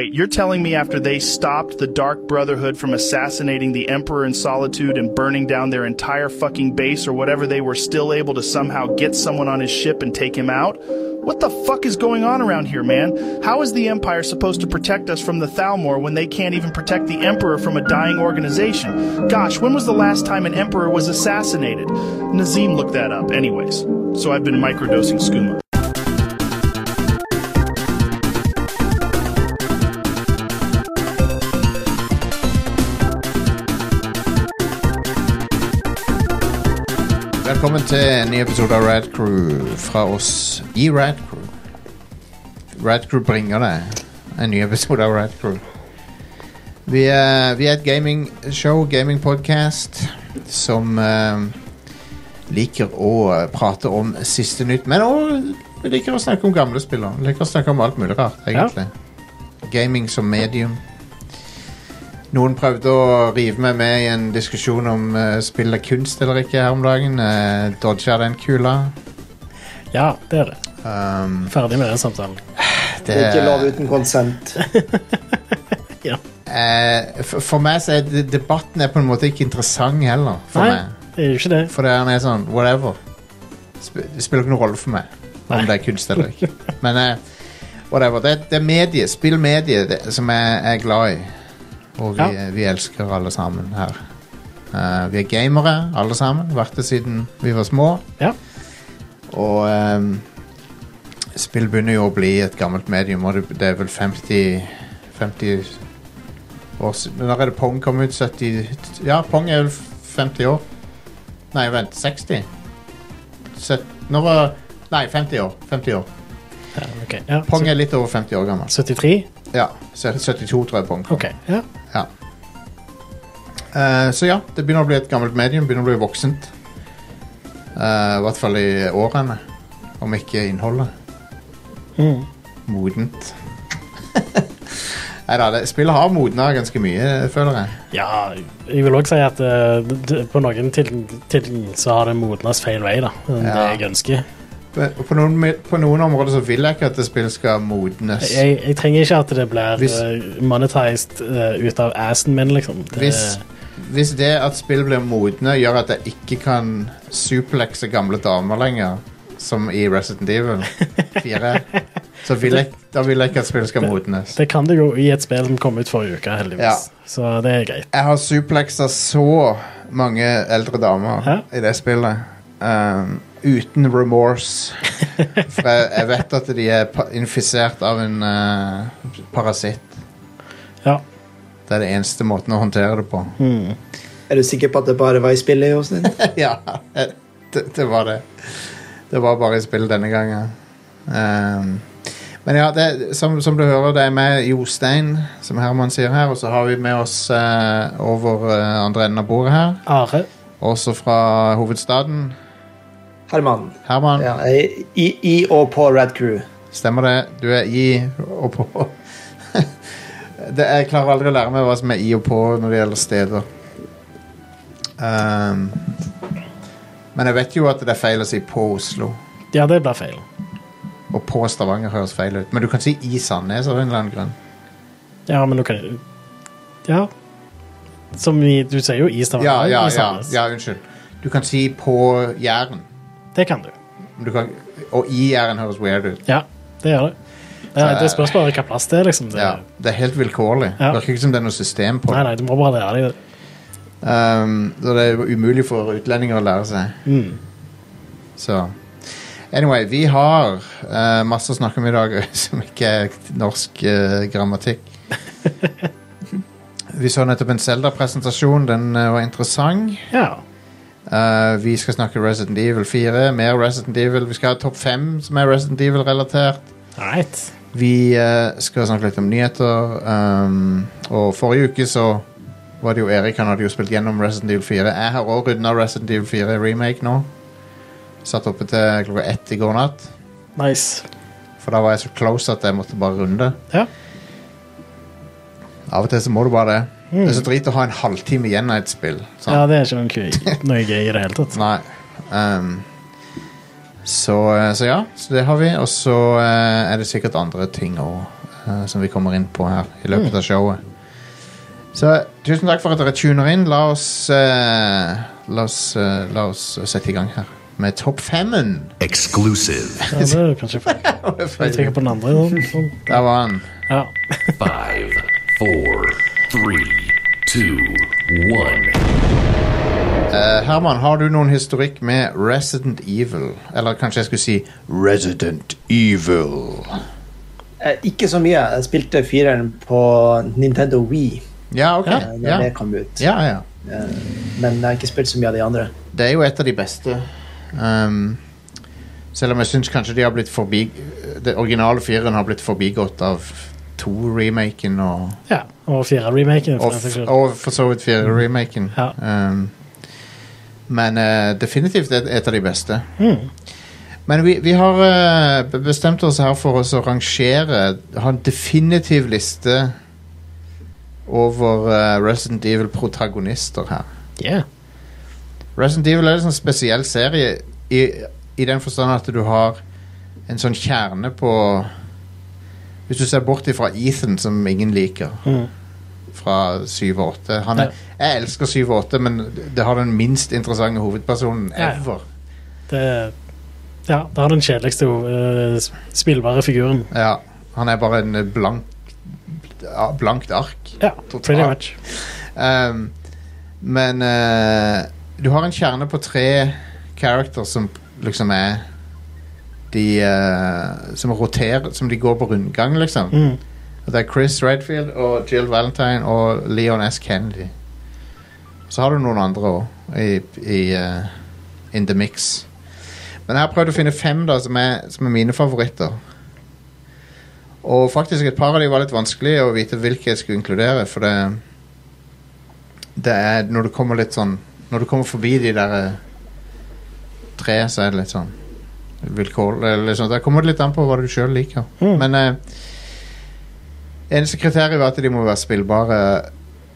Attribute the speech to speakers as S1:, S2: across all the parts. S1: Wait, you're telling me after they stopped the Dark Brotherhood from assassinating the Emperor in solitude and burning down their entire fucking base or whatever, they were still able to somehow get someone on his ship and take him out? What the fuck is going on around here, man? How is the Empire supposed to protect us from the Thalmor when they can't even protect the Emperor from a dying organization? Gosh, when was the last time an Emperor was assassinated? Nazim looked that up, anyways. So I've been microdosing skooma.
S2: Velkommen til en ny episode av Rad Crew fra oss i Rad Crew. Rad Crew bringer deg en ny episode av Rad Crew. Vi er, vi er et gamingshow, gamingpodcast, som eh, liker å prate om siste nytt, men òg vi liker å snakke om gamle spillere. Vi Liker å snakke om alt mulig rart, egentlig. Gaming som medium. Noen prøvde å rive meg med i en diskusjon om uh, spill er kunst eller ikke her om dagen. Uh, Dodga den kula.
S3: Ja, det er det.
S2: Um,
S3: Ferdig med den samtalen.
S2: det,
S4: Ikke lov uten konsent.
S3: Ja.
S2: eh, for, for meg så er de- debatten er på en måte ikke interessant heller. For
S3: Nei,
S2: meg.
S3: det er jo ikke det.
S2: For det er sånn whatever. Sp det spiller ikke noen rolle for meg om
S3: Nei.
S2: det er kunst eller ikke. Men eh, whatever. Det, det er medie, spillmedie det- som jeg er glad i. Og vi,
S3: Ja.
S2: vi elsker alle sammen her. Eh, vi er gamere, alle sammen. Vært det siden vi var små.
S3: Ja.
S2: Og ehm, spill begynner jo å bli et gammelt medium, og det, det er vel 50, 50 år siden Når er det Pong kom ut? 70 Ja, Pong er vel 50 år. Nei, vent. 60? Søt- Nå var Nei, 50 år. 50 år.
S3: ja ok. Ja.
S2: Pong er litt over 50 år gammel.
S3: 73?
S2: Ja, så er det 72 tror jeg Pong kom.
S3: Ok. Ja.
S2: Ja. Eh, så ja, det begynner å bli et gammelt medium, begynner å bli voksent. Eh, I hvert fall i årene, om ikke innholdet.
S3: Mm.
S2: Modent. Nei da, spillet har modna ganske mye, føler jeg.
S3: ja jeg vil òg si at eh, d- d- på noen til, til så har det modnes feil vei, da. enn Det
S2: Ja.
S3: jeg ønsker.
S2: Men På noen, mi- på noen områder så vil jeg ikke at det spillet skal modnes.
S3: Jeg, jeg trenger ikke at det blir
S2: Hvis-
S3: eh, monetized eh, ut av assen min, liksom. Det,
S2: Hvis, hvis det at spill blir modne, gjør at jeg ikke kan suplexe gamle damer lenger, som i Resident Evil 4, så vil jeg, da vil jeg ikke at spillet skal modnes.
S3: det kan det jo i et spill som kom ut forrige uke, heldigvis.
S2: Ja.
S3: Så det er greit.
S2: Jeg har suplexa så mange eldre damer
S3: Hæ?
S2: i det spillet. Um, uten remorse. For jeg, jeg vet at de er pa- infisert av en eh, parasitt.
S3: Ja.
S2: Det er det eneste måten å håndtere det på.
S3: Mm.
S4: Er du sikker på at det bare var i spillet? Jostein?
S2: ja, eh, det, det var det. Det var bare i spill denne gangen. Um, men ja, det, som, som du hører, det er med Jostein, som Herman sier her. Og så har vi med oss eh, over eh, andre enden av bordet her.
S3: Are.
S2: Også fra hovedstaden.
S4: Herman.
S2: Herman,
S4: Ja, jeg- i, I og på Rad Crew.
S2: stemmer det? Du er i og på. det, jeg klarer aldri å lære meg hva som er i og på når det gjelder steder. Ehm, men jeg vet jo at det er feil å si på Oslo.
S3: Ja, det blir feil.
S2: Og på Stavanger høres feil ut. Men du kan si i Sandnes av en eller annen grunn.
S3: Ja, men nå kan jeg Ja. Som i Du sier jo i Stavanger.
S2: Ja, ja,
S3: i
S2: ja,
S3: Sandnes.
S2: ja unnskyld. Du kan si på Jæren.
S3: Det kan du.
S2: Men Du kan, og i Jæren høres weird ut.
S3: Ja, det gjør det. Det,
S2: Så-
S3: det spørs bare hva plass det er, liksom. Det,
S2: Ja, det er helt vilkårlig.
S3: Ja.
S2: Virker ikke som det er noe system på det.
S3: Nei, nei, du må bare lære deg det.
S2: Um, så det er jo umulig for utlendinger å lære seg.
S3: Mm.
S2: Så Anyway, vi har eh, masse å snakke om i dag som ikke er norsk eh, grammatikk. Vi så nettopp en Zelda-presentasjon. Den eh, var interessant.
S3: Ja.
S2: Eh, vi skal snakke Resident Evil 4, mer Resident Evil. Vi skal ha topp fem som er Resident Evil-relatert.
S3: Right.
S2: Vi eh, skal snakke litt om nyheter. ehm, og forrige uke så var det jo Erik han hadde jo spilt gjennom Resident Evil 4. Jeg har òg runda Resident Evil 4 remake nå. Satt oppe til klokka ett i går natt.
S3: Nice.
S2: For da var jeg så close at jeg måtte bare runde.
S3: Ja.
S2: Av og til så må du bare det. Det er så drit å ha en halvtime igjen av et spill. sant?
S3: ja, det er ikke noe gøy, noe gøy i det hele tatt.
S2: Sånn. Nei. Ehm, så, eh, så ja, så det har vi. Og så eh, er det sikkert andre ting òg. eh, som vi kommer inn på her i løpet av showet. Så tusen takk for at dere tuner inn. La oss, eh, la oss, eh, la oss sette i gang her med topp femmen.
S5: Exclusive.
S3: Ja, det er kanskje feil. Jeg tenker på den andre. Sånn. sånn.
S2: Der var han.
S3: Ja.
S5: Five, four, three, two, one.
S2: Eh, Herman, har du noen historikk med Resident Evil? Eller kanskje jeg skulle si Resident Evil.
S4: Eh, Ikke så mye. Jeg spilte fireren på Nintendo Wii
S2: Ja, ok.
S4: eh, når
S2: Ja.
S4: det kom ut.
S2: Ja, ja.
S4: Men jeg har ikke spilt så mye av de andre.
S2: Det er jo et av de beste. Um, selv om jeg syns kanskje de har blitt forbi Det originale fireren har blitt forbigått av to-remaken og,
S3: ja. Og fire remaken. For
S2: og,
S3: den saks
S2: f-
S3: skyld.
S2: og for så vidt fire-remaken.
S3: Ja.
S2: Um, men eh, definitivt et, et av de beste.
S3: Mm.
S2: Men vi, vi har eh, be- bestemt oss her for oss å rangere Ha en definitiv liste over eh, Resident Evil-protagonister her.
S3: Yeah.
S2: Resident Evil er en sånn spesiell serie i, i den forstand at du har en sånn kjerne på Hvis du ser bort ifra Ethan, som ingen liker,
S3: Mhm.
S2: fra 7 og 8 Han er, Jeg elsker 7 og 8, men det har den minst interessante hovedpersonen
S3: Ja, ja.
S2: ever.
S3: Det ja, det har den kjedeligste eh, s- spillbare figuren.
S2: Ja, han er bare en blank, blankt ark.
S3: Ja,
S2: Totalt.
S3: pretty much.
S2: Um, men eh, du har en kjerne på tre characters som liksom er De eh, som roterer Som de går på rundgang, liksom.
S3: Mm.
S2: Og Det er Chris Redfield og Jill Valentine og Leon S. Kennedy. Så har du noen andre òg i, i eh, in the mix. Men jeg har prøvd å finne fem da som er, som er mine favoritter. Og faktisk et par av de var litt vanskelig å vite hvilke jeg skulle inkludere, for det Det er når du kommer litt sånn Når du kommer forbi de der eh, tre, så er det litt sånn vilkårlig eller sånn. Der kommer det litt an på hva du sjøl liker.
S3: Mm.
S2: Men eh, Eneste kriteriet var at de må være spillbare,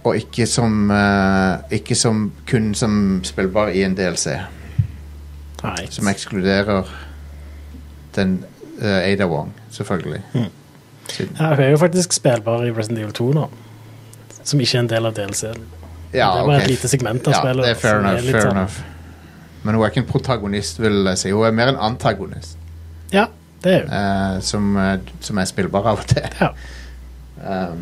S2: og ikke som eh, Ikke som kun som spillbare i en DLC,
S3: Nei.
S2: som ekskluderer den eh, Ada Wong, selvfølgelig. Siden,
S3: Ja, hun er jo faktisk spillbar i Resident Evil 2 nå. Som ikke er en del av DLC-en. det
S2: ja,
S3: er bare
S2: ok.
S3: et lite segment av
S2: Ja,
S3: spillet.
S2: det er fair
S3: som
S2: enough.
S3: litt
S2: Fair
S3: sånn-
S2: enough. Men hun er ikke en protagonist, vil jeg si. Hun er mer en antagonist,
S3: Ja, det er hun.
S2: eh, som, eh, som er spillbar av og til.
S3: Ja.
S2: Um,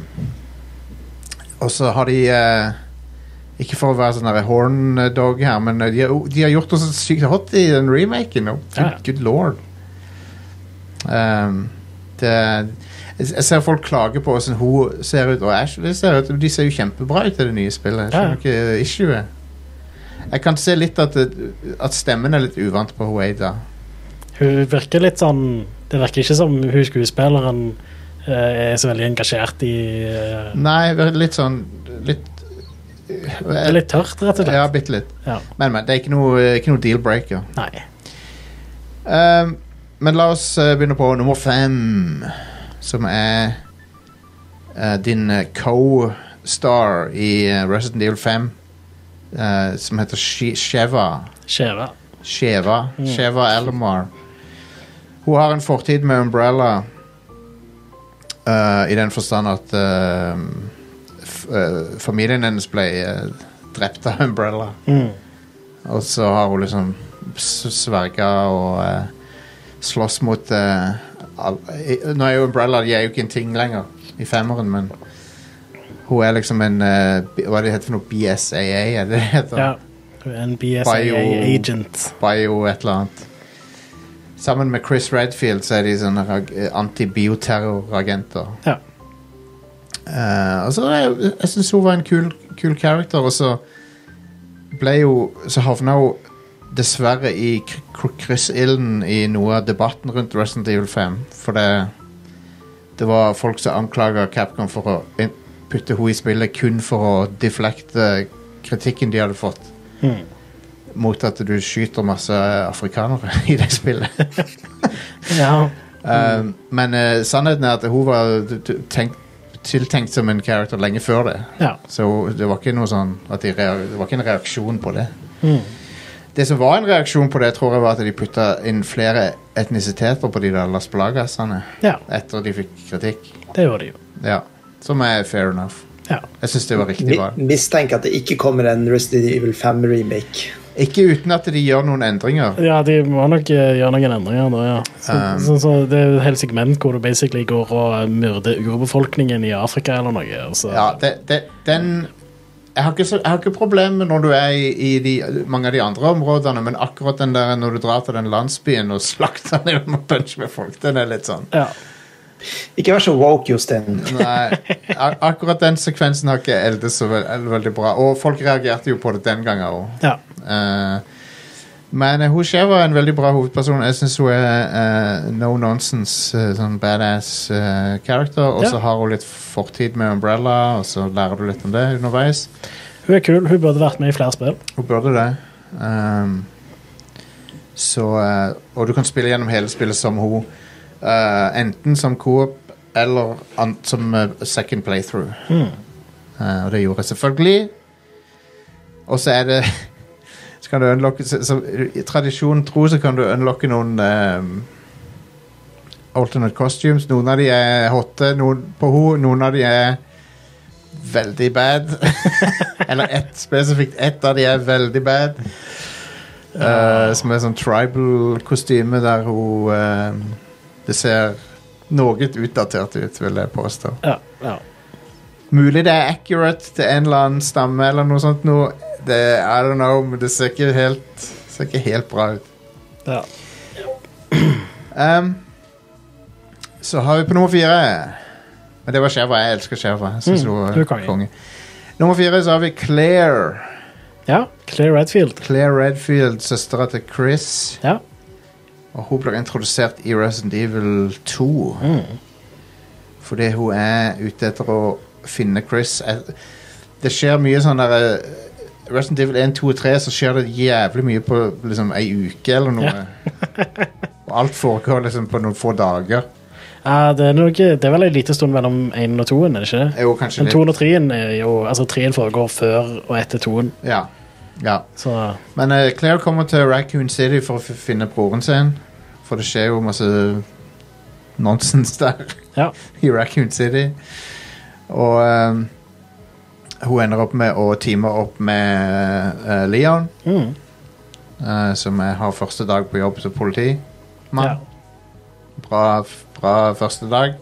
S2: og så har de eh, Ikke for å være sånn der horndog her, men eh, de har, de har gjort noe så sykt hot i den remaken. nå.
S3: Ja,
S2: good,
S3: ja.
S2: good lord. Um, det, jeg jeg ser folk klage på hvordan hun ser ut, og Ashley ser ut. De ser jo kjempebra ut i det nye spillet. Jeg
S3: Ja, ja.
S2: skjønner ikke issuet. Jeg kan se litt at, det- at stemmen er litt uvant på hun Ada.
S3: Hun virker litt sånn Det virker ikke som hun skuespilleren eh, er så veldig engasjert i eh,
S2: Nei, litt sånn Litt eh,
S3: Det er litt tørt, rett og slett.
S2: Ja, bitte litt.
S3: Ja.
S2: Men, men det er ikke noe, ikke noe deal-breaker.
S3: Nei.
S2: Ehm, men la oss eh, begynne på nummer fem, som er eh, din eh, co-star i eh, Resident Evil 5, eh, som heter She- Sheva.
S3: Skjeve.
S2: Sheva. Sheva Alomar. Hun har en fortid med Umbrella eh, i den forstand at eh, f eh, familien hennes ble eh, drept av Umbrella.
S3: Mm.
S2: Og så har hun liksom s- sverga og eh, slåss mot eh, al- i- Nå er jo Umbrella de er jo ikke en ting lenger i femmeren, men hun er liksom en eh, B- Hva er det heter for noe? BSAA, er det det heter?
S3: Ja. Hun er en BSAA-agent.
S2: Bio et eller annet. Sammen med Chris Redfield så er de sånne rag- eh, antibioterroragenter.
S3: Ja.
S2: Eh, og så er jo- jeg syns hun var en kul, kul character, og så ble jo Så havna hun dessverre i kr- kr- kryssilden i noe av debatten rundt Resident Evil 5. For det, det var folk som anklaga Capcom for å in- putte henne i spillet kun for å deflekte kritikken de hadde fått
S3: Mm.
S2: mot at du skyter masse afrikanere i det spillet.
S3: ja.
S2: Um, men eh, sannheten er at hun var t- t- tenkt, tiltenkt som en character lenge før det.
S3: ja.
S2: Så det var ikke noe sånn at de rea- det var ikke en reaksjon på det.
S3: Mm.
S2: Det som var en reaksjon på det, tror jeg var at de putta inn flere etnisiteter på de der Las Plagasene
S3: Ja.
S2: etter de fikk kritikk.
S3: Det gjorde de jo.
S2: Ja. Som er fair enough.
S3: Ja.
S2: Jeg syns det var riktig valg.
S4: Mi- Mistenker at det ikke kommer en Resident Evil 5-remake.
S2: Ikke uten at de gjør noen endringer.
S3: ja, de må nok eh, gjøre noen endringer da, ja. Så,
S2: Um.
S3: så, så det er jo et helt segment hvor du basically går og eh, myrder urbefolkningen i Afrika eller noe. og så-
S2: Ja, det, det, den jeg har, ikke så, jeg har ikke problemer når du er i, i de, mange av de andre områdene, men akkurat den der når du drar til den landsbyen og slakter ned og puncher med folk, den er litt sånn
S3: Ja.
S4: Ikke vær så woke, Jostein.
S2: Nei, a- akkurat den sekvensen har ikke eldes så veld, veldig bra. Og folk reagerte jo på det den gangen òg.
S3: ja.
S2: Eh, men eh, hun Sheva er en veldig bra hovedperson. Jeg syns hun er eh, no nonsense, eh, sånn badass eh, character. Og
S3: Ja.
S2: så har hun litt fortid med Umbrella, og så lærer du litt om det underveis.
S3: Hun er kul. Hun burde vært med i flere spill.
S2: Hun burde det. Ehm, så eh, Og du kan spille gjennom hele spillet som hun. eh, enten som coop eller an som eh, second playthrough. Eh, og det gjorde jeg selvfølgelig. Og så er det Så kan du unlocke så, så, I tradisjonen tro så kan du unlocke noen ehm, alternate costumes. Noen av de er hotte noen på ho, noen av de er veldig bad. Eller ett spesifikt. Ett av de er veldig bad. Eh, som er sånn tribal-kostyme der hun eh, Det ser noe utdatert ut, vil jeg påstå.
S3: Ja, ja.
S2: Mulig det er accurate til en eller annen stamme eller noe sånt. Noe. Det, I don't know, men det ser ikke helt, ser ikke helt bra ut.
S3: ja.
S2: Ehm, så har vi på nummer fire Men det var Sheva. Jeg elsker Sheva. Jeg synes
S3: Mm,
S2: hun er
S3: du er konge.
S2: konge. Nummer fire så har vi Claire.
S3: ja. Claire Redfield.
S2: Claire Redfield, søstera til Chris.
S3: Ja.
S2: Og hun blir introdusert i Resident Evil 2. Fordi hun er ute etter å finne Chris. Jeg- Det skjer mye sånn der eh, Resident Evil 1, 2 og 3 så skjer det jævlig mye på liksom ei uke eller noe. og alt foregår liksom på noen få dager.
S3: Ja, det, er nok, det er vel en liten stund mellom én og toen, er det ikke det?
S2: Jo, kanskje
S3: Men toen
S2: litt.
S3: og treen er jo Altså, treen foregår før og etter toen,
S2: Ja. ja.
S3: så
S2: Men eh, Claire kommer til Raccoon City for å f- finne broren sin. For det skjer jo masse nonsens der.
S3: ja.
S2: i Raccoon City. Og ehm, hun ender opp med å teame opp med eh, Leon,
S3: Mm.
S2: eh, som er, har første dag på jobb som
S3: ja.
S2: politimann. Bra, f- bra første dag.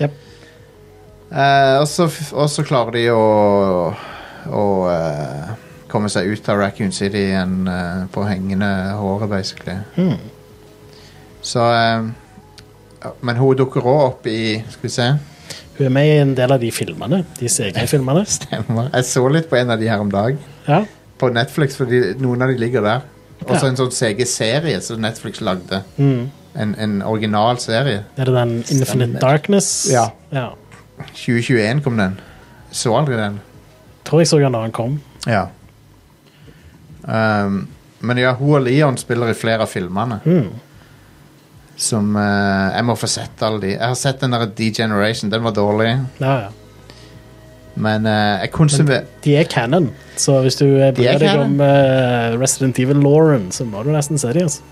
S3: Jep.
S2: Eh, og, så, f- og så klarer de å, å eh, komme seg ut av Raccoon City igjen eh, på hengende håret, basically.
S3: Mm.
S2: Så ehm, ja, Men hun dukker òg opp i Skal vi se.
S3: Hun er med i en del av de filmene. De CG-filmene.
S2: Stemmer. Jeg så litt på en av de her om dag.
S3: Ja.
S2: På Netflix, fordi noen av de ligger der. Og så
S3: Ja.
S2: en sånn CG-serie som Netflix lagde.
S3: Mm.
S2: En, en original serie.
S3: Er det den Infinite Darkness?
S2: Ja.
S3: ja.
S2: 2021 kom den. Så aldri den.
S3: Tror jeg så den da han kom.
S2: Ja. Um, men ja, hun og Leon spiller i flere av filmene.
S3: Mm.
S2: Som eh, Jeg må få sett alle de. Jeg har sett den der D-Generation. Den var dårlig.
S3: Ja, ja.
S2: Men eh, jeg konsumerer
S3: De er canon, så hvis du eh,
S2: De er
S3: bryr deg
S2: canon.
S3: om eh, Resident Evil Lauren, så må du nesten se dem. Altså.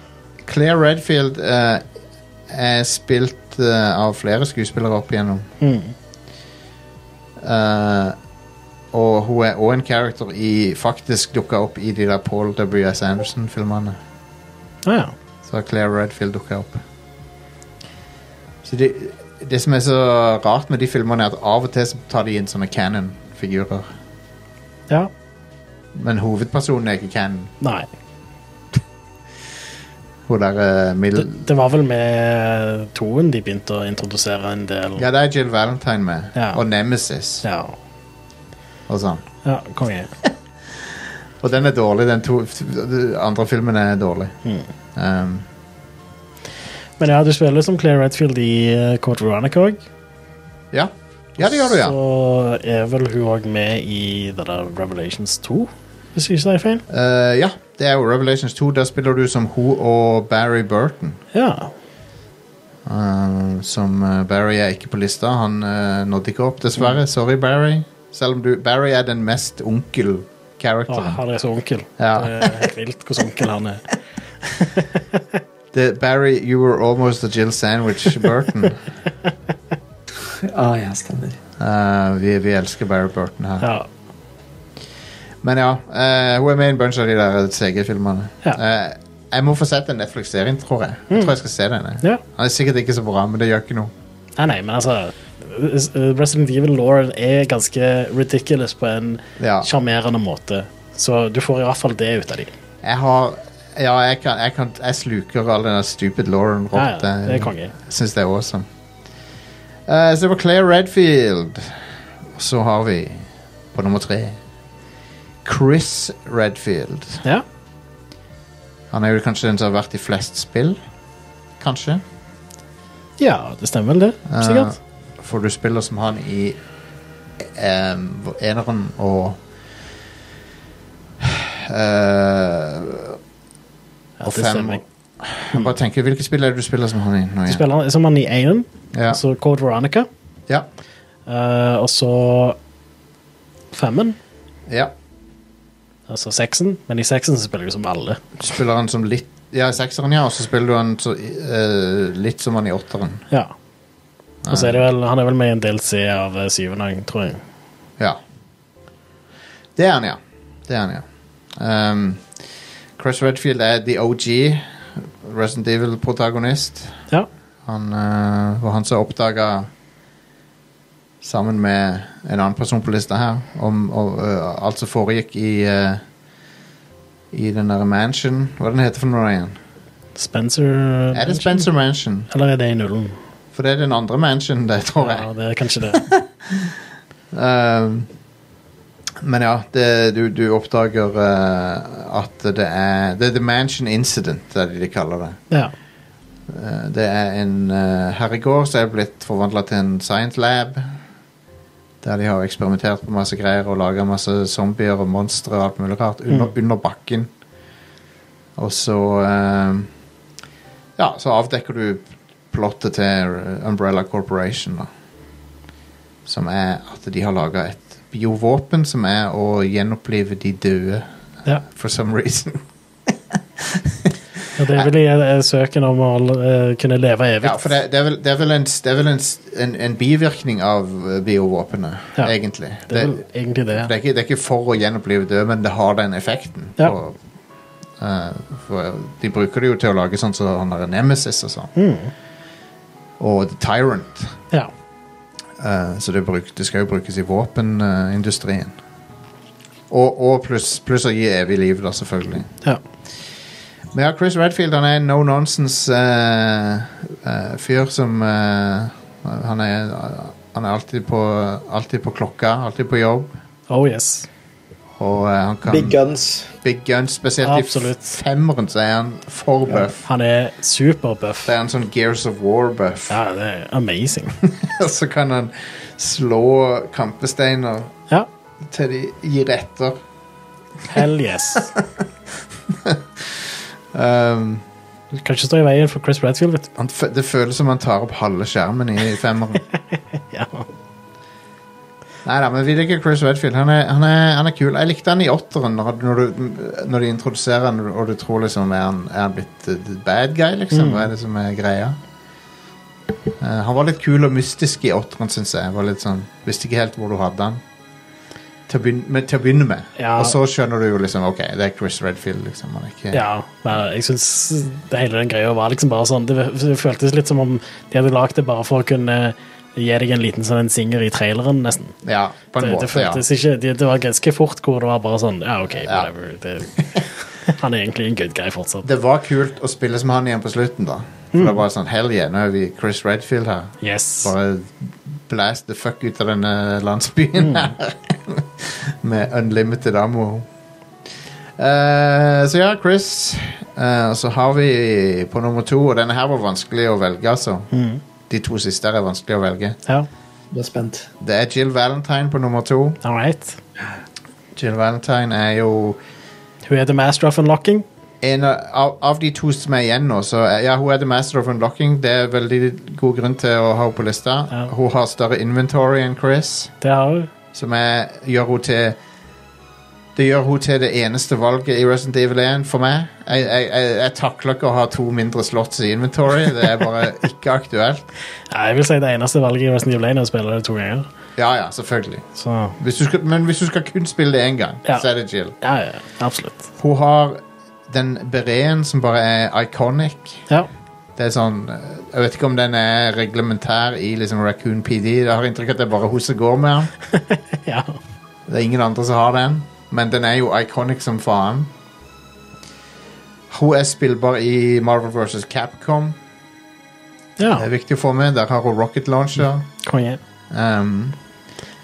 S2: Eh, Claire Redfield eh, er spilt eh, av flere skuespillere opp igjennom.
S3: Mm.
S2: Eh, og hun er òg en character i faktisk dukka opp i de der Paul W.S. Anderson-filmene.
S3: Ja, ja.
S2: Så har Claire Redfield dukka opp. Så det, det som er så rart med de filmene, er at av og til så tar de inn sånne canon-figurer.
S3: ja.
S2: Men hovedpersonen er ikke canon.
S3: Nei.
S2: Hun der eh, Mil...
S3: Det, det var vel med toen de begynte å introdusere en del
S2: Ja, det er Jill Valentine med.
S3: Ja.
S2: Og Nemesis
S3: Ja.
S2: og sånn.
S3: ja konge.
S2: Og den er dårlig. Den to, den andre filmen er dårlig. Um,
S3: Men ja, du spiller som Claire Redfield i eh, Code Veronica òg.
S2: ja. ja, det gjør du, ja.
S3: Så er vel hun òg med i det der Revelations 2, hvis jeg ikke sier feil.
S2: Eh, ja, det er jo Revelations 2. Der spiller du som hun og Barry Burton.
S3: Ja.
S2: Eh, som eh, Barry er ikke på lista. Han eh, nådde ikke opp, dessverre.
S3: Hmm.
S2: Sorry, Barry. Selv om du, Barry er den mest
S3: Å,
S2: onkel-characteren.
S3: han er så onkel.
S2: Sånn. Ja.
S3: Det er helt vilt hvordan onkel han er.
S2: Det- Barry, you were almost a Jill Sandwich Burton.
S4: Ah, ja, stemmer.
S2: Eh, vi, vi elsker Barry Burton her.
S3: Ja.
S2: Men ja, eh, hun er med i en bunch av de der CG-filmerne.
S3: Ja. Mm.
S2: Eh, jeg må få sett den Netflix-serien, tror jeg. Jeg tror jeg skal se den. jeg.
S3: Ja.
S2: Den er sikkert ikke så bra, men det gjør ikke noe.
S3: Nei, nei, men altså eh, Resident Evil Law er ganske ridiculous på en
S2: Ja.
S3: sjarmerende måte. Så du får i hvert fall det ut av dem.
S2: Jeg har Ja, jeg, kan, jeg, kan, jeg sluker all den der stupid Lauren rått.
S3: Ja, ja, det er
S2: Jeg
S3: konge.
S2: Syns det er awesome. Eh, så det var Claire Redfield. Og så har vi, på nummer tre Chris Redfield.
S3: Ja.
S2: Han er jo kanskje den som har vært i flest spill. Kanskje.
S3: ja, det stemmer vel, det. Sikkert.
S2: For du spiller som han i um, eneren og eh,
S3: Ja,
S2: og
S3: det
S2: fem-
S3: stemmer.
S2: Jeg bare tenker, Hvilke spill er det du spiller som han i? Nå
S3: Du
S2: igjen?
S3: spiller han- som han i Einen,
S2: Ja.
S3: så Code Veronica,
S2: Ja.
S3: eh, og så Femmen,
S2: ja.
S3: altså Seksen. Men i Seksen så spiller du som alle.
S2: Du spiller han som litt Ja, i sekseren, ja, og så spiller du han så, eh, litt som han i åtteren.
S3: Ja. Og så er det vel, han er vel med i en DLC av eh, Syvende, tror jeg.
S2: Ja. Det er han, ja. Det er han, ja. Ehm, Chris Redfield er the OG, Resident Evil-protagonist.
S3: Ja.
S2: Han eh, var han som oppdaga Sammen med en annen person på lista her, om, og, eh, alt som foregikk i eh, I den derre mansion Hva den heter for noe igjen?
S3: Spencer
S2: Er det Spencer Mansion?
S3: Eller er det i nullen?
S2: For det er den andre mansion, det tror jeg.
S3: Ja, det er kanskje det.
S2: Ehm, men ja, det, du, du oppdager eh, at det er Det er The Mansion Incident, det er det de kaller det.
S3: Ja.
S2: Eh, det er en uh, herregård som er blitt forvandla til en science lab. Der de har eksperimentert på masse greier og laga masse zombier og monstre og alt mulig rart under, under bakken. Og så eh, Ja, så avdekker du plottet til eh, Umbrella Corporation, da. Som er at de har laga et biovåpen som er å gjenopplive de døde.
S3: Ja.
S2: For some reason.
S3: Ja, det er vel i eh, søken om å eh, kunne leve evig.
S2: Ja, for det, det, er vel, det er vel, en, det er vel en, en, en bivirkning av eh, biovåpenet,
S3: Ja.
S2: egentlig.
S3: Det er vel egentlig det.
S2: det, er ikke, det er ikke for å gjenopplive død, men det har den effekten.
S3: Ja.
S2: Og, eh, for de bruker det jo til å lage sånn som han der Nemesis og sånn.
S3: Mm.
S2: Og The Tyrant.
S3: Ja.
S2: Eh, så det, bruk, det skal jo brukes i våpenindustrien. Og, og pluss pluss å gi evig liv, da, selvfølgelig.
S3: ja.
S2: Men ja, Chris Redfield han er en no nonsense eh, eh, fyr som eh, han, er, han er alltid på, alltid på klokka, alltid på jobb.
S3: Oh yes.
S2: Og eh, han kan
S4: Big guns.
S2: Big guns, spesielt
S3: Absolutt.
S2: i femmeren, så er han for buff.
S3: Han er superbuff.
S2: Det er en sånn Gears of War-buff.
S3: Ja, det er amazing.
S2: Og så kan han slå kampesteiner
S3: Ja.
S2: til de gir etter.
S3: Hell yes.
S2: Um,
S3: Du kan ikke stå i veien for Chris Redfield, vet du.
S2: han, fø- det føles som han tar opp halve skjermen i femmeren.
S3: Ja.
S2: Nei da, men vi liker Chris Redfield. Han er, han er, han er kul. Jeg likte han i åtteren, når, når, du- når de introduserer han og du tror liksom Er han, er han blitt eh, the bad guy,
S3: Mm.
S2: liksom? Hva er det som er greia? Eh, han var litt kul og mystisk i åtteren, syns jeg. Var litt sånn, Visste ikke helt hvor du hadde han. Til å begynne med. Til å begynne med.
S3: Ja.
S2: Og så skjønner du jo liksom OK, det er Chris Redfield, liksom. Han er ikke
S3: ja men jeg syns hele den greia var liksom bare sånn Det det føltes litt som om de hadde lagd det bare for å kunne gi deg en liten sånn en singer i traileren, nesten.
S2: Ja, på en
S3: Det, det
S2: måte, ja.
S3: føltes ikke det, det var ganske fort hvor det var bare sånn Ja, OK,
S2: Ja.
S3: whatever. Det, han er egentlig en good guy fortsatt.
S2: Det var kult å spille som han igjen på slutten, da. For
S3: Mm.
S2: det var sånn Hell yeah, nå er vi Chris Redfield her.
S3: Yes.
S2: bare blast the fuck ut av denne landsbyen her. Med unlimited ammo. Eh, så ja, Chris. Eh, og så har vi på nummer to, og denne her var vanskelig å velge, altså. De to siste her er vanskelig å velge.
S3: Ja.
S4: Jeg er spent.
S2: Det er Jill Valentine på nummer to.
S3: All right.
S2: Jill Valentine er jo
S3: Hun er the master of unlocking.
S2: en av, av- av de to som er igjen nå, så er- ja, hun er the master of unlocking. Det er veldig god grunn til å ha henne på lista.
S3: Ja.
S2: Hun har større inventory enn Chris.
S3: Det har hun.
S2: Som er, gjør henne til Det gjør hun til det eneste valget i Resident Evil 1 for meg. Jeg, jeg, jeg, jeg takler ikke å ha to mindre slots i inventory. Det er bare ikke aktuelt.
S3: Ja, jeg vil si det eneste valget i Resident Evil 1 er å spille det to ganger.
S2: Ja, ja, selvfølgelig.
S3: Så
S2: Hvis du skal, men hvis du skal kun spille det én gang,
S3: Ja.
S2: så er det Jill.
S3: ja, ja, absolutt.
S2: Hun har den bereen som bare er iconic.
S3: Ja.
S2: Det er sånn, eh, Jeg vet ikke om den er reglementær i liksom Raccoon PD. Jeg har inntrykk av at det er bare hun som går med den.
S3: ja.
S2: Det er ingen andre som har den. Men den er jo iconic som faen. Hun er spillbar i Marvel vs. Capcom.
S3: ja.
S2: Det er viktig å få med. Der har hun rocket launcher.
S3: Konge.
S2: Um,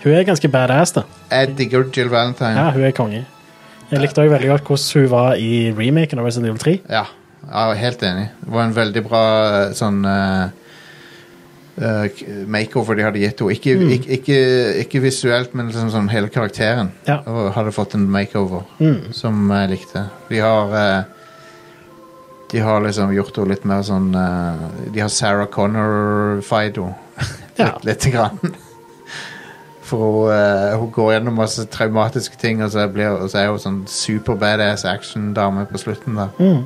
S3: Hun er ganske badass, da.
S2: jeg digger Jill Valentine.
S3: Ja, hun er konge. Jeg likte også veldig godt hvordan hun var i remaken av Resident Evil 3.
S2: Ja, jeg er helt enig. Det var en veldig bra eh, sånn eh, eh, k- makeover de hadde gitt henne. Ikke,
S3: Mm.
S2: ikke, ikke, ikke visuelt, men liksom sånn hele karakteren.
S3: Ja. Mm.
S2: Og hadde fått en makeover som jeg likte. De har eh, De har liksom gjort henne litt mer sånn eh, De har Sarah Connor-fied henne.
S3: Ja.
S2: litt, lite grann. For hun, eh, hun går gjennom masse traumatiske ting, og så, blir, og så er hun sånn super badass action-dame på slutten der.
S3: Mm.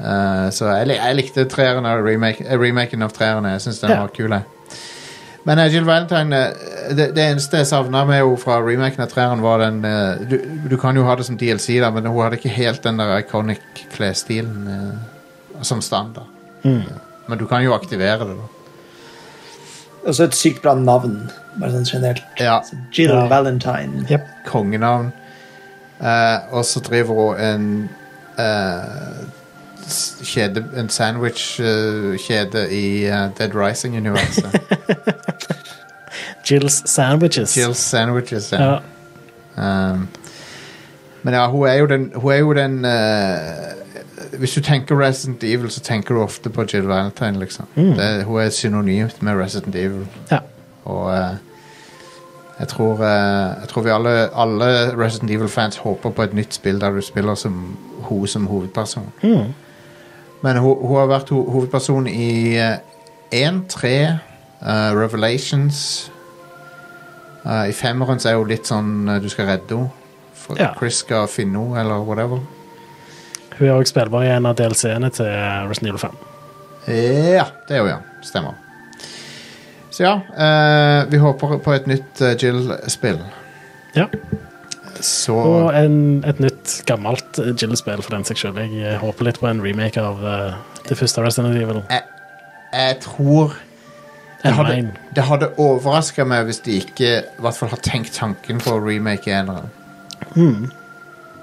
S2: Eh, så jeg, lik- jeg likte treeren av remake, eh, remaken av treerne. Jeg syns den
S3: Ja.
S2: var kul. jeg. Men eh, Jill Valentine eh, det, det eneste jeg savna med henne fra remaken av treeren, var den eh, du, du kan jo ha det som DLC, da, men hun hadde ikke helt den der iconic klesstilen eh, som standard. Men du kan jo aktivere det, da.
S4: Og så et sykt bra navn, bare sånn generelt.
S2: Ja.
S4: Så Jill
S3: Ja.
S4: Valentine.
S3: Yep.
S2: kongenavn. Eh, og så driver hun en eh, s- kjede, en sandwich-kjede i eh, Dead Rising-universet.
S3: Jills Sandwiches.
S2: Jill's Sandwiches. ja.
S3: Ja.
S2: Um, men ja, hun er jo den, hun er jo den eh, Hvis du tenker Resident Evil, så tenker du ofte på Jill Valentine, liksom. Det, hun er synonymt med Resident Evil.
S3: ja.
S2: Og eh, jeg tror, eh, jeg tror vi alle, alle Resident Evil-fans håper på et nytt spill der du spiller som hun som hovedperson.
S3: Hmm.
S2: Men hun, hun har vært ho hovedperson i eh, 1-3, eh, Revelations. Eh, I femmeren så er hun litt sånn eh, du skal redde henne. For
S3: Ja.
S2: Chris skal finne henne, eller whatever.
S3: Hun er også spillbar i en av DLC-ene til Resident Evil 5.
S2: Eh, Ja, det er jo ja. Stemmer. Så ja, eh, vi håper på et nytt eh, Jill-spill.
S3: Ja.
S2: Så
S3: Og en, et nytt, gammelt eh, Jill-spill for den seg selv. Jeg eh, håper litt på en remake av eh, det første Resident Evil.
S2: jeg tror det
S3: Eller
S2: hadde,
S3: en.
S2: det hadde overraska meg hvis de ikke i hvert fall har tenkt tanken på å remake eneren.
S3: Mm.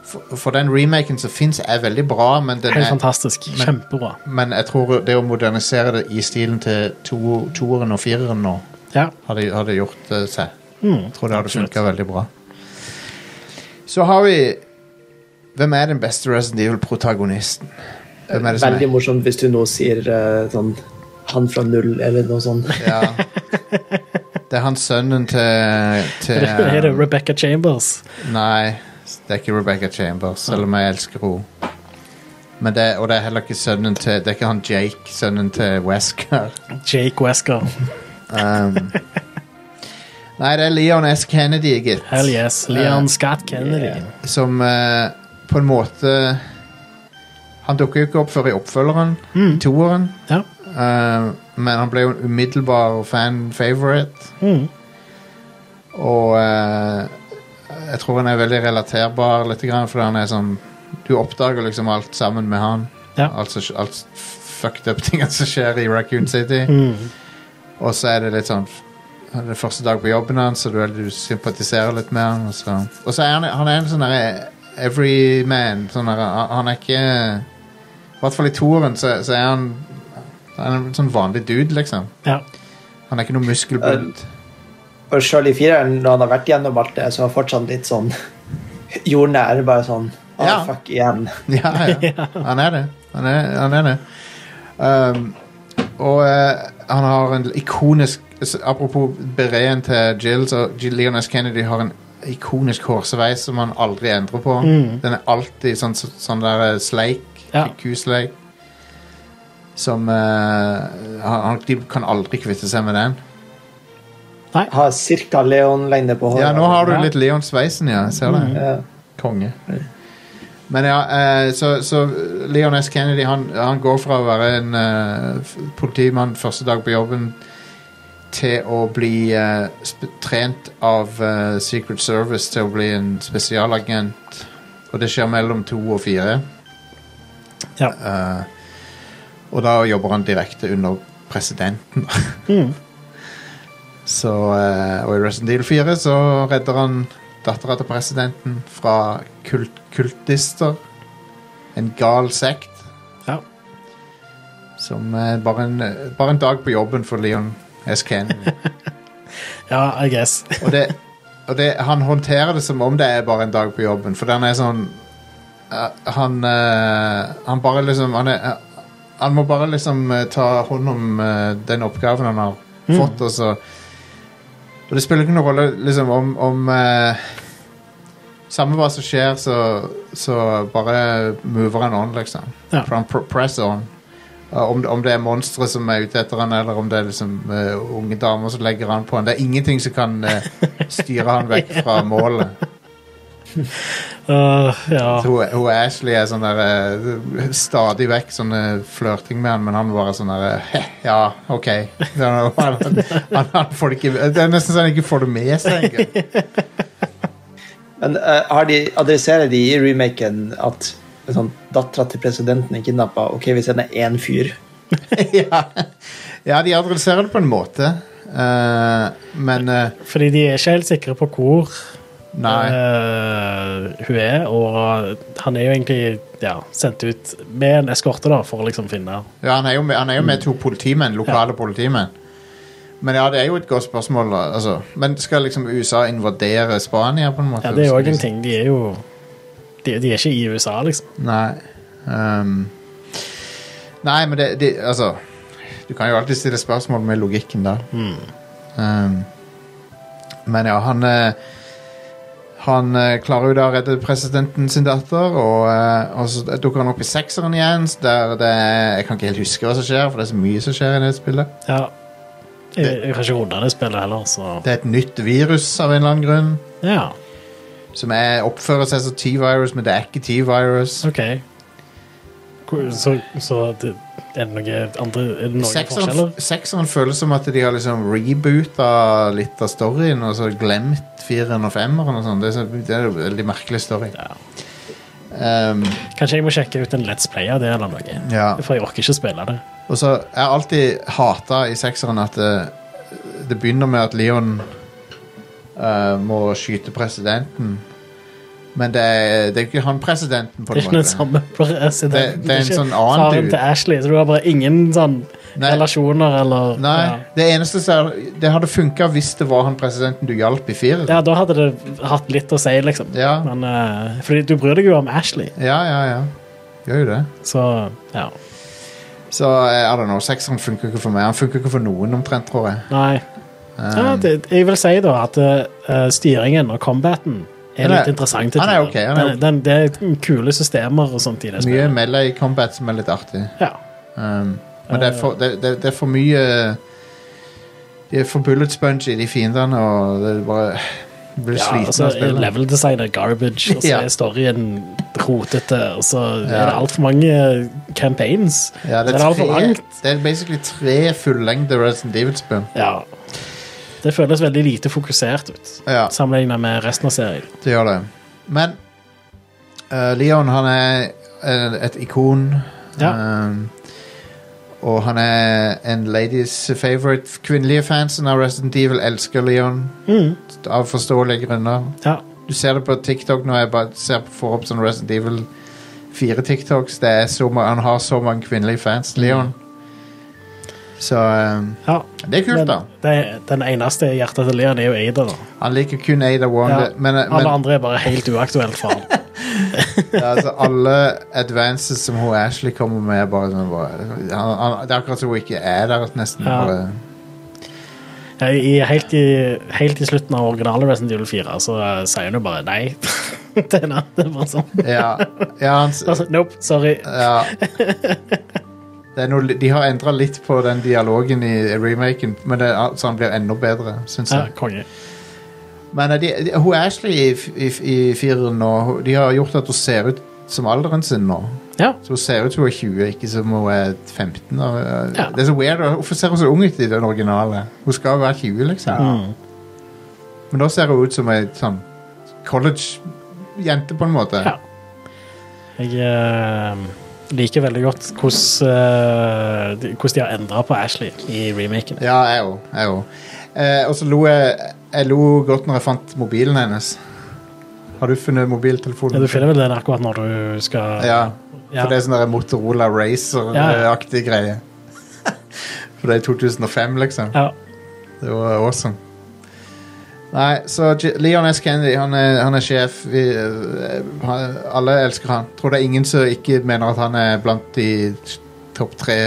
S2: For, for den remaken som fins, er veldig bra, men, den
S3: Helt
S2: er,
S3: fantastisk. Kjempebra.
S2: men jeg tror det å modernisere det i stilen til to- toeren og fireren nå,
S3: Ja.
S2: hadde, hadde gjort det seg. jeg tror det hadde
S3: Mm. absolutt.
S2: funka veldig bra. Så har vi Hvem er den beste Resident Evil-protagonisten? Hvem er det som
S4: Veldig
S2: er?
S4: morsomt hvis du nå sier eh, sånn han fra null, eller noe sånt.
S2: Ja. Det er han sønnen til, til
S3: Er det
S2: um,
S3: Rebecca Chambers?
S2: Nei, det er ikke Rebecca Chambers, selv om jeg elsker henne. Men det, og det er heller ikke sønnen til Det er ikke han Jake, sønnen til Wesker.
S3: Jake Wesker.
S2: Um, nei, det er Leon S. Kennedy, gitt.
S3: Hell yes. Leon Scott Kennedy.
S2: Som eh, på en måte Han dukker jo ikke opp før i oppfølgeren, toeren.
S3: Mm. Ja.
S2: Eh, men han ble jo en umiddelbar fan favorite.
S3: Mm.
S2: Og eh, jeg tror han er veldig relaterbar, litt grann, fordi han er sånn Du oppdager liksom alt sammen med han.
S3: Ja.
S2: Alt, som- alt fucked up-tingene som skjer i Raccoon City. Og så er det litt sånn det er første dag på jobben hans, og du, er- du sympatiserer litt med han. Og så, og så er han, han er en sånn derre everyman. Sånn derre- han- han er ikke I hvert fall i toeren så, så er han, han er en sånn vanlig dude, liksom.
S3: ja.
S2: Han er ikke noe muskelbunt.
S4: Og selv i fireren, når han har vært gjennom alt det, så er han fortsatt litt sånn jordnær. Bare sånn ah,
S2: Ja.
S4: fuck igjen.
S2: Ja, ja. Han er det. Han er, han er det. Um, og eh, han har en ikonisk s- Apropos bereen til Jill, så Jill Leon S. Kennedy har en ikonisk hårsveis som han aldri endrer på. Den er alltid sånn, så- sånn der eh, sleik.
S3: Ja.
S2: Kusleik. Som eh, han, han- De kan aldri kvitte seg med den.
S3: Nei.
S4: Har cirka Leon-lengde på håret. Eh,
S2: Ja, nå har du litt Leon-sveisen, ja. Ser du?
S4: Ja.
S2: Konge. Men ja, eh, så, så Leon S. Kennedy han, han går fra å være en eh, f- politimann første dag på jobben til å bli eh, sp- trent av eh, Secret Service til å bli en spesialagent. Og det skjer mellom to og fire.
S3: Ja.
S2: Eh, og da jobber han direkte under presidenten. så, eh, og i Resident Evil 4 så redder han dattera til presidenten fra kult kultister. En gal sekt.
S3: Ja.
S2: Som eh, bare, en, eh, bare en dag på jobben for Leon S. Kennedy.
S3: ja, I guess.
S2: Og, det, og det, han håndterer det som om det er bare en dag på jobben, for den er sånn eh, han, eh, han bare liksom han, er, eh, han må bare liksom eh, ta hånd om eh, den oppgaven han har fått, og så Og det spiller ikke noen rolle liksom om, om eh, Samme hva som skjer, så, så bare mover han on, liksom.
S3: Ja.
S2: For han pr press on. Ja, Om, om det er monstre som er ute etter han, eller om det er liksom, eh, unge damer som legger an på han. Det er ingenting som kan eh, styre han vekk fra målet.
S3: Øh, ja.
S2: Så Hun, hun Ashley er sånn der eh, stadig vekk sånn eh, flørting med han, men han bare sånn der eh, «Heh, Ja, OK. Det er noe- Han, han, han får det ikke Det er nesten så han ikke får det med seg. engang.
S4: Men eh, har de, adresserer de i remaken at sånn, dattera til presidenten er kidnappa? OK, vi sender én fyr.
S2: ja. ja, de adresserer det på en måte, eh, men eh,
S3: Fordi de er ikke helt sikre på hvor
S2: Nei.
S3: eh, hun er, og han er jo egentlig ja, sendt ut med en eskorte da, for å liksom finne
S2: Ja, han er jo med, han er jo med
S3: Mm.
S2: to politimenn, lokale politimenn. Men ja, det er jo et godt spørsmål. da, Altså. Men skal liksom USA invadere Spania, på en måte?
S3: Ja, det er jo òg en ting. De er jo de, de er ikke i USA, liksom.
S2: Nei. ehm, nei, men det, det Altså. Du kan jo alltid stille spørsmål med logikken der.
S3: Mm.
S2: Ehm, men ja, han eh, Han eh, klarer jo da å redde presidenten sin datter, og, eh, og så dukker han opp i sekseren igjen. Der det er, jeg kan ikke helt huske hva som skjer, for det er så mye som skjer i det spillet.
S3: Ja. Eh, Jeg, jeg har ikke runda det spillet heller, så
S2: Det er et nytt virus av en eller annen grunn.
S3: Ja,
S2: Som er, oppfører seg som T-virus, men det er ikke T-virus.
S3: OK. Hvor- Så, så det, er det noe andre Er det noen
S2: Sekseren
S3: forskjeller?
S2: sekseren føles som at de har liksom reboota litt av storyen og så glemt fireren og femmeren og sånn. Det, er så- det er jo en veldig merkelig story.
S3: Ja.
S2: Um,
S3: Kanskje jeg må sjekke ut en Let's Play av det, eller noe.
S2: Ja.
S3: For jeg orker ikke spille det.
S2: Og så jeg har alltid hata i sekseren at det, det begynner med at Leon eh, må skyte presidenten. Men det er, det er jo ikke han presidenten, på en
S3: Det er ikke den
S2: måte.
S3: samme presidenten.
S2: Det- det er en
S3: ikke
S2: sånn annen
S3: faren
S2: dude.
S3: til Ashley, så du har bare ingen sånn
S2: Nei.
S3: relasjoner eller
S2: Nei,
S3: Ja.
S2: det eneste som er- Det hadde funka hvis det var han presidenten du hjalp i firer.
S3: ja, da hadde det hatt litt å si, liksom.
S2: Ja.
S3: Men, eh, fordi du bryr deg jo om Ashley,
S2: Ja, ja, ja. Gjør jo det.
S3: så ja.
S2: Så eh, I don't know, sekseren funker ikke for meg. Han funker ikke for noen, omtrent, tror jeg.
S3: Nei. ja, det, jeg vil si da at eh, styringen og combaten er
S2: Han er-
S3: litt interessant. til
S2: han er
S3: tider.
S2: ok, han er
S3: Den- den, det er kule systemer og sånt i
S2: Mye
S3: det spillet.
S2: melee i combat som er litt artig.
S3: Ja.
S2: Um, men det er, for, det, det, det er for mye eh, De er for bullet sponge i de fiendene, og det er bare Du blir
S3: Ja,
S2: sliten
S3: altså,
S2: av spillet.
S3: level design er garbage, og så
S2: Ja.
S3: er storyen rotete, og så
S2: Ja.
S3: er det altfor mange campaigns.
S2: Ja, det,
S3: Den
S2: er
S3: er altfor
S2: tre,
S3: langt.
S2: det er basically tre fullengde Resident Evil-spill.
S3: Ja. Det føles veldig lite fokusert ut,
S2: Ja.
S3: sammenlignet med resten av serien.
S2: Det gjør det. Men eh, Leon, han er eh, et ikon.
S3: Ja.
S2: Um, og han er en ladies favorite. Kvinnelige fansen av Resident Evil elsker Leon.
S3: Mm.
S2: Av forståelige grunner.
S3: Ja.
S2: Du ser det på TikTok når jeg bare ser på, får opp sånn Resident Evil 4 TikToks. Det er så, ma- han har så mange kvinnelige fans,
S3: Mm.
S2: Leon. Så um,
S3: ja.
S2: det er kult,
S3: Men
S2: da.
S3: det, den eneste i hjertet til Leon er jo Ada, da.
S2: Han liker kun Ada Wong.
S3: Ja.
S2: det- Men, eh, men,
S3: Alle andre er bare helt uaktuelt for ham.
S2: Ja, altså alle advances som hun Ashley kommer med, er bare sånn bare, han, han, Det er akkurat som hun ikke er der, nesten.
S3: Ja.
S2: Bare,
S3: Ja, i, helt, i, helt i slutten av originale Resident Evil 4 så eh, sier han jo bare nei. det er noe- det er bare sånn.
S2: ja, ja, han, s-
S3: Altså, nope, sorry.
S2: ja. Det er noe, li- de har endra litt på den dialogen i remaken, men det, er- så han blir enda bedre, syns
S3: Ja,
S2: jeg.
S3: konge.
S2: Men eh, de, de, hun Ashley i, f- i, f- i fireren nå, hun- de har gjort at hun ser ut som alderen sin nå.
S3: Ja.
S2: Så hun ser ut som hun er 20, ikke som hun er 15. Og, eh,
S3: Ja.
S2: Det er så weird. og Hvorfor ser hun så ung ut i den originale? Hun skal jo være 20, liksom.
S3: Mm.
S2: Men da ser hun ut som ei sånn college-jente, på en måte.
S3: Ja. Jeg eh, liker veldig godt hvordan eh, de- hvordan de har endra på Ashley i remaken.
S2: Ja, jeg òg. Jeg òg. Eh, og så lo jeg, jeg lo godt når jeg fant mobilen hennes. Har du funnet mobiltelefonen?
S3: Ja, du finner vel den akkurat når du skal
S2: Ja,
S3: Ja.
S2: for det er sånn der Motorola Racer-aktig greie. for det er 2005, liksom.
S3: Ja.
S2: Det var awesome. Nei, så J- Leon S. Kennedy, han er, han er sjef. Vi, eh, han, alle elsker han. Tror det er ingen som ikke mener at han er blant de topp tre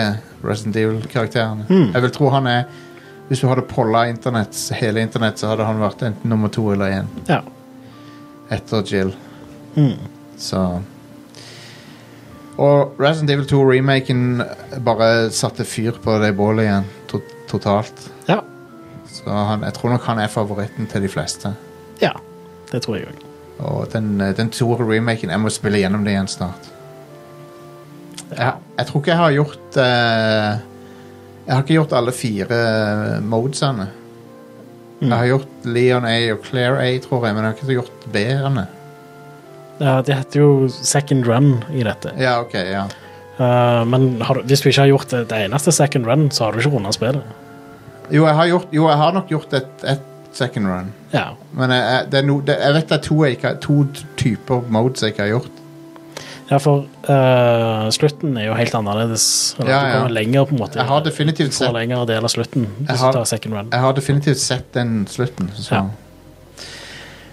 S2: Resident Evil-karakterene. Jeg vil tro han er Hvis du hadde polla internett, hele internett, så hadde han vært enten nummer to eller én
S3: ja.
S2: etter Jill. Så Og Resident Evil 2-remaken bare satte fyr på det bålet igjen. To totalt.
S3: ja.
S2: Så han, jeg tror nok han er favoritten til de fleste.
S3: Ja. Det tror jeg òg.
S2: Og den, eh, den store remaken Jeg må spille gjennom det igjen snart. Jeg, jeg tror ikke jeg har gjort eh, Jeg har ikke gjort alle fire eh, modesene. Jeg har gjort Leon A og Claire A, tror jeg, men jeg har ikke gjort B-ene.
S3: Ja, det heter jo second run i dette.
S2: Ja, ok, ja.
S3: Eh, men har du, hvis du ikke har gjort det, det eneste second run, så har du ikke runda spillet.
S2: Jo, jeg har, gjort, jo, jeg har nok gjort et, et second run.
S3: Ja.
S2: Men jeg, jeg, det er no, det, jeg vet det er to, jeg ikke, har- to typer modes jeg ikke har gjort.
S3: ja, for eh, slutten er jo helt annerledes. Eller
S2: Ja,
S3: at Du
S2: ja.
S3: kommer lenger, på en måte.
S2: Jeg har definitivt
S3: Du får
S2: sett-
S3: lengre del av slutten hvis
S2: Jeg har-
S3: du tar second run.
S2: Jeg har definitivt sett den slutten. Så.
S3: Ja.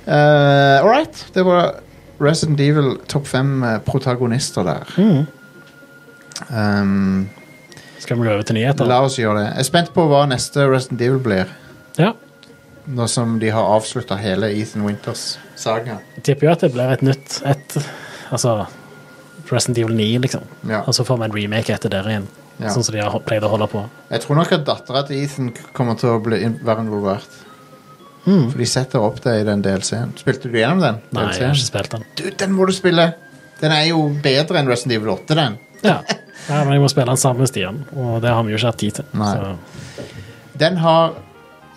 S2: Eh, all right. Det var Resident Evil topp fem eh, protagonister der.
S3: Mm.
S2: Um,
S3: Skal vi gå over til nyheter?
S2: la oss gjøre det. Jeg er spent på hva neste Resident Evil blir.
S3: Ja.
S2: Nå som de har avslutta hele Ethan Winters saga.
S3: Jeg tipper jo at det blir et nytt et, Altså Resident Evil 9, liksom.
S2: Ja.
S3: Og så får vi en remake etter der igjen.
S2: Ja.
S3: Sånn som de har pleid å holde på.
S2: Jeg tror nok at dattera til Ethan k- kommer til å bli, in- være involvert. For de setter opp det i den DLC-en. Spilte du gjennom den?
S3: Mm. Nei, jeg har ikke
S2: DLC-en?
S3: spilt den.
S2: Du, den må du spille! Den er jo bedre enn Resident Evil 8, den.
S3: Ja. ja, men jeg må spille den sammen med Stian, og det har vi jo ikke hatt tid til.
S2: Nei.
S3: Så,
S2: Den har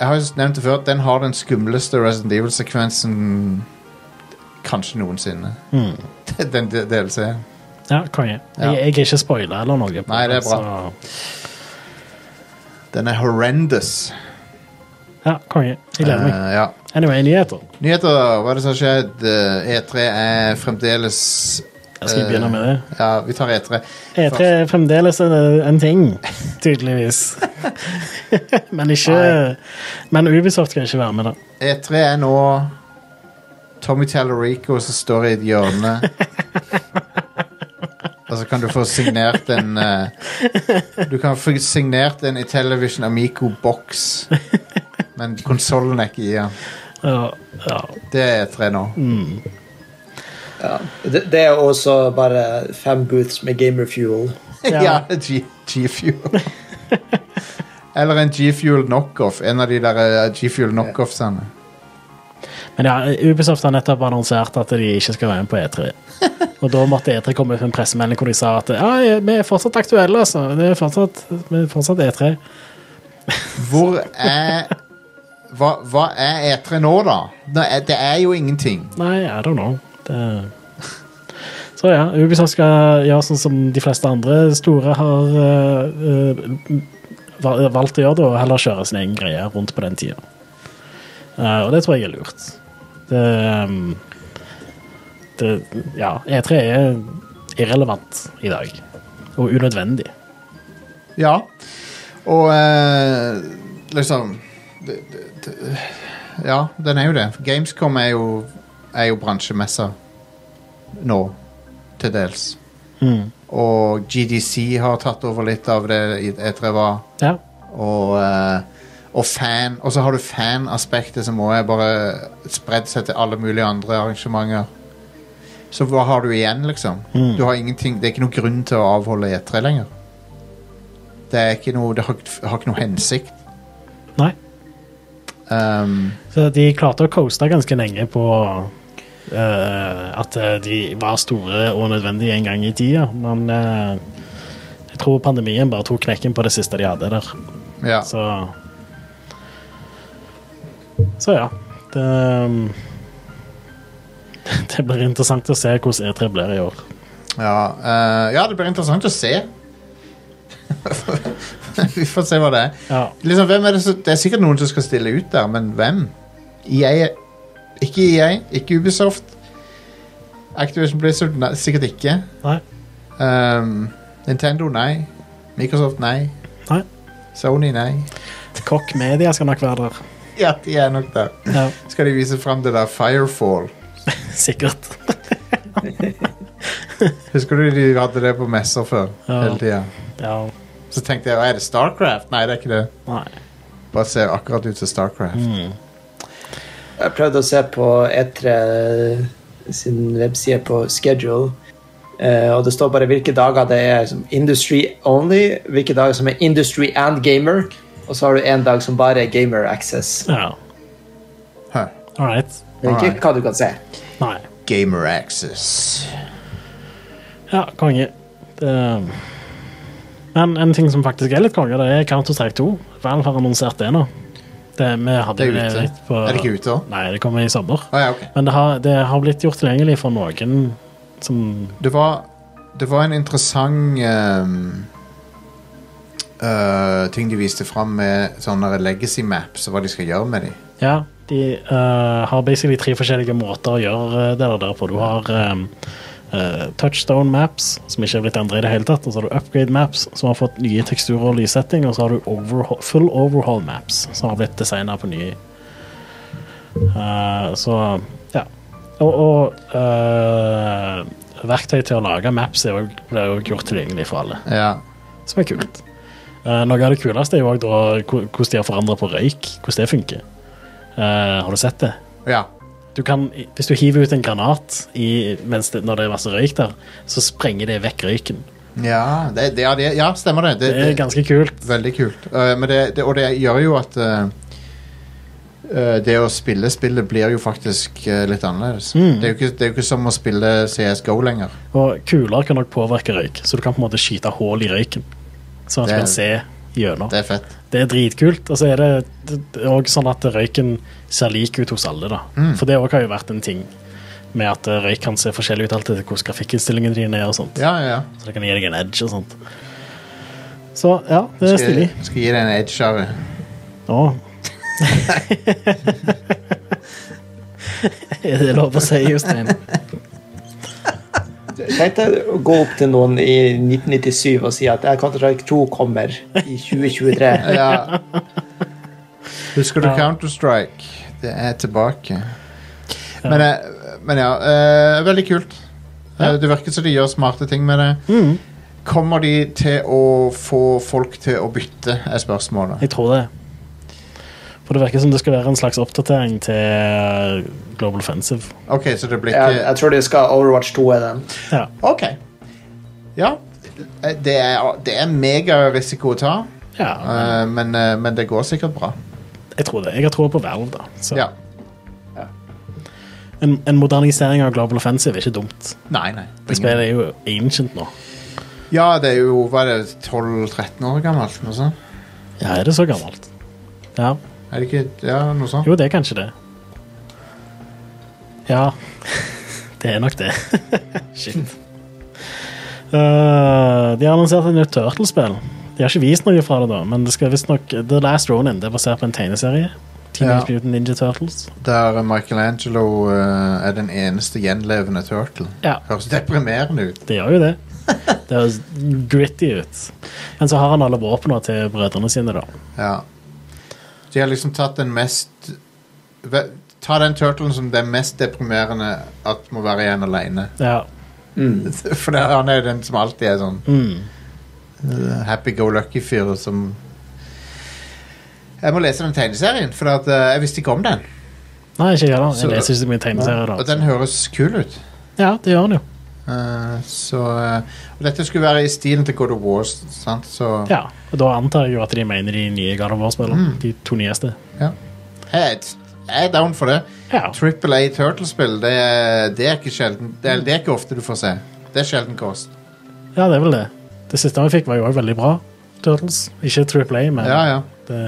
S2: Jeg har jo nevnt det før Den har den skumleste Resident Evil-sekvensen Kanskje noensinne Den de- DLC-en
S3: ja, konge.
S2: Ja.
S3: Jeg, jeg er ikke spoila eller noe. på
S2: Nei, det er
S3: den,
S2: bra.
S3: Så,
S2: Den er horrendous
S3: ja, konge. Jeg gleder meg.
S2: Eh, ja.
S3: Anyway, nyheter.
S2: Nyheter, hva er det som har skjedd? Eh, E3 er fremdeles
S3: Jeg skal
S2: eh,
S3: begynne med det.
S2: Ja, vi tar E E3
S3: E3 er fremdeles en, en ting, tydeligvis. men ikke Men Ubisoft skal ikke være med, da.
S2: E3 E er nå Tommy Tallarico som står i et hjørne. Og så kan du få signert en eh, Du kan få signert en Intellivision Amico boks. Men konsollen er ikke i den.
S3: Ja, ja.
S2: Det er E3 nå.
S4: Det, det er også bare fem booths med gamer fuel.
S3: Ja.
S2: ja, G- G-Fuel. Eller en G-Fuel knockoff. En av de der eh, G-Fuel knockoffsene.
S3: Men ja, Ubisoft har nettopp annonsert at de ikke skal være med på E3. Og da måtte E3 komme ut med en pressemelding hvor de sa at ja, vi er fortsatt aktuelle. Altså. Det er fortsatt, vi er fortsatt E E3.
S2: Hvor er hva, hva er E3 nå, da? Det er, det er jo ingenting.
S3: Nei, I don't know. Det... Så ja, Ubisoft skal gjøre sånn som de fleste andre store har eh, eh, val- valgt å gjøre, da, og heller kjøre sin egen greie rundt på den tida. Eh, og det tror jeg er lurt. Det, ehm, det Ja, E3 er irrelevant i dag. Og unødvendig.
S2: Ja. Og eh, liksom det- det- det- Ja, den er jo det. Gamescom er jo, er jo bransjemessa nå, til dels. Og GDC har tatt over litt av det i- etter jeg var
S3: Ja.
S2: og, eh, og fan Og så har du fanaspektet som også er bare spredd seg til alle mulige andre arrangementer. Så hva har du igjen, liksom? Du har ingenting, det er ikke noen grunn til å avholde E3 lenger. Det er ikke noe, det har, ikke- har ikke noe hensikt.
S3: Nei.
S2: Um,
S3: Så de klarte å coaste ganske lenge på eh, at eh, de var store og nødvendige en gang i tida, men eh, jeg tror pandemien bare tok knekken på det siste de hadde der.
S2: ja.
S3: Så Så ja. Det um, Det blir interessant å se hvordan E3 blir i år.
S2: Ja, eh, ja, det blir interessant å se. Vi får se hva det er.
S3: Ja.
S2: Liksom, hvem er det, som, det er sikkert noen som skal stille ut der, men hvem? EA, ikke EA, ikke Ubisoft. Activision Blizzard, nei, sikkert ikke.
S3: Nei.
S2: Um, Nintendo, nei. Microsoft, nei.
S3: Nei.
S2: Sony, nei.
S3: Kokk Media skal nok være der.
S2: Ja, de er nok der.
S3: Ja,
S2: Skal de vise fram det der Firefall?
S3: sikkert.
S2: Husker du de hadde det på messer før?
S3: Ja.
S2: Hele tiden.
S3: Ja.
S2: Så tenkte jeg, er det Starcraft? Nei, det er ikke det.
S3: Nei.
S2: Bare ser akkurat ut som Starcraft.
S3: Mm.
S4: Jeg prøvde å se på E3 sin webside på schedule, eh, og det står bare hvilke dager det er som industry only, hvilke dager som er industry and gamer, og så har du en dag som bare er gamer access.
S3: Ja.
S2: Huh.
S3: All right.
S4: Det er
S3: Ah.
S2: Alright.
S4: ikke hva du kan se.
S3: Nei.
S2: Gamer Access.
S3: Ja, konge. Det... Men en ting som faktisk er litt konge, det er Counter-Strike 2. Valve har annonsert det nå. Det, vi hadde
S2: Det er ute.
S3: litt på...
S2: Er det ikke ute òg?
S3: Nei, det kommer i sommer.
S2: Å ja, ok.
S3: Men det har, det har blitt gjort tilgjengelig for noen som
S2: Det var, det var en interessant ehm, eh, ting de viste fram med sånne legacy maps og hva de skal gjøre med dem.
S3: Ja, de eh, har basically tre forskjellige måter å gjøre eh, det der på. Du har ehm, eh, touchstone maps, som ikke er blitt endret i det hele tatt. Og så har du upgrade maps, som har fått nye teksturer og lyssetting. Og så har du overhaul, full overhaul maps, som har blitt designa på ny. Eh, så ja. Og, og eh, verktøy til å lage maps er jo, blir jo gjort tilgjengelig for alle
S2: Ja.
S3: som er kult. Eh, noe av det kuleste er jo også da hvor- hvordan de har forandra på røyk, hvordan det funker. Eh, har du sett det?
S2: ja.
S3: Du kan, hvis du hiver ut en granat i, mens det, når det er masse røyk der, så sprenger det vekk røyken.
S2: Ja, det, det, ja, det, ja, stemmer det.
S3: Det er ganske kult.
S2: Veldig kult. Eh, men det, det, og det gjør jo at eh, eh, det å spille spillet blir jo faktisk eh, litt annerledes. Det, er jo ikke, det er jo ikke som å spille CSGO lenger.
S3: Og kuler kan nok påvirke røyk, så du kan på en måte skyte hull i røyken. Sånn at
S2: Det
S3: du
S2: er-
S3: kan se gjennom.
S2: Det er fett.
S3: Det er dritkult. Og så er det- det òg sånn at røyken ser lik ut hos alle, da. For det òg har jo vært en ting med at eh, røyk kan se forskjellig ut alt etter hvordan grafikkinnstillingene dine er og sånt.
S2: Ja, ja, ja.
S3: Så det kan gi deg en edge og sånt. Så ja, det er
S2: Skal,
S3: stilig.
S2: skal gi deg en edge av det.
S3: Å. er det lov å si, Jostein?
S4: Tenk deg å gå opp til noen i 1997 og si at Counter-Strike 2 kommer i 2023.
S2: Ja. Husker du Counter-Strike? Det er tilbake. Men, eh, men ja, eh, veldig kult. Eh, Det virker som de gjør smarte ting med det. Kommer de til å få folk til å bytte, er spørsmålet.
S3: Jeg tror det. For det virker som det skal være en slags oppdatering til eh, Global Offensive.
S2: Ok, så det blir
S4: Jeg, jeg
S2: ikke
S4: tror de skal Overwatch 2 er den.
S3: Ja.
S2: Ok. Ja. Eh, Det er, det er megarisiko å ta,
S3: ja,
S2: eh, men, eh, men det går sikkert bra.
S3: jeg tror det. Jeg har tro på Valve, da. Så
S2: Ja.
S3: en, en modernisering av Global Offensive er ikke dumt.
S2: Nei, nei.
S3: Det spillet er jo ancient nå.
S2: Ja, det er jo Hva er det, 12-13 år gammelt? Noe sånt?
S3: Ja, er det så gammelt? Ja.
S2: Er det ikke Ja, noe sånt.
S3: Jo, det er kanskje det. Ja, det er nok det. Shit. Eh, de har annonsert et nytt Turtlespill. De har ikke vist noe fra det, da, men det skal visstnok The Last Ronin. Det er basert på en tegneserie. Teenage
S2: Ja.
S3: Mutant Ninja Turtles.
S2: Der Michelangelo eh, er den eneste gjenlevende turtle.
S3: Ja.
S2: Høres deprimerende ut.
S3: Det gjør jo det. Det høres gritty ut. Men så har han alle våpnene til brødrene sine, da.
S2: Ja. De har liksom tatt den mest Ve- Ta den turtlen som det er mest deprimerende at må være igjen aleine.
S3: Ja.
S2: For det, han er jo den som alltid er sånn
S3: mm.
S2: eh, happy-go-lucky-fyr som Jeg må lese den tegneserien, for at, eh, jeg visste ikke om den.
S3: Nei, ikke jeg heller.
S2: Så-
S3: Jeg leser ikke så mye
S2: Og
S3: tegneserier.
S2: den
S3: da.
S2: høres kul ut.
S3: Ja, det gjør han jo.
S2: Eh, så eh, og Dette skulle være i stilen til God of War, sant? Så
S3: Ja, og Da antar jeg jo at de mener de nye God of War-spillene.
S2: Mm.
S3: De to nyeste.
S2: ja. Jeg er et- jeg er down for det.
S3: Ja.
S2: Triple A Turtlespill, det, er- det er ikke sjelden det er, det er ikke ofte du får se. Det er sjelden kost.
S3: ja, det er vel det. Det siste vi fikk, var jo også veldig bra. Turtles. Ikke Triple A, men
S2: Ja, ja.
S3: det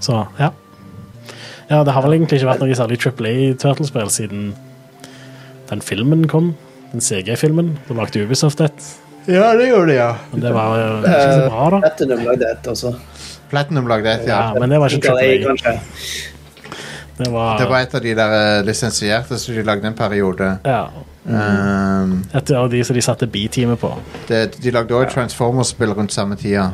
S3: Så, ja. Ja, det har vel egentlig ikke vært noe særlig Triple A Turtlespill siden den filmen kom. Den CG-filmen. Da lagde Ubisoft et.
S2: Ja, det gjorde det, ja.
S3: Men det var jo ikke
S2: Eh,
S3: så bra, da.
S4: Platinum lagde et altså. også.
S2: Platinum lagde et, ja.
S3: Ja, men det var ikke
S4: Triple A,
S3: Triple A.
S4: kanskje.
S3: Det var,
S2: Det var et av de der eh, lisensierte som de lagde en periode.
S3: ja,
S2: Um,
S3: et av de som de satte B-teamet på.
S2: det, de lagde også et Transformers-spill rundt samme tida.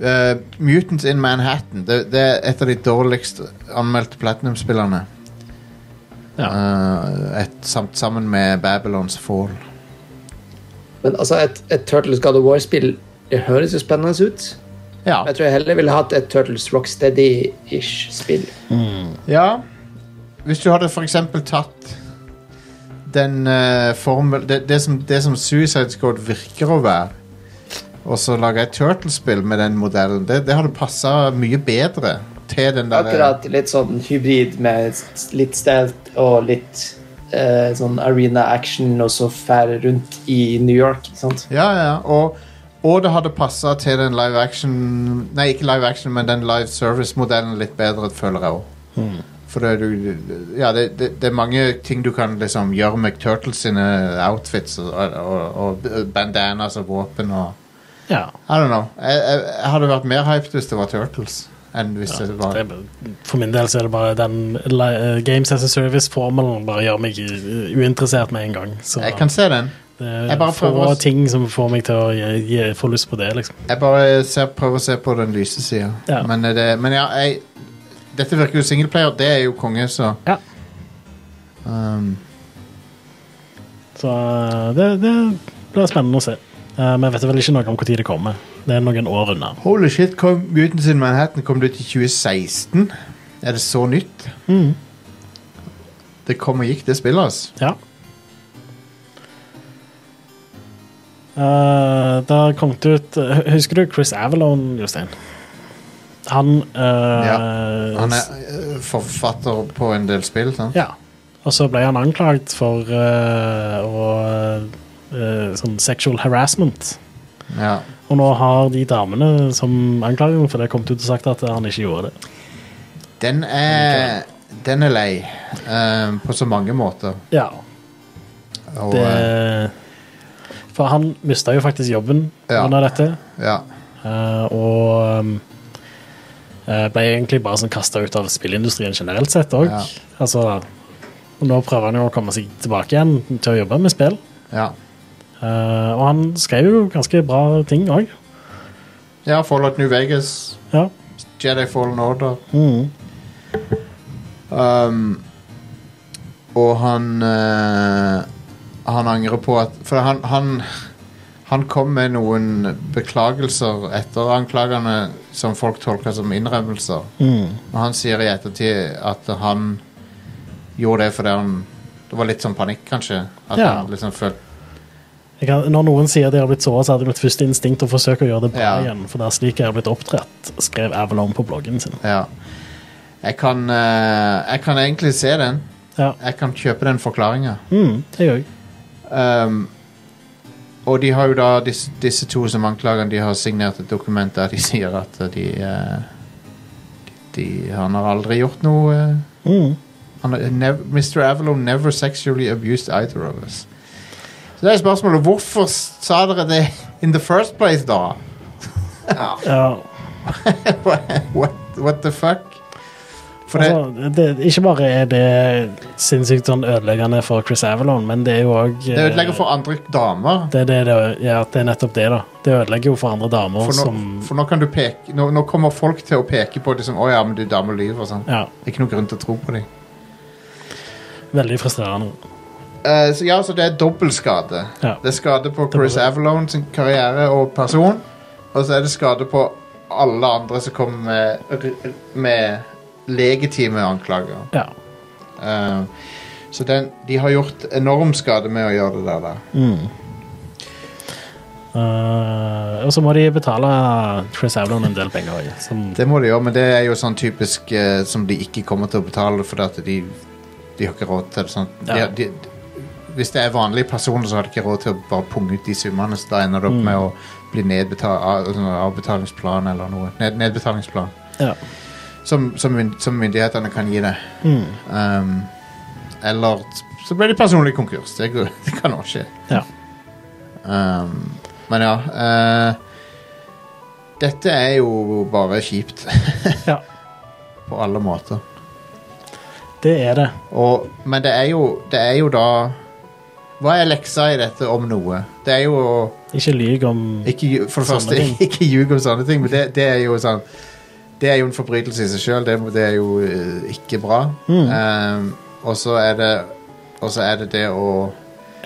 S2: Eh, Mutants in Manhattan. Det, det er et av de dårligst anmeldte Platinum-spillerne.
S3: Ja.
S2: Eh, et- samt sammen med Babylons Fall.
S4: Men altså, et, et Turtles God of War-spill det høres jo spennende ut.
S2: Ja.
S4: Jeg tror jeg heller ville hatt et Turtles Rocksteady-ish-spill.
S2: ja. Hvis du hadde for eksempel tatt den eh, formel det, det, som, det som Suicide Squad virker å være, og så laga et Turtles-spill med den modellen, det, det hadde passa mye bedre til den der
S4: Akkurat litt sånn hybrid med s- litt stealth og litt eh, sånn arena action, og så fære rundt i New York. ikke sant?
S2: Ja, ja, og, og det hadde passa til den live action Nei, ikke live action, men den live service-modellen litt bedre, føler jeg òg.
S3: Hmm.
S2: For det, er du, ja, det, det, det er mange ting du kan liksom gjøre med Turtles sine outfits og, og, og bandanas og våpen og
S3: ja.
S2: I don't know. Jeg, jeg, jeg hadde vært mer hyped hvis det var Turtles enn hvis det var
S3: Det er- For min del så er det bare den li- eh, Games as a Service-formelen bare gjør meg u- uinteressert med en gang. Så
S2: Jeg kan se den.
S3: det er
S2: jeg bare
S3: eh, få
S2: prøver å s-
S3: ting som får meg til å gi- gi- få lyst på det, liksom.
S2: Jeg bare ser, prøver å se på den lyse sida.
S3: Ja.
S2: Men, eh, det- men ja, jeg, dette virker jo singleplayer. Det er jo konge, så
S3: Ja.
S2: um,
S3: Så eh, det, det blir spennende å se. Eh, Men jeg vet vel ikke noe om når det kommer. Det er noen år unna.
S2: Holy shit, kom, Mutants in Manhattan kom det ut i 2016. Er det så nytt?
S3: Mm.
S2: Det kom og gikk, det spillet, altså.
S3: Ja. Eh, det har kommet ut eh, Husker du Chris Avalon, Jostein? Han eh,
S2: Han er eh, forfatter på en del spill, sant?
S3: Ja. Og så ble han anklagd for eh, å eh, Sånn sexual harassment.
S2: Ja.
S3: Og nå har de damene som anklager ham for det, kommet ut og sagt at han ikke gjorde det.
S2: Den er Den er lei. eh, på så mange måter.
S3: Ja,
S2: Og, eh,
S3: det For han mista jo faktisk jobben
S2: Ja.
S3: under dette.
S2: ja.
S3: Eh, og um, eh, ble egentlig bare sånn kasta ut av spillindustrien generelt sett òg.
S2: Ja.
S3: Altså, og nå prøver han jo å komme seg tilbake igjen til å jobbe med spill.
S2: ja.
S3: Eh, og han skrev jo ganske bra ting òg.
S2: Ja, Fallout New Vegas,
S3: Ja.
S2: Jedi Fallen Order
S3: Mm.
S2: Um, og han eh, Han angrer på at For han, han Han kom med noen beklagelser etter anklagene som folk tolka som innrømmelser.
S3: Mm.
S2: Og han sier i ettertid at han gjorde det fordi han Det var litt sånn panikk, kanskje. At
S3: Ja.
S2: han liksom følte
S3: Jeg kan, når noen sier de har blitt såra, så hadde mitt første instinkt å forsøke å gjøre det bra
S2: Ja.
S3: igjen. For det er slik jeg har blitt oppdratt, skrev Avalon på bloggen sin.
S2: Ja. Jeg kan eh, Jeg kan egentlig se den.
S3: Ja,
S2: Jeg kan kjøpe den forklaringa.
S3: mm, det gjør jeg.
S2: Um, og de har jo da disse, disse to som anklager De har signert et dokument der de sier at de, eh, de, de Han har aldri gjort noe eh,
S3: Mm.
S2: han, har nev, Mr. Avalon never sexually abused either of us. Så det er spørsmålet Hvorfor sa dere det in the first place, da?
S3: Ja.
S2: what, what the fuck? For det,
S3: Altså, det, ikke bare er det sinnssykt sånn ødeleggende for Chris Avalon, men det er jo òg
S2: det ødelegger for andre damer.
S3: Det, er det, det, ja, det er nettopp det, da. Det ødelegger jo for andre damer
S2: For nå,
S3: som
S2: for nå kan du peke nå, nå kommer folk til å peke på det som Å ja, men du dame lyver. Sånn.
S3: Ja,
S2: Det er ikke noen grunn til å tro på dem.
S3: veldig frustrerende.
S2: Eh, så ja, så det er dobbelt skade.
S3: Ja.
S2: Det er skade på Chris Avalon sin karriere og person, og så er det skade på alle andre som kommer med, med legitime anklager.
S3: Ja.
S2: Eh, Så den, de har gjort enorm skade med å gjøre det der. da.
S3: Eh, og så må de betale Chris Avlon en del penger. også, Som,
S2: Det må de gjøre, men det er jo sånn typisk eh, som de ikke kommer til å betale fordi at de, de har ikke råd til det. Sånn. De,
S3: Ja.
S2: de, hvis det er vanlige personer, så har de ikke råd til å bare punge ut de summene, så da ender det opp med å bli nedbetalt av, sånn avbetalingsplan eller noe. Ned, nedbetalingsplan.
S3: ja.
S2: som, som, myn- som myndighetene kan gi deg. Um, eller t- så blir det personlig konkurs. Det, går- det kan også skje.
S3: Ja.
S2: Um, men ja eh, Dette er jo bare kjipt
S3: ja.
S2: på alle måter.
S3: Det er det.
S2: Og, men det er, jo, det er jo da Hva er leksa i dette, om noe? Det er jo å
S3: Ikke lyg om
S2: Ikke, ju- for det
S3: Sånne
S2: første,
S3: ting.
S2: ikke ljug om sånne ting, men det, det er jo sånn Det er jo en forbrytelse i seg sjøl. Det, det er jo eh, ikke bra. Ehm, og så er det Og så er det det å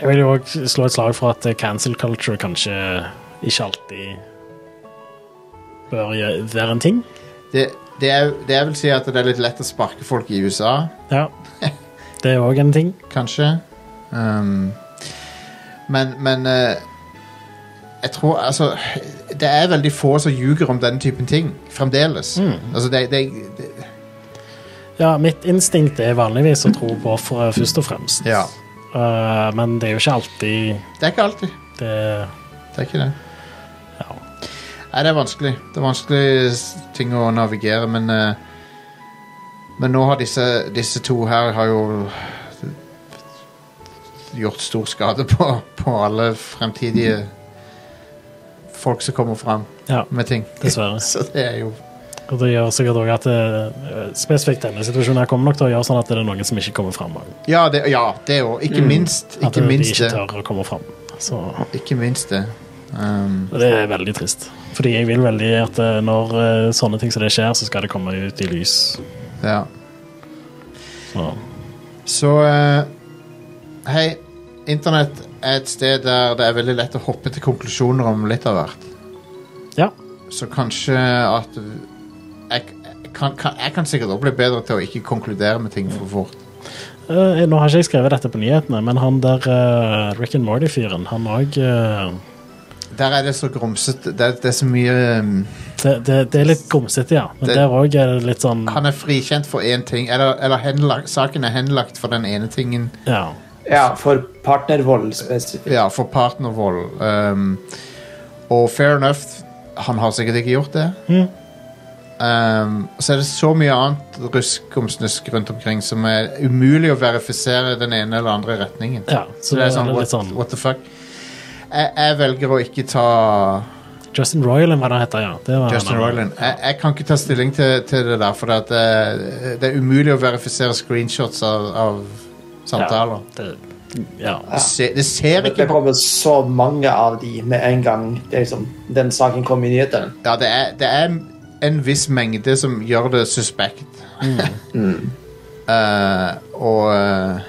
S3: Jeg vil jo også slå et slag for at eh, cancel culture kanskje ikke alltid bør gjø- være en ting.
S2: det, det, er, det er vel si at det er litt lett å sparke folk i USA,
S3: Ja. Det er òg en ting.
S2: kanskje. Ehm, men men eh, jeg tror altså Det er veldig få som ljuger om den typen ting fremdeles. Altså, det, det, det
S3: Ja, mitt instinkt er vanligvis å tro på offeret først og fremst.
S2: Ja.
S3: Eh, men det er jo ikke alltid
S2: Det er ikke alltid.
S3: det
S2: Det er ikke det.
S3: Ja.
S2: Nei, det er vanskelig. Det er vanskelig s- ting å navigere, men eh, Men nå har disse, disse to her har jo gjort stor skade på, på alle fremtidige folk som kommer fram
S3: Ja,
S2: med ting.
S3: dessverre.
S2: Så det er jo
S3: Og det gjør sikkert også at eh, spesifikt denne situasjonen her kommer nok til å gjøre sånn at det er noen som ikke kommer fram. også.
S2: Ja, det ja, det òg. Ikke minst.
S3: At
S2: Ikke minst Mm.
S3: de
S2: det.
S3: ikke tør å komme fram. Så
S2: Ikke minst det. Um,
S3: og det er veldig trist. Fordi jeg vil veldig at eh, når eh, sånne ting som det skjer, så skal det komme ut i lys.
S2: ja.
S3: Så,
S2: Så eh, Hei, internett er et sted der det er veldig lett å hoppe til konklusjoner om litt av hvert.
S3: ja.
S2: Så kanskje at jeg, jeg kan, kan, jeg kan sikkert også bli bedre til å ikke konkludere med ting for fort.
S3: Eh, nå har ikke jeg skrevet dette på nyhetene, men han der eh, Rick and Morty-fyren, han eh, òg
S2: Der er det så grumsete. Det, er- det er så mye um,
S3: det, det, det er litt grumsete, ja. Men
S2: Det-
S3: der òg er det litt sånn
S2: Han er frikjent for én ting, eller, eller henlagt, saken er henlagt for den ene tingen.
S3: Ja.
S4: Ja, for partnervold spesifikt.
S2: Ja, for partnervold. Um, og fair enough, han har sikkert ikke gjort det. Um, så er det så mye annet rusk om snusk rundt omkring som er umulig å verifisere den ene eller andre retningen.
S3: ja.
S2: Så det er sånn,
S3: litt
S2: what,
S3: sånn
S2: what the fuck? Jeg, jeg velger å ikke ta
S3: Justin Roiland, hva det heter, ja. Det var
S2: Justin
S3: han.
S2: Roiland. Jeg, jeg kan ikke ta stilling til, til det der, for det, at eh, det, det er umulig å verifisere screenshots av, av samtaler.
S3: Det, ja.
S2: Det, ser, det ser
S4: Det
S2: ikke bra
S4: kommer så mange av de med en gang det er liksom, den saken kom i nyhetene.
S2: Ja, det er, det er en viss mengde som gjør det suspekt. Eh, og eh,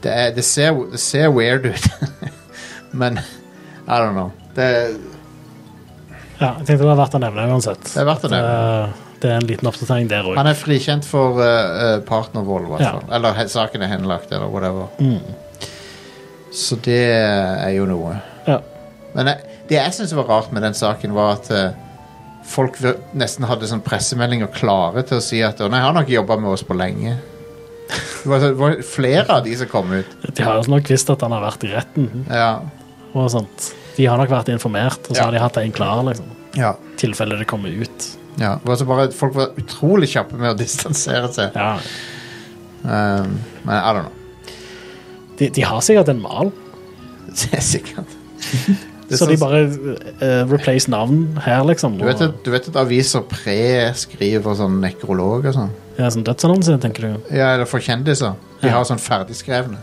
S2: det, er, det, ser, det ser weird ut. Men I don't know. Det,
S3: ja, jeg tenkte det var verdt å nevne uansett.
S2: det er verdt å nevne.
S3: Eh, det er en liten oppdatering der òg.
S2: Han er frikjent for eh, eh, partnervold, i hvert
S3: Ja.
S2: fall. Eller he, saken er henlagt, eller whatever. Så det er jo noe.
S3: Ja.
S2: Men jeg, det jeg syns var rart med den saken, var at eh, folk vir- nesten hadde sånn pressemeldinger klare til å si at «Å, Nei, han har ikke jobba med oss på lenge. Det var, så- det var flere av de som kom ut.
S3: De har jo nok visst at han har vært i retten.
S2: Ja.
S3: og sånt. De har nok vært informert, og
S2: Ja.
S3: så har de hatt en klar. liksom.
S2: ja.
S3: I tilfelle det kommer ut.
S2: ja. Det var så bare, folk var utrolig kjappe med å distansere seg.
S3: Ja.
S2: Um, men I don't know.
S3: De, de har sikkert en mal,
S2: Det er sikkert Det er
S3: så de
S2: sånn-
S3: bare eh, replace navn her, liksom.
S2: du vet,
S3: og-
S2: at, du vet at aviser preskriver sånn nekrolog og sånn?
S3: Ja, sånn Dødsannonse, tenker du.
S2: Ja, eller for kjendiser. De
S3: Ja.
S2: har sånn ferdigskrevne.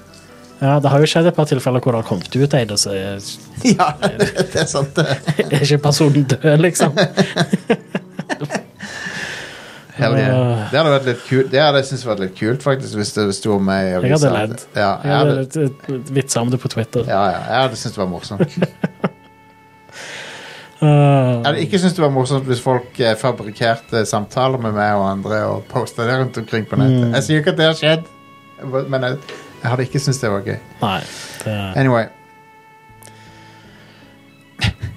S3: Ja, Det har jo skjedd et par tilfeller hvor det har kommet ut ei, og så er
S2: Ja, det er sant, det.
S3: er ikke personen død, liksom.
S2: Hell
S3: Eh.
S2: yeah. Det hadde vært litt kult Det hadde jeg syntes vært litt kult faktisk Hvis det sto om meg i
S3: Jeg
S2: avisa.
S3: hadde ledd.
S2: ja, jeg
S3: Jeg
S2: hadde,
S3: hadde eh, vitsa om det på Twitter.
S2: ja, ja, jeg hadde syntes det var morsomt Jeg
S3: Eh,
S2: hadde ikke syntes det var morsomt Hvis folk eh,
S3: Mm.
S2: fabrikerte samtaler med meg og andre Og postet det rundt omkring på nettet Jeg sier ikke at det har skjedd Men jeg, jeg hadde ikke syntes det var gøy.
S3: Nei. Det
S2: Anyway.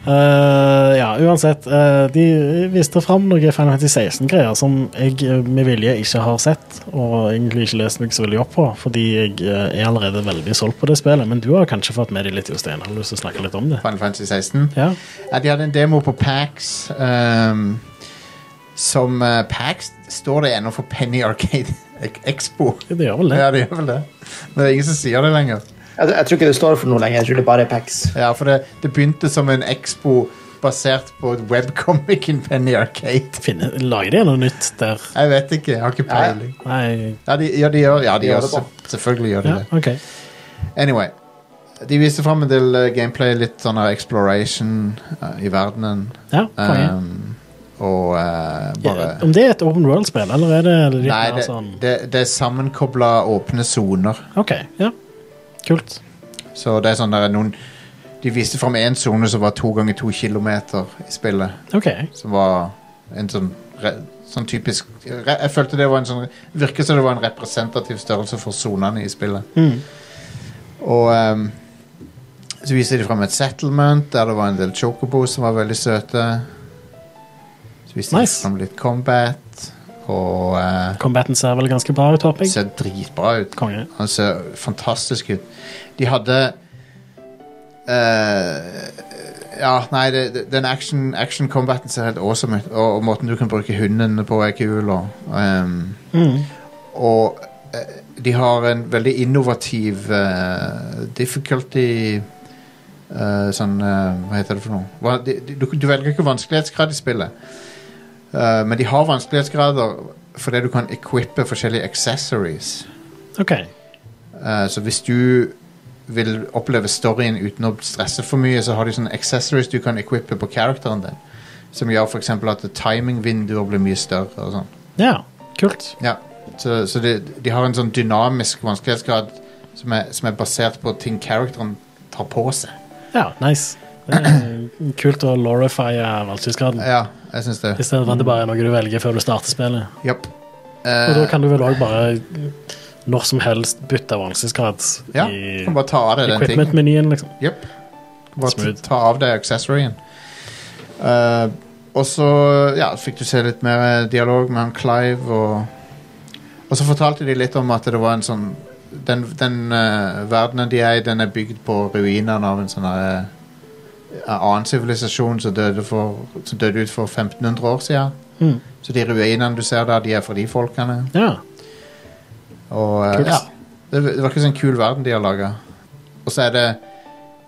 S3: Eh, ja, uansett. eh, de viste fram noen Final Fantasy 16-greier som jeg eh, med vilje ikke har sett, og egentlig ikke lest meg så veldig opp på, fordi jeg eh, er allerede veldig solgt på det spillet. Men du har kanskje fått med deg litt, Jostein? Har du lyst til å snakke litt om det?
S2: Final Fantasy 16.
S3: Ja.
S2: Ja, de hadde en demo på PAX ehm, Som eh, PAX står det ennå for Penny Arcade Ex- Expo.
S3: Det gjør vel det.
S2: Ja, det gjør vel det. Men det er ingen som sier det lenger.
S4: Jeg, jeg tror ikke det står for noe lenger. Jeg tror det bare er Pax.
S2: Ja, for det, det begynte som en expo basert på webcomicen Penny Arcade.
S3: Finne, lager de noe nytt der?
S2: Jeg vet ikke, jeg har ikke peiling.
S3: Nei
S2: Ja, de, ja, de gjør, ja, de
S4: De gjør
S2: gjør
S4: det
S2: se- selvfølgelig gjør de
S3: Ja,
S2: det.
S3: OK.
S2: Anyway. De viste fram en del eh, gameplay, litt sånn av exploration eh, i verdenen.
S3: Ja, konge.
S2: Ehm, og eh, bare
S3: Om det er et open world-spill, eller er det litt
S2: Nei,
S3: mer
S2: det,
S3: sånn
S2: det, det er sammenkobla åpne soner.
S3: OK. Ja. Kult.
S2: Så det er sånn der er noen De viste fram én sone som var to ganger to kilometer i spillet.
S3: OK.
S2: Som var en sånn re, Sånn typisk re, Jeg følte det var en sånn Virket som det var en representativ størrelse for sonene i spillet.
S3: Mm.
S2: Og ehm, så viser de fram et settlement der det var en del chocobos som var veldig søte. Så viser
S3: Nice.
S2: de fram litt combat, og eh,
S3: Combaten ser vel ganske bra ut, håper jeg.
S2: ser dritbra ut.
S3: Konge.
S2: Han ser fantastisk ut. De hadde eh, Ja, nei, det, det- den action- action-combaten ser helt awesome ut. Og, og måten du kan bruke hundene på, er kul. Og, ehm,
S3: Mm.
S2: og eh, de har en veldig innovativ eh, difficulty eh, Sånn eh, Hva heter det for noe? Hva, de, de, du, du velger ikke vanskelighetsgrad i spillet. Eh, men de har vanskelighetsgrader fordi du kan equippe forskjellige accessories.
S3: OK.
S2: Eh, Så hvis du vil oppleve storyen uten å stresse for mye, så har de sånne accessories du kan equippe på characteren din. Som gjør f.eks. at timingvinduer blir mye større. og sånn.
S3: Ja, kult.
S2: Ja. Så, så de, de har en sånn dynamisk vanskelighetsgrad som er, som er basert på ting characteren tar på seg.
S3: Ja, nice. Det er kult å lorify valgtidsgraden.
S2: Ja, jeg syns det.
S3: I stedet for at det bare er noe du velger før du starter spillet.
S2: Japp.
S3: Og
S2: Eh,
S3: da kan du vel òg bare når som helst bytte valgtidsgrad
S2: ja,
S3: i
S2: kan bare ta av deg den tingen.
S3: equipment-menyen, liksom.
S2: Jepp. Bare
S3: Smooth.
S2: ta- ta av deg accessoryen. Eh, og så ja, fikk du se litt mer eh, dialog med han Clive, og Og så fortalte de litt om at det var en sånn Den, den eh, verdenen de er i, den er bygd på ruinene av en sånn her, eh, annen sivilisasjon som døde, for, som døde ut for 1500 år siden.
S3: Mm.
S2: Så de ruinene du ser der, de er fra de folkene.
S3: Ja.
S2: Og eh,
S3: Kult.
S2: ja, det, det var ikke sånn kul verden de har laga. Og så er det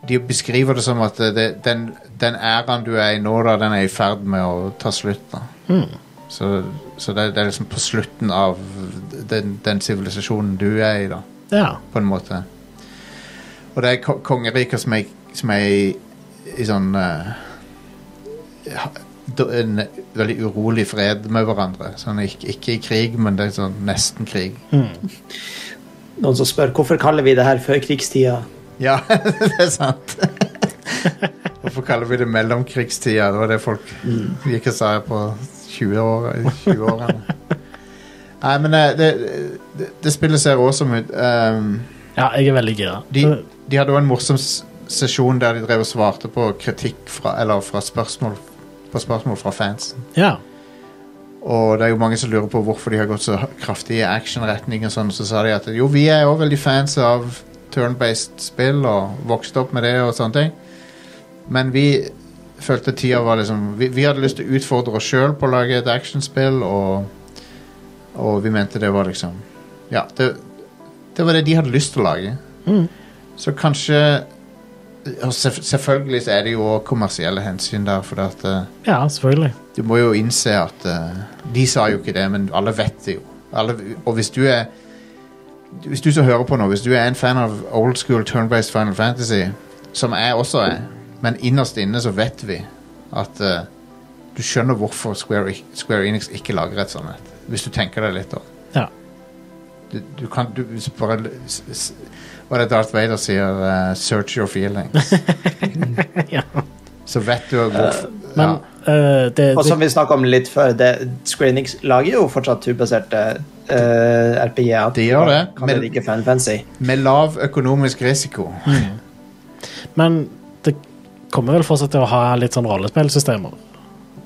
S2: De beskriver det som at eh, det, den, den æraen du er i nå, da, den er i ferd med å ta slutt. da
S3: Mm.
S2: Så, så det, det er liksom på slutten av den den sivilisasjonen du er i, da,
S3: ja.
S2: på en måte. Og det er ko kongeriker som er, som er i, i sånn eh, ha- da- en veldig urolig fred med hverandre. Sånn, ikke, ikke i krig, men det er sånn nesten krig.
S4: Noen som spør hvorfor kaller vi det her førkrigstida?
S2: Ja, det er sant. Hvorfor kaller vi det mellomkrigstida? Det var det folk gikk og sa på 20-årene. 20 -årene. Nei, men eh, det, det, det spillet ser awesome ut. Um,
S3: ja, jeg er veldig gira.
S2: de, de hadde òg en morsom s- sesjon der de drev og svarte på kritikk fra, eller fra spørsmål, på spørsmål fra fansen.
S3: Ja.
S2: Og det er jo mange som lurer på hvorfor de har gått så kraftig i actionretning og sånn, så sa de at jo, vi er jo veldig fans av turn-based spill og vokste opp med det og sånne ting. Men vi følte tida var liksom Vi, vi hadde lyst til å utfordre oss sjøl på å lage et actionspill, og, og vi mente det var liksom Ja, det, det var det de hadde lyst til å lage.
S3: Mm.
S2: Så kanskje og selvf- Selvfølgelig så er det jo også kommersielle hensyn der, for at eh,
S3: ja, selvfølgelig.
S2: du må jo innse at eh, De sa jo ikke det, men alle vet det jo. Alle, og hvis du er Hvis du som hører på nå, hvis du er en fan av old school turn-based Final Fantasy, som jeg også er, men innerst inne så vet vi at eh, du skjønner hvorfor Square, Square Enix ikke lager et sånt et. Hvis du tenker deg litt om.
S3: Ja.
S2: Du, du kan du, s- bare s- s- Hva er det Darth Vader sier? eh, 'Search your feelings'.
S3: Ja.
S2: Så vet du hvorfor
S3: Men eh, det,
S4: Og som
S3: det
S4: vi snakka om litt før, det, Square Enix lager jo fortsatt turbaserte eh, RPG-er.
S2: De gjør det,
S4: Kan
S2: men-
S4: det ikke Final Fantasy?
S2: Med lav økonomisk risiko.
S3: Men det kommer vel fortsatt til å ha litt sånn rollespillsystemer.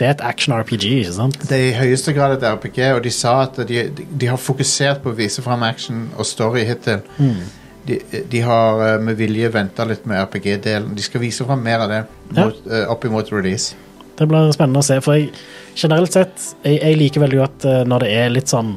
S3: Det er et action-RPG, ikke sant?
S2: Det er i høyeste grad et RPG, og de sa at de, de, de har fokusert på å vise fram action og story hittil. De, de har eh, med vilje venta litt med RPG-delen. De skal vise fram mer av det
S3: Ja.
S2: mot, eh, opp imot release.
S3: Det blir spennende å se, for jeg, generelt sett jeg, jeg liker veldig godt eh, når det er litt sånn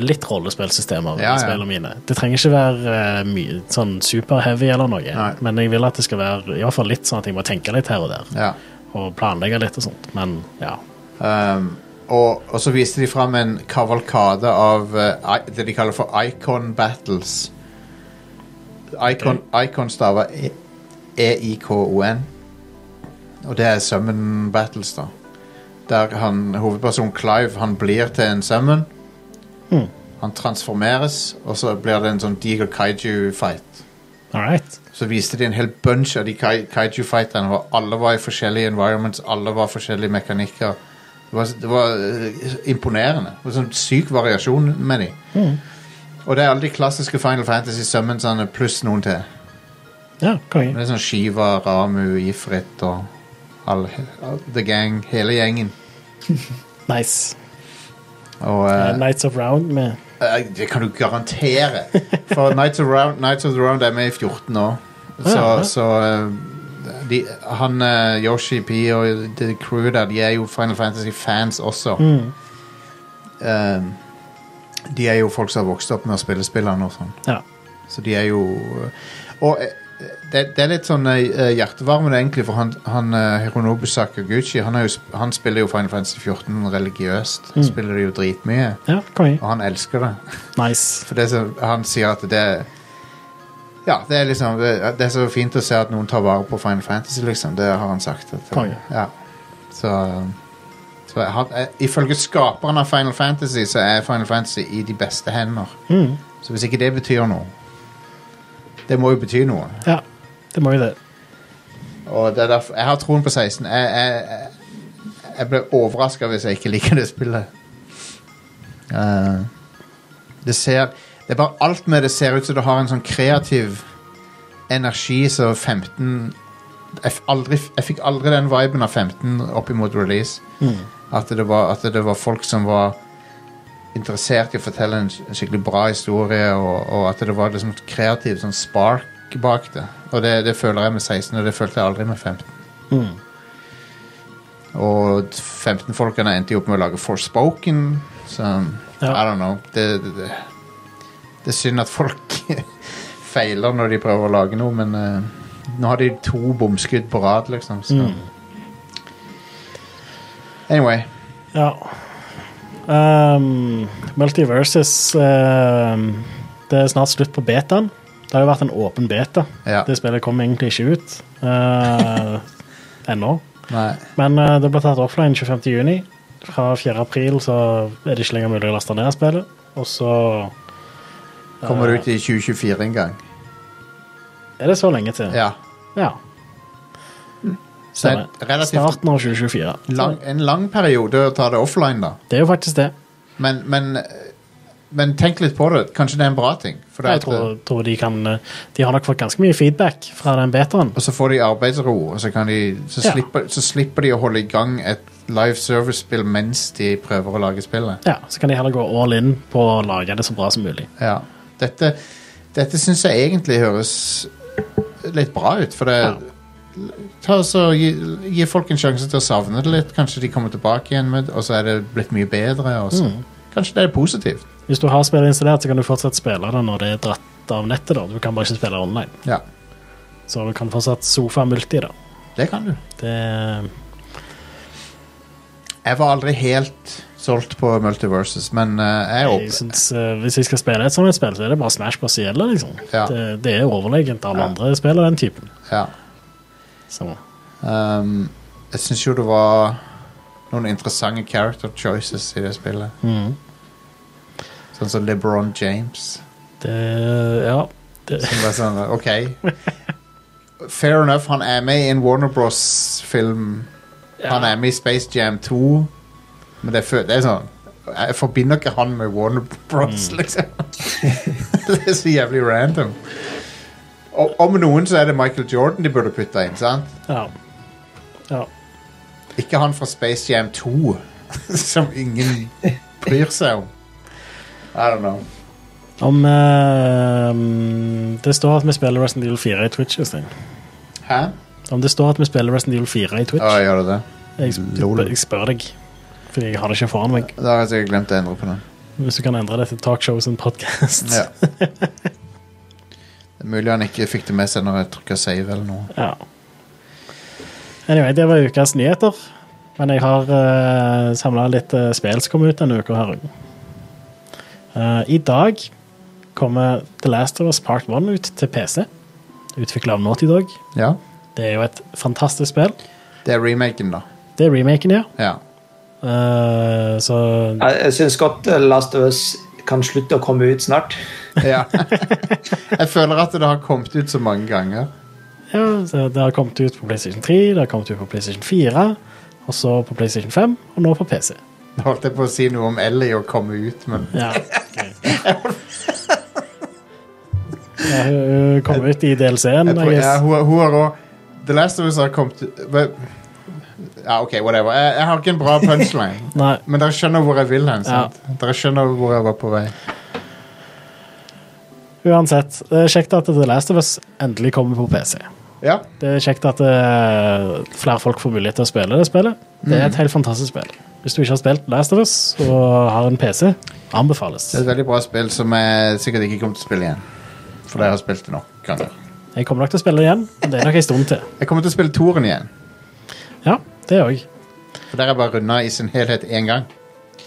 S3: Litt rollespillsystemer
S2: Ja, ja.
S3: i spillene mine. Det trenger ikke være eh, mye, sånn super-heavy eller noe,
S2: Nei.
S3: men jeg vil at det skal være i hvert fall litt sånn at jeg må tenke litt her og der,
S2: Ja.
S3: og planlegge litt og sånt, men ja.
S2: Um, og, og så viste de fram en kavalkade av eh, i- det de kaller for Icon Battles. Icon, icon staver E- E-I-K-O-N. Og det er Summon Battles, da. Der han, hovedpersonen Clive han blir til en Summon.
S3: Mhm.
S2: Han transformeres, og så blir det en sånn diger kaiju-fight.
S3: All right.
S2: Så viste de en hel bunch av de kai, kaiju-fighterne, hvor alle var i forskjellige environments, alle var forskjellige mekanikker. Det var, det var eh, imponerende. Det var sånn syk variasjon med de. Og det er alle de klassiske Final Fantasy summonsene pluss noen til.
S3: Ja, konge.
S2: Det er sånn Shiva, Ramu, Ifrit og all, all, The Gang, hele gjengen.
S3: Nice.
S2: Og,
S3: Eh,
S2: eh,
S3: Nights of Round med
S2: Eh, Det kan du garantere. For Nights of, Round, Knights of the Round er med i 14 år. Så,
S3: Ja, ja.
S2: så eh, de, han eh, Yoshi P og det crewet der, de er jo Final Fantasy-fans også. Eh, de er jo folk som har vokst opp med å spille spillene og sånn.
S3: Ja.
S2: Så de er jo Og eh, det, det er litt sånn eh, hjertevarmende, egentlig, for han, han eh, Hironobu Sakaguchi han, er jo, sp- han spiller jo Final Fantasy 14 religiøst. Han spiller det jo dritmye,
S3: ja konge.
S2: og han elsker det.
S3: Nice.
S2: For det som han sier at det Ja, det er liksom Det det er så fint å se at noen tar vare på Final Fantasy, liksom. Det har han sagt. At,
S3: Konge.
S2: ja. Så, så han, eh, ifølge skaperen av Final Fantasy, så er Final Fantasy i de beste hender.
S3: Mm.
S2: Så hvis ikke det betyr noe Det må jo bety noe.
S3: Ja, det må jo det.
S2: Og det er derfor, jeg har troen på 16. Jeg, jeg, jeg, jeg ble overraska hvis jeg ikke liker det spillet. Eh, det ser Det er bare alt med det ser ut som det har en sånn kreativ energi som 15 jeg, f- aldri, f- jeg fikk aldri den viben av 15 opp imot release. At, det var, at det var folk som var interessert i å fortelle en sk- en skikkelig bra historie, og, og at det var liksom et kreativt sånn spark bak det. Og det, det føler jeg med 16, og det følte jeg aldri med 15. Og 15-folkene endte jo opp med å lage Forspoken, så
S3: Ja.
S2: I don't know. Det, det, det, det er synd at folk feiler når de prøver å lage noe, men eh, nå har de to bomskudd på rad, liksom. Så. Anyway.
S3: Ja. Um, Multiverses um, Det er snart slutt på betaen. Det har jo vært en åpen beta.
S2: Ja.
S3: Det spillet kom egentlig ikke ut uh, ennå.
S2: Nei.
S3: Men uh, det ble tatt offline 25.6. Fra 4.4 så er det ikke lenger mulig å laste ned spillet. Og så
S2: Kommer det ut i 2024 en gang?
S3: er det så lenge til.
S2: Ja.
S3: ja.
S2: Så
S3: Stemmer.
S2: en relativt
S3: Starten av 2024.
S2: lang, en lang periode å ta det offline, da.
S3: Det er jo faktisk det.
S2: Men, men, men tenk litt på det. Kanskje det er en bra ting. For det
S3: Jeg
S2: at,
S3: tror, tror de kan eh, De har nok fått ganske mye feedback fra den betaen.
S2: Og så får de arbeidsro, og så, kan de, så,
S3: Ja.
S2: slipper, så slipper de å holde i gang et live service-spill mens de prøver å lage spillet.
S3: Ja, Så kan de heller gå all in på å lage det så bra som mulig.
S2: Ja. Dette, dette syns jeg egentlig høres litt bra ut, for det Ta og så gi, gi folk en sjanse til å savne det litt. Kanskje de kommer tilbake igjen med det, og så er det blitt mye bedre. Og så.
S3: Mm.
S2: Kanskje det er positivt.
S3: Hvis du har spillet installert, så kan du fortsatt spille det når det er dratt av nettet. da Du kan bare ikke spille online.
S2: Ja,
S3: Så du kan fortsatt sofa multi, da.
S2: det kan du.
S3: Det
S2: Jeg var aldri helt solgt på Multiverses, men eh, jeg er
S3: jeg
S2: åpen.
S3: synes, eh, Hvis jeg skal spille et sånt et spill, så er det bare Smash Bros. som gjelder, liksom.
S2: Ja.
S3: Det, det er overlegent. Alle andre spiller den typen.
S2: Ja.
S3: Så
S2: Um, jeg syns jo det var noen interessante character choices i det spillet.
S3: Mhm.
S2: Sånn som LeBron James.
S3: det Ja. Det,
S2: Som var sånn, ok Fair enough, han er med i en Warner Bros. film. Han er med i Space Jam 2. Men det er, fø- det er sånn Jeg forbinder ikke han med Warner Bros, liksom. det er så jævlig random. Og, om noen så er det Michael Jordan de burde putte inn, sant?
S3: Ja. ja.
S2: Ikke han fra Space Jam 2, som ingen bryr seg om. I don't know.
S3: Om eh, mm, det står at vi spiller Resident Evil 4 i Twitch, Jostein.
S2: Hæ?
S3: Om det står at vi spiller Resident Evil 4 i Twitch,
S2: Å, gjør det det?
S3: jeg, sp jeg spør deg. Fordi jeg har det ikke foran meg.
S2: Da har jeg sikkert glemt å endre på den.
S3: Hvis du kan endre det til talkshow som podkast.
S2: Ja. Det er mulig han ikke fikk det med seg når jeg trykka save eller noe.
S3: Ja. Anyway, det var ukas nyheter. Men jeg har uh, samla litt eh, spill som kom ut denne uka her òg. I dag kommer The Last of Us Part 1 ut til PC. Utvikla av Naughty Dog.
S2: Ja.
S3: Det er jo et fantastisk spill.
S2: Det er remaken, da.
S3: Det er remaken, ja.
S2: Ja.
S3: Eh, så
S4: Jeg, jeg syns godt eh, Last of Us kan slutte å komme ut snart.
S2: ja. jeg føler at det har kommet ut så mange ganger.
S3: ja, så det har kommet ut på PlayStation 3, det har kommet ut på PlayStation 4, og så på PlayStation 5, og nå på PC.
S2: Nå holdt jeg på å si noe om Ellie å komme ut, men
S3: Ja, ok. ja, hun- hun kom ut i DLC-en,
S2: jeg tror,
S3: I
S2: ja,
S3: guess.
S2: hun, hun har òg The Last of Us har kommet ut hva- Ja, OK, whatever. Jeg, jeg har ikke en bra punchline.
S3: Nei.
S2: Men dere skjønner hvor jeg vil hen. sant? Dere skjønner hvor jeg var på vei.
S3: Uansett, det er kjekt at The Last of Us endelig kommer på PC.
S2: Ja.
S3: Det er kjekt at eh, flere folk får mulighet til å spille det spillet. Det
S2: Mhm.
S3: er et helt fantastisk spill. Hvis du ikke har spilt Last of Us og har en PC, anbefales.
S2: Det er et veldig bra spill som jeg sikkert ikke kommer til å spille igjen. For jeg har spilt det nok ganger.
S3: Jeg kommer nok til å spille det igjen, men det er nok en stund til.
S2: Jeg kommer til å spille toeren igjen.
S3: Ja, det òg.
S2: For der er jeg bare runda i sin helhet én gang.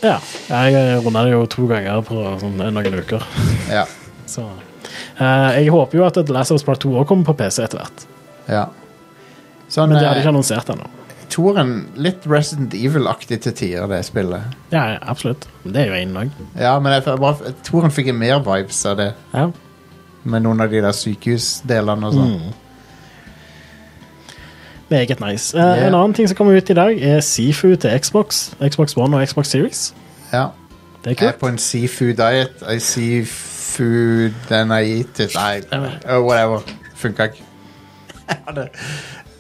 S3: Ja. Jeg runda det jo to ganger på sånn, noen uker.
S2: Ja.
S3: Så. eh, jeg håper jo at The Last of Us Part 2 også kommer på PC etter hvert.
S2: ja. Sånn,
S3: Men det har de
S2: eh,
S3: ikke annonsert ennå.
S2: toeren litt Resident Evil-aktig til tider, det spillet.
S3: Ja, ja, absolutt. Men Det er jo én òg.
S2: Ja, men jeg, føler bare, toeren fikk jeg mer vibes av det,
S3: Ja.
S2: med noen av de der sykehusdelene og
S3: Mm.
S2: sånn.
S3: Meget nice. Eh,
S2: Yeah.
S3: En annen ting som kommer ut i dag, er Sifu til Xbox. Xbox One og Xbox Series.
S2: Ja.
S3: Det er
S2: Jeg er
S3: kult.
S2: på en seafood diet. I seafood then I eat it. I, oh, whatever. Funka ikke. Jeg hadde-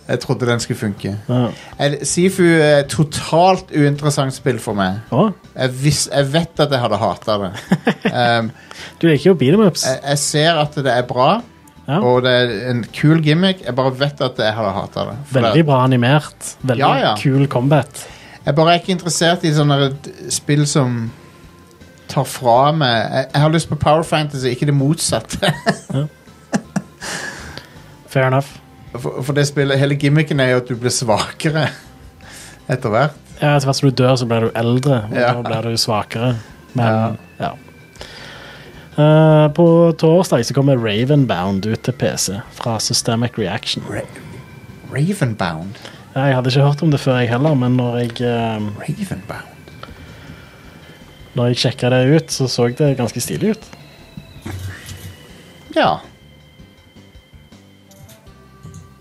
S2: Jeg trodde den skulle funke.
S3: Ja.
S2: Jeg- Sifu er et totalt uinteressant spill for meg.
S3: Å,
S2: Jeg, vis, jeg vet at jeg hadde hata det. Um,
S3: du liker jo beatemups.
S2: jeg, jeg ser at det er bra,
S3: Ja.
S2: og det er en kul gimmick. Jeg bare vet at jeg hadde hata det. For
S3: Veldig bra animert. Veldig
S2: Ja, ja.
S3: kul combat.
S2: det- Jeg bare er ikke interessert i sånne d- spill som tar fra meg Jeg, jeg har lyst på Power Fantasy, ikke det motsatte.
S3: Fair enough.
S2: For, for det spillet, hele gimmicken er jo at du blir svakere etter hvert.
S3: Ja, Etter hvert som du dør, så blir du eldre, og
S2: Ja.
S3: da blir du svakere. Men, ja. Eh, på torsdag så kommer Ravenbound ut til PC fra Systemic Reaction.
S2: Ravenbound.
S3: Ja, Jeg hadde ikke hørt om det før, jeg heller, men når jeg, eh,
S2: Ravenbound.
S3: når jeg sjekka det ut, så så det ganske stilig ut.
S2: Ja.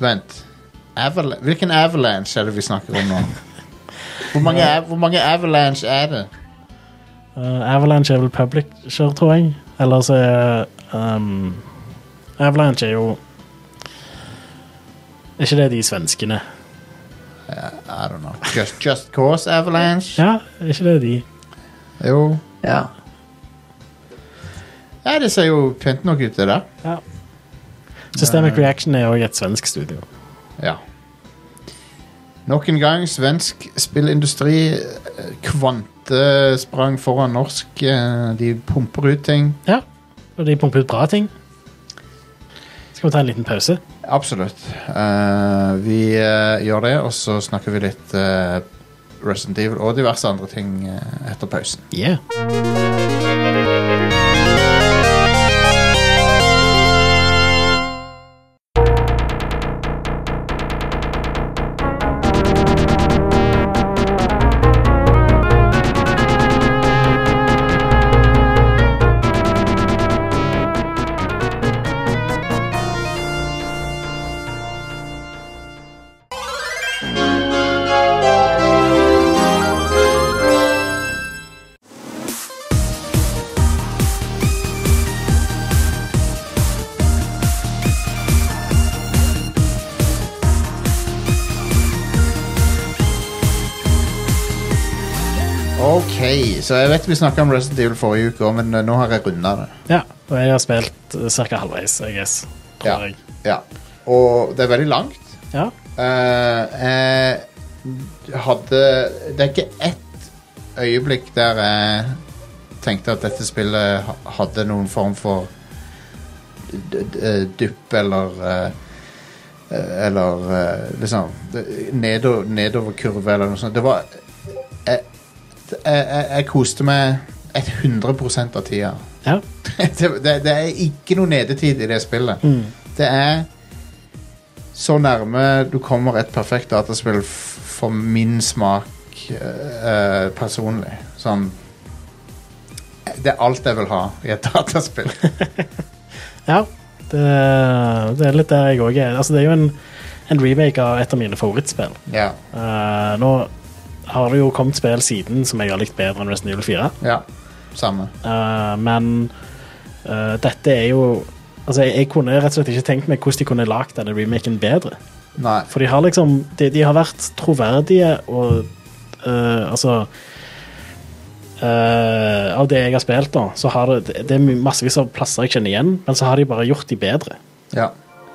S2: Vent. Aval Hvilken avalanche er det vi snakker om nå? Hvor mange, av- hvor mange avalanche er det?
S3: Eh, Avalanche er vel publisher, tror jeg. Eller så er ehm, Avalanche er jo Er ikke det de svenskene?
S2: I don't know. Just, just Cause Avalanche?
S3: Ja, er ikke det de?
S2: Jo.
S4: Ja.
S2: Ja, det ser jo pent nok ut, det der.
S3: Ja. Systemic Reaction er òg et svensk studio.
S2: Ja. Nok en gang svensk spillindustri eh, kvantesprang foran norsk. eh, De pumper ut ting.
S3: Ja, og de pumper ut bra ting. Skal vi ta en liten pause?
S2: Absolutt. Eh, vi eh, gjør det, og så snakker vi litt uh, Resident Evil og diverse andre ting eh, etter pausen.
S3: Yeah.
S2: Så jeg vet vi snakka om Resident Evil forrige uke òg, men eh, nå har jeg runda det.
S3: Ja, og jeg har spilt ca. halvveis, I guess.
S2: Ja.
S3: Tror jeg.
S2: ja. Og det er veldig langt.
S3: Ja.
S2: Eh, jeg hadde Det er ikke ett øyeblikk der jeg tenkte at dette spillet ha- hadde noen form for d- d- dupp eller eh, Eller eh, liksom nedover, nedoverkurve eller noe sånt. Det var Jeg, jeg, jeg, jeg koste meg 100 av tida
S3: ja.
S2: det, det, det er ikke noe nedetid i det spillet. Det er så nærme du kommer et perfekt dataspill f- for min smak eh, eh, personlig. Sånn Det er alt jeg vil ha i et dataspill.
S3: ja. Det, det er litt der jeg òg er. Altså, det er jo en, en remake av et av mine favorittspill.
S2: ja.
S3: Eh, nå har det jo kommet spill siden som jeg har likt bedre enn Resident Evil 4.
S2: ja. Samme.
S3: Eh, men eh, dette er jo Altså, jeg, jeg kunne rett og slett ikke tenkt meg hvordan de kunne lagd denne remaken bedre.
S2: Nei.
S3: For de har liksom De, de har vært troverdige og eh, Altså eh, Av det jeg har spilt, da, så har det Det er massevis av plasser jeg kjenner igjen, men så har de bare gjort de bedre.
S2: Ja.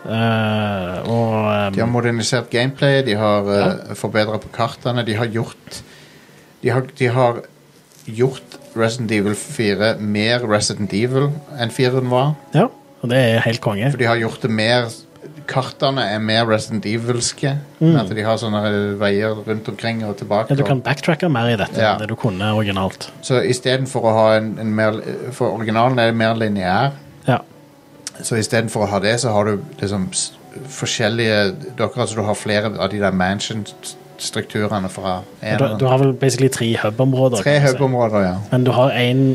S3: Eh, og
S2: De har
S3: eh,
S2: modernisert gameplay, de har uh, forbedra på kartene, de har gjort de har, de har gjort Resident Evil 4 mer Resident Evil enn 4-en var.
S3: Ja, og det er helt konge.
S2: For de har gjort det mer Kartene er mer Resident Evil-ske. men At de har sånne eh, veier rundt omkring og tilbake.
S3: Mm. Ja, du kan
S2: og-
S3: backtracke mer i dette
S2: Ja.
S3: enn det du kunne originalt.
S2: Så istedenfor å ha en, en mer For originalen er mer lineær.
S3: Ja.
S2: Så istedenfor å ha det, så har du liksom s- forskjellige Dere altså du har flere av de der mansion-strukturene fra en,
S3: Du, du har vel basically tre hub-områder.
S2: Tre
S3: kan du si.
S2: hub-områder, ja.
S3: Men du har en,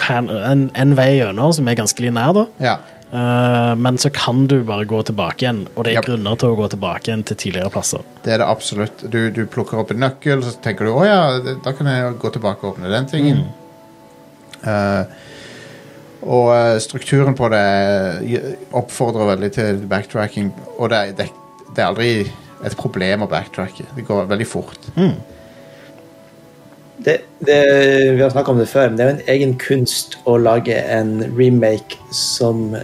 S3: kan- en, en vei gjennom som er ganske linær, da.
S2: ja.
S3: Eh, men så kan du bare gå tilbake igjen, og det er
S2: Yep.
S3: grunner til å gå tilbake igjen til tidligere plasser.
S2: Det er det absolutt. Du, du plukker opp en nøkkel, så tenker du å ja, det- da kan jeg jo gå tilbake og åpne den tingen. Eh, og eh, strukturen på det eh, oppfordrer veldig til backtracking, og det, er- det, er- det er aldri et problem å backtracke. Det går veldig fort.
S4: det, det, vi har snakket om det før, men det er jo en egen kunst å lage en remake som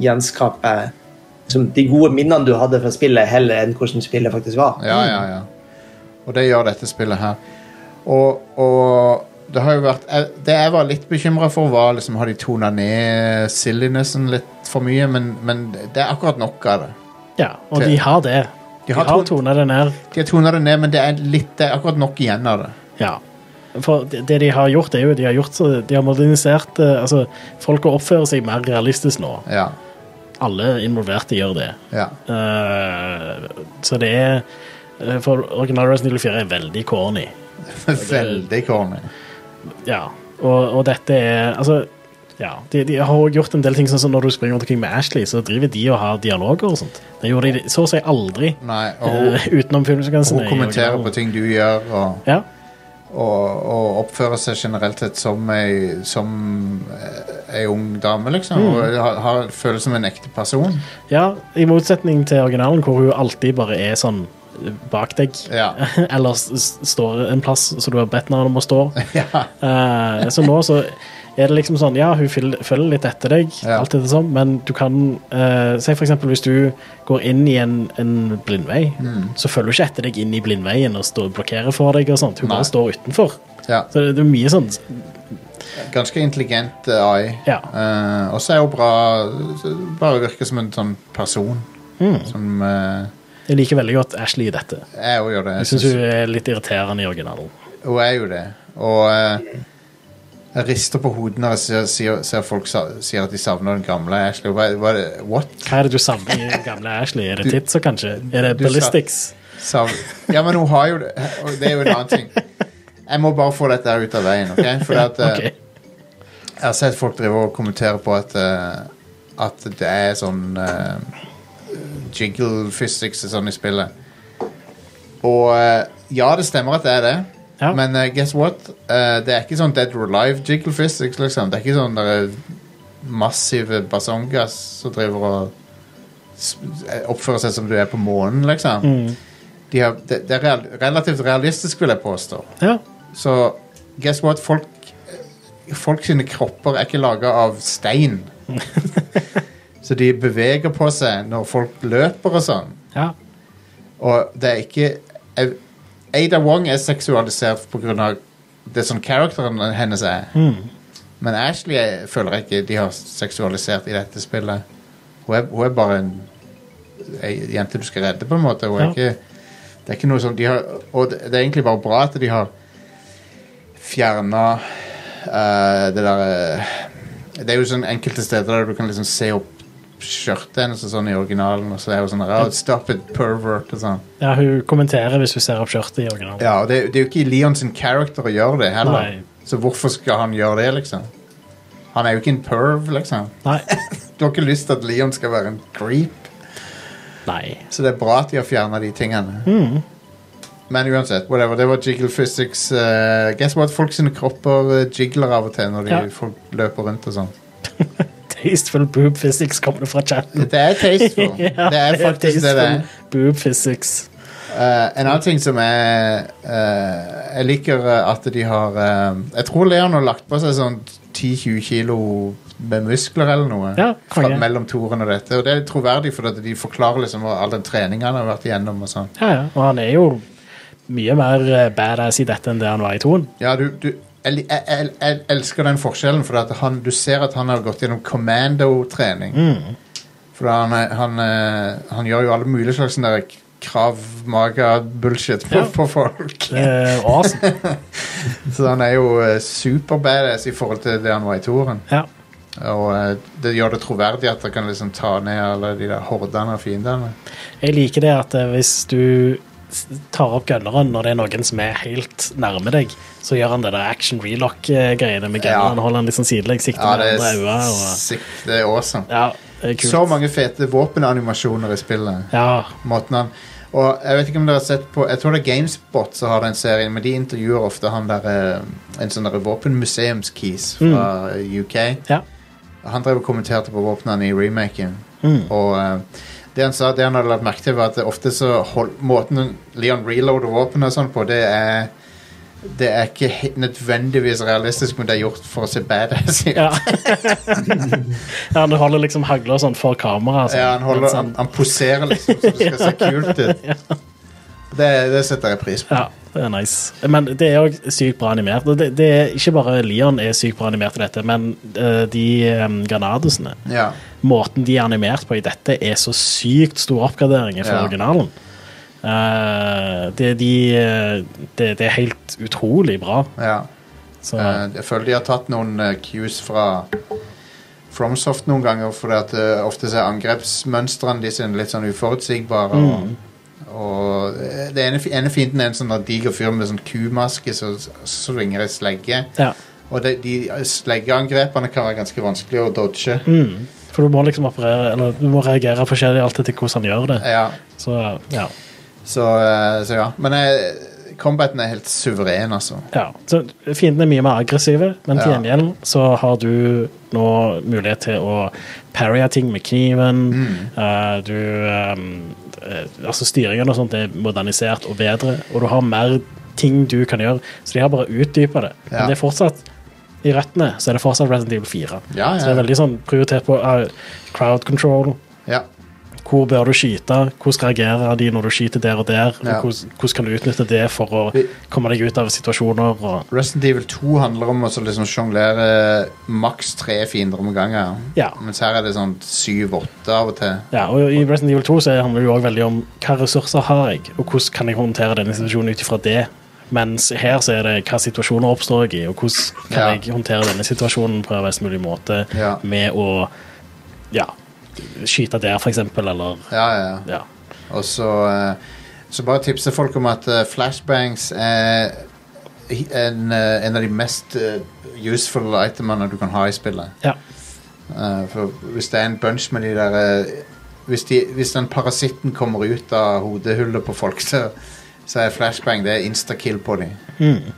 S4: gjenskaper som de gode minnene du hadde fra spillet, heller enn hvordan spillet faktisk var.
S2: Ja, ja, ja. Og det gjør dette spillet her. Og, og det har jo vært jeg- Det jeg var litt bekymra for, var liksom har de tona ned sillinessen litt for mye, men, men det er akkurat nok av det.
S3: Ja, og
S2: Til-
S3: de har det.
S2: De
S3: De
S2: har
S3: har,
S2: ton-
S3: tonet det ned.
S2: De har tona det ned, men det er, litt, det er akkurat nok igjen av det.
S3: Ja. For det det de har gjort, er jo de har gjort så- De har modernisert eh, Altså, folk oppfører seg mer realistisk nå.
S2: Ja,
S3: Alle involverte gjør det.
S2: ja,
S3: Eh, så det er eh, For original Resident Evil 4 er veldig corny.
S2: Veldig corny.
S3: Ja. Og, og dette er Altså, ja. De, de har også gjort en del ting sånn som når du springer rundt omkring med Ashley, så driver de og har dialoger og sånt. Det gjorde de så å si aldri
S2: Nei, og hun,
S3: eh, utenom filmsekvensene.
S2: hun
S3: i
S2: kommenterer
S3: originalen.
S2: på ting du gjør, og,
S3: Ja.
S2: og, og oppfører seg generelt sett som ei, som eh, ei ung dame,
S3: Mm.
S2: liksom. Og har, har, føles som en ekte person.
S3: ja, i motsetning til originalen, hvor hun alltid bare er sånn eh, bak deg.
S2: Ja.
S3: Eller s- s- står en plass som du har bedt henne om å stå.
S2: ja,
S3: Eh, så nå så er det liksom sånn Ja, hun fyl- følger litt etter deg,
S2: Ja.
S3: alt etter sånn, men du kan eh, Si for eksempel hvis du går inn i en, en blindvei,
S2: Mm.
S3: så følger hun ikke etter deg inn i blindveien og står, blokkerer for deg og sånt. Hun
S2: Nei.
S3: bare står utenfor.
S2: ja.
S3: Så det, det er mye sånn
S2: Ganske intelligent eh, AI.
S3: Ja.
S2: Eh, og så er hun bra Bare virker som en sånn person.
S3: Mm.
S2: Som eh,
S3: Jeg liker veldig godt Ashley i dette.
S2: Jeg òg gjør det.
S3: Jeg syns hun er litt irriterende i originalen.
S2: Hun er jo det. Og eh, jeg rister på hodet når jeg ser, ser, ser folk sa, sier at de savner den gamle Ashley. Hva, hva, er det- what?
S3: Hva er det du savner i den gamle Ashley? Er det
S2: Du-
S3: titser, kanskje? Er det
S2: du sa-
S3: ballistics?
S2: Sav ja, men hun har jo det. Og det er jo en annen ting. Jeg må bare få dette her ut av veien. ok? For at, eh,
S3: Ok.
S2: Jeg har sett folk drive og kommentere på at, eh, at det er sånn eh, jiggle physics og sånn i spillet. Og eh, ja, det stemmer at det er det.
S3: Ja.
S2: Men eh, guess what? Eh, det er ikke sånn Dead or Alive jiggle physics, liksom. Det er ikke sånn der, eh, massive basonggass som driver og s- eh, oppfører seg som du er på månen, liksom. De har, det, det er real, relativt realistisk, vil jeg påstå.
S3: Ja.
S2: Så Guess what? Folk, folk sine kropper er ikke laga av stein. så de beveger på seg når folk løper og sånn.
S3: Ja.
S2: Og det er ikke Au- Ada Wong er seksualisert pga. det som karakteren hennes er. Men Ashley er- føler jeg ikke de har seksualisert i dette spillet. Hun er, hun er bare en, ei jente du skal redde, på en måte. Hun er
S3: Ja.
S2: ikke, det er ikke noe som de har Og det det er egentlig bare bra at de har fjerna det der eh, Det er jo sånn enkelte steder der du kan liksom se opp skjørtet hennes og sånn i originalen, og så er hun sånn oh, 'Stop it, pervert' og sånn.
S3: ja, hun kommenterer hvis hun ser opp skjørtet i originalen.
S2: Ja, og det, det er jo ikke i Leon sin character å gjøre det heller.
S3: Nei.
S2: Så hvorfor skal han gjøre det, liksom? Han er jo ikke en perv, liksom.
S3: Nei.
S2: Du har ikke lyst til at Leon skal være en creep.
S3: Nei.
S2: Så det er bra at de har fjerna de tingene. Men uansett, whatever. Det var jiggle physics. eh, guess what? Folk sine kropper eh, jiggler av og til når de
S3: Ja.
S2: folk løper rundt og sånn.
S3: Tasteful boob physics kommer det fra chatten.
S2: Det er tasteful. det er faktisk det det er.
S3: Tasteful Boob physics.
S2: Eh, en annen ting som er eh, Jeg liker eh, at de har eh, Jeg tror Leon har lagt på seg sånn 10-20 kilo med muskler eller noe.
S3: Ja,
S2: fra,
S3: konge.
S2: mellom toren og dette. Og det er troverdig, for at de forklarer liksom hva all den treningen han har vært igjennom. og sånn.
S3: Ja, ja. Og han er jo mye mer eh, badass i dette enn det han var i toen.
S2: Ja, du, du jeg, li- jeg, jeg, jeg elsker den forskjellen, for at han, du ser at han har gått gjennom commando-trening.
S3: Mm.
S2: For han, er- han, eh, han gjør jo alle mulige slags sånne der krav-maga-bullshit på,
S3: Ja.
S2: på folk.
S3: Det er Eh, awesome.
S2: Så han er jo eh, super badass i forhold til det han var i toren.
S3: Ja.
S2: Og eh, det gjør det troverdig at han kan liksom ta ned alle de der hordene av fiendene.
S3: Jeg liker det at eh, hvis du s- tar opp gunneren når det er noen som er helt nærme deg, så gjør han det der action relock-greiene med
S2: Ja.
S3: gunneren. Holder han liksom sidelegs, sikter
S2: Ja,
S3: med
S2: det
S3: andre øyne.
S2: er
S3: og-
S2: sikt, det er awesome.
S3: Ja, det er kult.
S2: Så mange fete våpenanimasjoner i spillet.
S3: Ja,
S2: Måten han Og jeg vet ikke om dere har sett på Jeg tror det er Gamespot som har den serien, men de intervjuer ofte han der eh, en sånn der våpenmuseumskis
S3: Mm.
S2: fra eh, UK.
S3: ja.
S2: Han drev og kommenterte på våpnene i remaken. Og eh, det han sa, det han hadde lagt merke til, var at det ofte så hold, måten Leon reloader våpen og sånn på, det er det er ikke he- nødvendigvis realistisk, men det er gjort for å se badass ut. Ja.
S3: Ja. ja, han holder liksom hagla og sånn for kamera. Sånn.
S2: han, holder,
S3: mens
S2: han, han poserer liksom, så det skal se kult ut. Det, det setter jeg pris på.
S3: Ja, det er nice. Men det er òg sykt bra animert. Og Det, det er ikke bare Leon er sykt bra animert i dette, men eh, de um, Granadosene
S2: Ja.
S3: Måten de er animert på i dette, er så sykt stor oppgradering fra
S2: Ja.
S3: originalen. Eh, det, de, eh, det, det er helt utrolig bra.
S2: ja.
S3: Så,
S2: Eh, jeg føler de har tatt noen eh, cues fra FromSoft noen ganger, fordi at eh, ofte så er angrepsmønstrene de sine litt sånn uforutsigbare. Og,
S3: Mm.
S2: og eh, det ene, fi- ene fienden er en sånn der diger fyr med sånn kumaske som s- svinger ei slegge.
S3: ja.
S2: Og de, de eh, sleggeangrepene kan være ganske vanskelig å dodge.
S3: mm. For du må liksom operere Eller du må reagere forskjellig alt etter hvordan han gjør det.
S2: Ja,
S3: Så ja.
S2: så, eh, så ja. Men eh, combaten er helt suveren, altså.
S3: Ja, så Fiendene er mye mer aggressive, men til
S2: Ja.
S3: gjengjeld så har du nå mulighet til å parrye ting med kniven.
S2: Mm.
S3: Eh, du ehm, eh, Altså, styringen og sånt er modernisert og bedre, og du har mer ting du kan gjøre, så de har bare utdypa det.
S2: Ja.
S3: Men det er fortsatt i røttene så er det fortsatt Resident Evil 4.
S2: Ja,
S3: Så det er
S2: ja.
S3: veldig sånn prioritert på eh, crowd control.
S2: ja.
S3: Hvor bør du skyte? Hvordan reagerer de når du skyter der og der? Og
S2: Ja.
S3: hvordan, hvordan kan du utnytte det for å
S2: Vi-
S3: komme deg ut av situasjoner? og...
S2: Resident Evil 2 handler om å så liksom sjonglere maks tre fiender om gangen.
S3: Ja.
S2: Mens her er det sånn syv-åtte av og til.
S3: Ja, og I Resident Evil 2 så handler det jo også veldig om hva ressurser har jeg, og hvordan kan jeg håndtere denne situasjonen ut ifra det. Mens her så er det hva situasjoner oppstår jeg i, og hvordan kan
S2: Ja.
S3: jeg håndtere denne situasjonen på best mulig måte
S2: Ja.
S3: med å ja, skyte der, for eksempel, eller
S2: Ja, ja, ja.
S3: ja.
S2: Og så, eh, så bare tipse folk om at eh, flashbangs er hi- en, eh, en av de mest eh, useful itemene du kan ha i spillet.
S3: ja.
S2: Eh, for hvis det er en bunch med de der eh, hvis, de, hvis den parasitten kommer ut av hodehullet på folk, så, så er flashbang det er instakill på dem.
S3: Mm.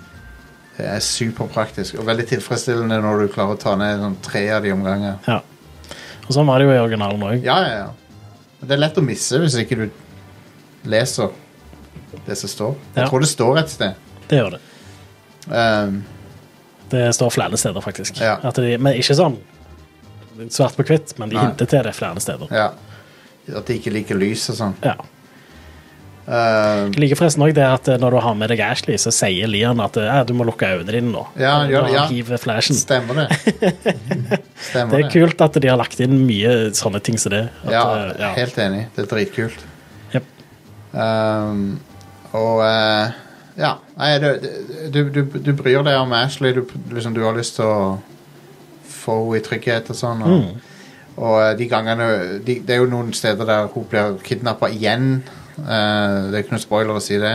S2: Det er superpraktisk og veldig tilfredsstillende når du klarer å ta ned sånn tre av de om gangen.
S3: ja. Og sånn var det jo i originalen òg.
S2: Ja, ja, ja. Men Det er lett å misse hvis ikke du leser det som står. Jeg
S3: Ja.
S2: tror det står et sted.
S3: Det gjør det.
S2: Ehm,
S3: Det står flere steder, faktisk.
S2: Ja.
S3: At de, men ikke sånn svart på hvitt, men de
S2: Nei.
S3: hinter til det flere steder.
S2: Ja. At de ikke liker lys og sånn.
S3: Ja.
S2: Eh,
S3: Jeg liker forresten også det at eh, når du har med deg Ashley, så sier Lian at eh, du må lukke øynene dine nå.
S2: Ja, han gjør
S3: Når
S2: det, ja.
S3: han hiver flashen.
S2: stemmer det. Stemmer
S3: Det er kult at de har lagt inn mye sånne ting som det. At,
S2: Ja,
S3: eh, ja.
S2: helt enig. Det er dritkult.
S3: Jep.
S2: Ehm, og eh, ja. Nei, det- du, du, du bryr deg om Ashley. Du, liksom, du har lyst til å få henne i trygghet og sånn. Og, og eh, de gangene de, Det er jo noen steder der hun blir kidnappa igjen. Eh, det er ikke noen spoiler å si det.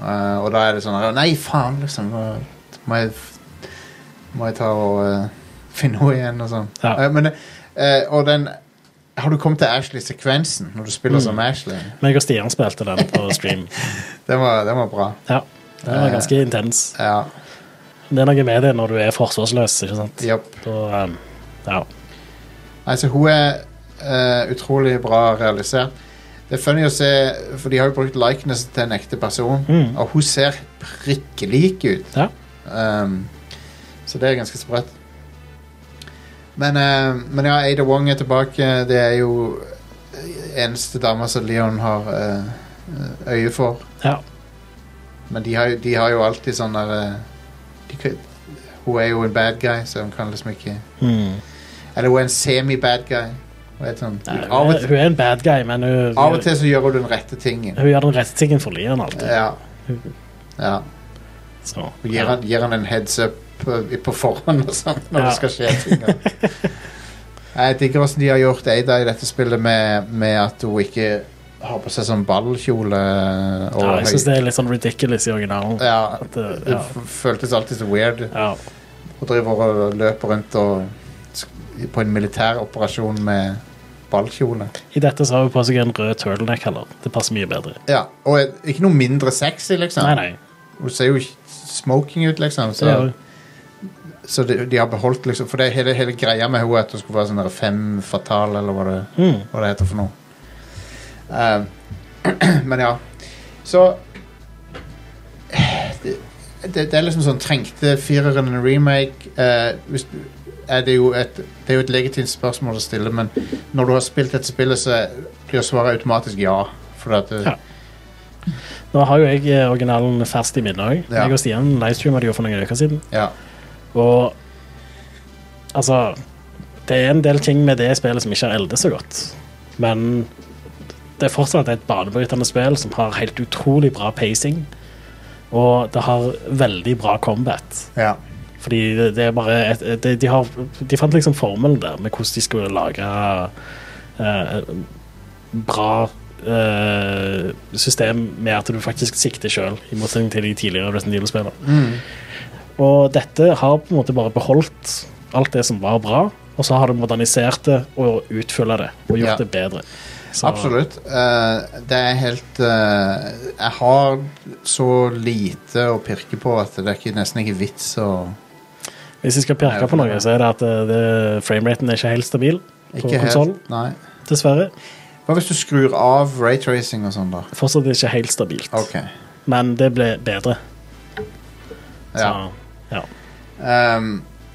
S2: Eh, og da er det sånn Nei, faen, liksom. nå Må jeg, må jeg ta og eh, finne henne igjen og sånn.
S3: Ja.
S2: Eh, men, eh, og den Har du kommet til Ashley-sekvensen når du spiller som Ashley?
S3: Meg og Stian spilte den på stream.
S2: Den var, den var bra.
S3: Ja. Den
S2: Eh.
S3: var ganske intens.
S2: Ja.
S3: Det er noe med det når du er forsvarsløs, ikke sant?
S2: Yep.
S3: Da, eh, ja.
S2: Altså, hun er eh, utrolig bra realisert. Det er funny å se, for de har jo brukt likeness til en ekte person, og hun ser prikkelik ut.
S3: ja.
S2: Um, så det er ganske sprøtt. Men, eh, men ja, Ada Wong er tilbake. Det er jo eneste dama som Leon har eh, øye for.
S3: ja.
S2: Men de har, jo- de har jo alltid sånn der eh, de, kan- Hun er jo en bad guy, så hun kan liksom ikke
S3: Mm.
S2: Eller hun er en semi-bad guy. Hun er sånn,
S3: Nei,
S2: av, og
S3: hun, er,
S2: til,
S3: hun er en bad guy, men hun,
S2: av og til så gjør hun den rette tingen.
S3: hun gjør den rette tingen for Lian alltid.
S2: Ja. ja.
S3: Så,
S2: Hun gir, han, gir han en heads up på, på forhånd og sånt når
S3: Ja.
S2: det skal skje ting. og- Jeg digger åssen de har gjort Ada i dette spillet med, med at hun ikke har på seg sånn ballkjole. Og
S3: ja, jeg syns
S2: høy-
S3: det er litt sånn ridiculous i originalen.
S2: ja,
S3: At,
S2: det,
S3: eh, ja.
S2: f- føltes alltid så weird.
S3: Ja.
S2: Hun driver og løper rundt og, sk- på en militær operasjon med ballkjole.
S3: I dette så har hun på seg en rød turtleneck heller. Det passer mye bedre.
S2: Ja, og eh, ikke noe mindre sexy, liksom.
S3: Nei, nei.
S2: Hun ser jo ikke smoking ut, liksom.
S3: Det gjør
S2: Så,
S3: hun.
S2: så de, de har beholdt liksom For det er hele, hele greia med henne er at hun skulle være sånn der fem fatal, eller hva det,
S3: Mm.
S2: hva det heter for noe. Eh, men ja. Så eh, det, det, det er liksom sånn Trengte fireren en remake? Eh, hvis du, er det, jo et, det er jo et legitimt spørsmål å stille, men når du har spilt dette spillet, så blir svaret automatisk ja. Fordi at det,
S3: Ja. Nå har jo jeg eh, originalen fast i minnet òg.
S2: Ja.
S3: Jeg og Stian livestreama det jo for noen uker siden.
S2: ja.
S3: Og altså Det er en del ting med det spillet som ikke har eldes så godt. Men det er fortsatt et banebrytende spill som har helt utrolig bra pacing. Og det har veldig bra combat.
S2: Ja.
S3: Fordi det, det er bare et, de, de, har, de fant liksom formelen der med hvordan de skulle lage eh, bra eh, system med at du faktisk sikter sjøl, i motsetning til de tidligere Resident Evil-spillene.
S2: Mm.
S3: Og dette har på en måte bare beholdt alt det som var bra, og så har det modernisert det og utfylla det og gjort
S2: Ja.
S3: det bedre. Så-
S2: Absolutt. Eh, det er helt eh, Jeg har så lite å pirke på at det er ikke, nesten ikke vits å
S3: Hvis jeg
S2: Nei,
S3: skal peke på noe, så er det at eh, det- frameraten er ikke helt stabil på
S2: ikke
S3: konsoll,
S2: helt, Nei.
S3: dessverre.
S2: Hva hvis du skrur av raytracing og sånn, da?
S3: Fortsatt ikke helt stabilt,
S2: Ok.
S3: men det ble bedre.
S2: Ja.
S3: Så, ja.
S2: Ehm,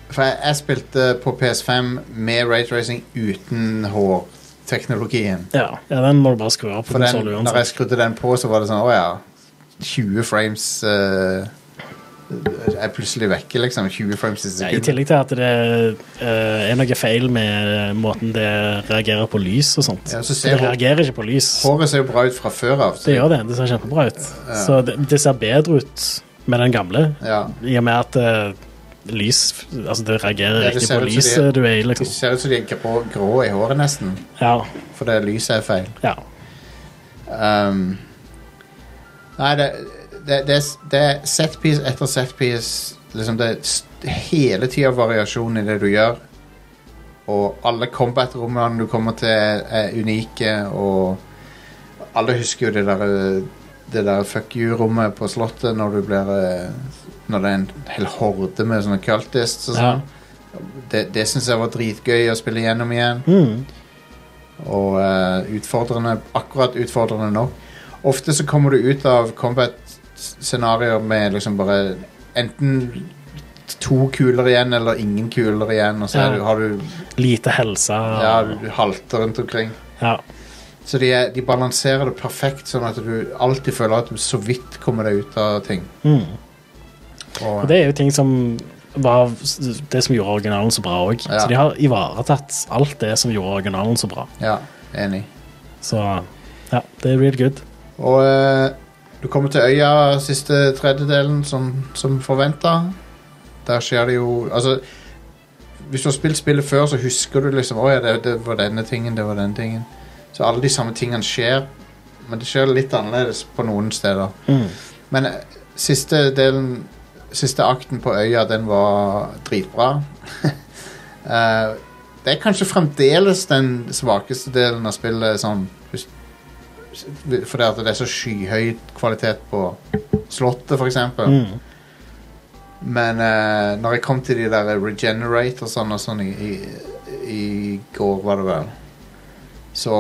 S2: for jeg, jeg spilte på PS5 med raytracing uten hårteknologien.
S3: Ja. ja, den må du bare skru av på
S2: For den,
S3: konsoll
S2: når jeg
S3: uansett.
S2: skrudde den på, så var det sånn Å ja. 20 frames eh, er plutselig vekke, liksom. 20 frames i
S3: Ja, I
S2: sekundet.
S3: tillegg til at det eh, er noe feil med eh, måten det reagerer på lys og sånt.
S2: Ja, så ser
S3: det
S2: hun-
S3: reagerer ikke på lys.
S2: Håret ser jo bra ut fra før av. så-
S3: Det gjør det. Det ser kjempebra ut. Så det, det ser bedre ut med den gamle,
S2: Ja.
S3: i og med at eh, lys Altså, det reagerer
S2: Ja, det
S3: riktig
S2: ser
S3: på
S2: ut som
S3: lyset
S2: det-
S3: du er i,
S2: De
S3: liksom.
S2: ser ut som de er grå, grå i håret nesten,
S3: Ja.
S2: for det lyset er feil.
S3: ja.
S2: Ehm, nei, det, det, det, det er setpiece etter setpiece. Liksom det er st- hele tida variasjon i det du gjør. Og alle combat-rommene du kommer til, er unike, og alle husker jo det der, det der fuck you-rommet på Slottet når du blir eh, Når det er en hel horde med sånne cultists og
S3: ja.
S2: sånn. Det, det syns jeg var dritgøy å spille gjennom igjen.
S3: Mm.
S2: Og eh, utfordrende akkurat utfordrende nok. Ofte så kommer du ut av combat-scenarioer med liksom bare enten to kuler igjen eller ingen kuler igjen, og så er
S3: Ja.
S2: du, har du
S3: Lite helse.
S2: ja, du halter rundt omkring.
S3: Ja.
S2: Så de, er, de balanserer det perfekt, sånn at du alltid føler at du så vidt kommer deg ut av ting. Og,
S3: Og det er jo ting som var det som gjorde originalen så bra òg.
S2: Ja.
S3: Så de har ivaretatt alt det som gjorde originalen så bra.
S2: Ja, enig.
S3: Så ja, det er real good.
S2: Og eh, du kommer til øya siste tredjedelen som, som forventa. Der skjer det jo Altså, hvis du har spilt spillet før, så husker du liksom Å ja, det, det var denne tingen, det var denne tingen. Så alle de samme tingene skjer, men det skjer litt annerledes på noen steder. Men eh, siste delen Siste akten på øya, den var dritbra. Eh, det er kanskje fremdeles den svakeste delen av spillet, sånn hvis fordi at det er så skyhøy kvalitet på Slottet, for eksempel.
S3: Mm.
S2: Men eh, når jeg kom til de der Regenerate og sånn og sånn i, i, i går, var det vel, så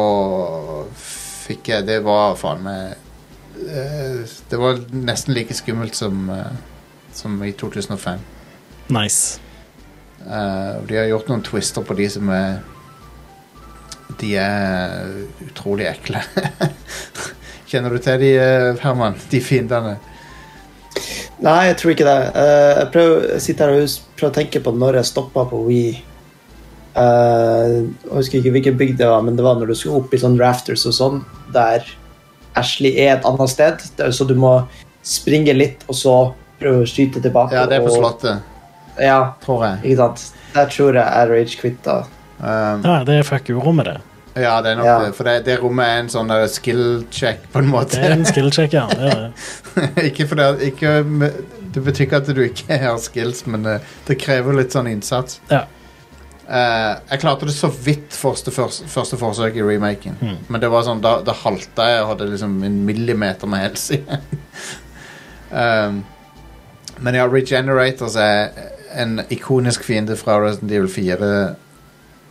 S2: fikk jeg Det var faen meg eh, Det var nesten like skummelt som, eh, som i 2005.
S3: Nice.
S2: Eh, og de har gjort noen twister på de som er De er utrolig ekle. Kjenner du til de, eh, Herman? De fiendene?
S4: Nei, jeg tror ikke det. Eh, jeg prøver, jeg sitter her og hus- prøver å tenke på når jeg stoppa på Wii. Eh, jeg husker ikke hvilken bygd det var, men det var når du skulle opp i sånn rafters og sånn, der Ashley er et annet sted, der, så du må springe litt og så prøve å skyte tilbake.
S2: Ja, det er på
S4: og-
S2: Slottet,
S4: Ja,
S2: tror jeg.
S4: ikke sant. Der tror jeg jeg rage quitta.
S2: Um,
S3: Ja, det er fuck urommet, det.
S2: ja, det er nok
S4: Ja.
S2: det. For det, det rommet er en sånn der skill check, på en
S3: Det er
S2: måte.
S3: en skill check, ja. Det er det.
S2: ikke fordi at- ikke, med- Det betyr ikke at du ikke har skills, men eh, det krever litt sånn innsats.
S3: Ja.
S2: Eh, jeg klarte det så vidt første, første, første forsøk i remaken. Men det var sånn, da, da halta jeg og hadde liksom en millimeter med helse igjen. um, men ja, Regenerators er en ikonisk fiende fra Resident Evil 4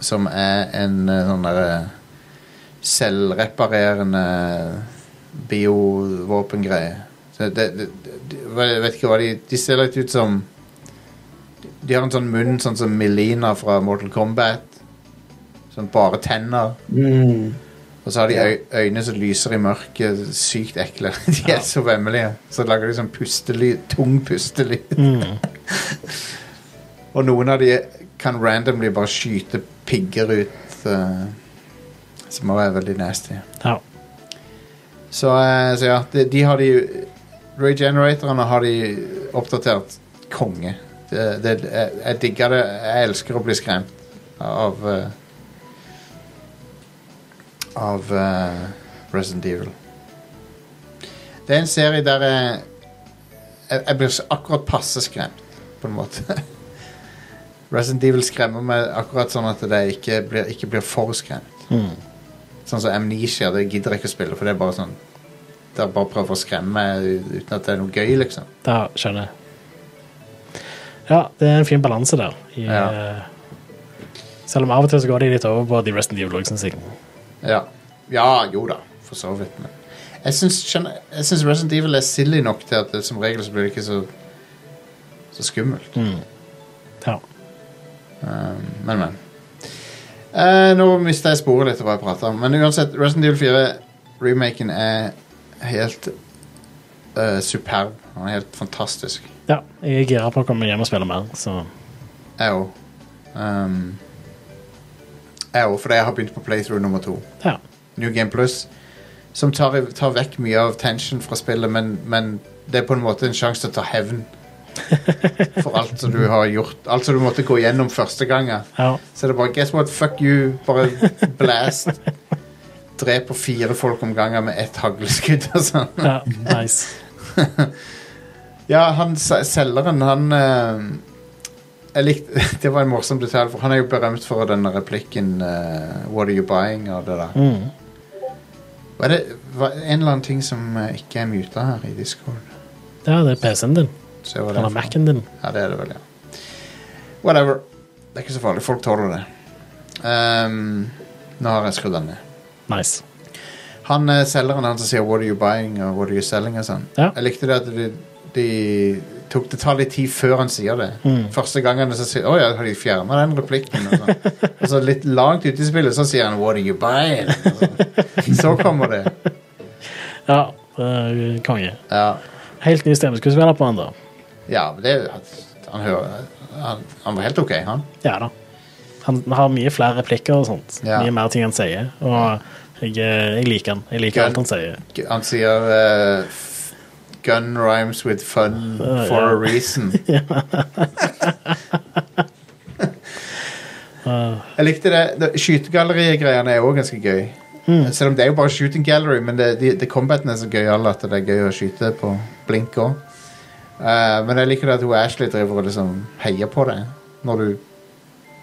S2: som er en eh, sånn derre selvreparerende biovåpengreie. Så det, det, det, jeg vet ikke hva de De ser litt ut som de har en sånn munn sånn som Melina fra Mortal Kombat. Sånn bare tenner.
S4: Mm.
S2: Og så har de øy øyne som lyser i mørket. Sykt ekle. De er så vemmelige. Så lager de sånn pustelyd. Tung pustelyd.
S3: Mm.
S2: Og noen av de kan randomly bare skyte pigger ut. eh, som også er veldig nasty.
S3: ja.
S2: Så, eh, så ja, de, de har de Regeneratorene har de oppdatert konge. Det, det, jeg, jeg digger det. Jeg elsker å bli skremt av eh, Av eh, Resident Evil. Det er en serie der jeg, jeg, jeg blir så akkurat passe skremt, på en måte. Resident Evil skremmer meg akkurat sånn at det ikke blir, ikke blir for skremt. Sånn som Amnesia, det gidder jeg ikke å spille, for det er bare sånn Det er bare prøver å skremme meg uten at det er noe gøy, liksom.
S3: Da skjønner jeg. Ja, det er en fin balanse der. I,
S2: Ja.
S3: eh, Selv om av og til så går de litt over på de Rest in Evil, syns jeg.
S2: Ja, ja jo da, for så vidt, men Jeg syns, skjønner, jeg syns Resident Evil er silly nok til at det, som regel så blir det ikke så Så skummelt.
S3: Ja.
S2: Men, men. Eh, nå mista jeg sporet litt av hva jeg prata om, men uansett, Resident Evil 4-remaken er helt eh, superb. Han er helt fantastisk.
S3: ja. Jeg er gira på å komme hjem og spille mer, så
S2: Jeg òg. Um, jeg òg, fordi jeg har begynt på playthrough nummer to.
S3: ja.
S2: New Game Plus. Som tar, tar vekk mye av tension fra spillet, men, men det er på en måte en sjanse til å ta hevn. For alt som du har gjort Alt som du måtte gå gjennom første gangen.
S3: ja.
S2: Så det er bare Guess what? Fuck you. Bare blast. Drep på fire folk om gangen med ett hagleskudd og sånn.
S3: Ja, nice.
S2: Ja, han se- selgeren, han eh, Jeg likte Det var en morsom detalj, for han er jo berømt for den replikken eh, What are you buying? og det der.
S3: Mm.
S2: Var det var en eller annen ting som eh, ikke er muta her i Discord?
S3: Ja, det er PC-en din.
S2: Så var det
S3: Eller Mac-en din.
S2: Ja, det er det vel, ja. Whatever. Det er ikke så farlig. Folk tåler det. Ehm, nå har jeg skrudd den ned.
S3: Nice.
S2: Han eh, selgeren han som sier 'What are you buying?' og 'What are you selling?' og sånn.
S3: Ja.
S2: Jeg likte det at de, de tok, det tar litt tid før han sier det. Første gangen så sier han ja, har de fjerna den replikken. Og så. og så litt langt ute i spillet så sier han What are you buying? Og Så, så kommer det.
S3: Ja, eh, konge.
S2: Ja,
S3: Helt ny stemmeskuespiller på han, da.
S2: ja men det han, hører, han, han var helt ok, han.
S3: Ja da. Han har mye flere replikker og sånt.
S2: Ja.
S3: Mye mer ting han sier. Og jeg, eh, jeg liker han. Jeg liker
S2: Gun.
S3: alt han sier.
S2: G- Han sier eh, f- Gun rhymes with fun
S3: Ah,
S2: for
S3: ja.
S2: a reason. Jeg likte det. det- Skytegalleriet-greiene er òg ganske gøy.
S3: Hmm.
S2: Selv om det er jo bare shooting gallery, men det, de, de combaten er så gøyal at det er gøy å skyte på blink òg. men jeg liker det at hun Ashley driver og liksom heier på det når du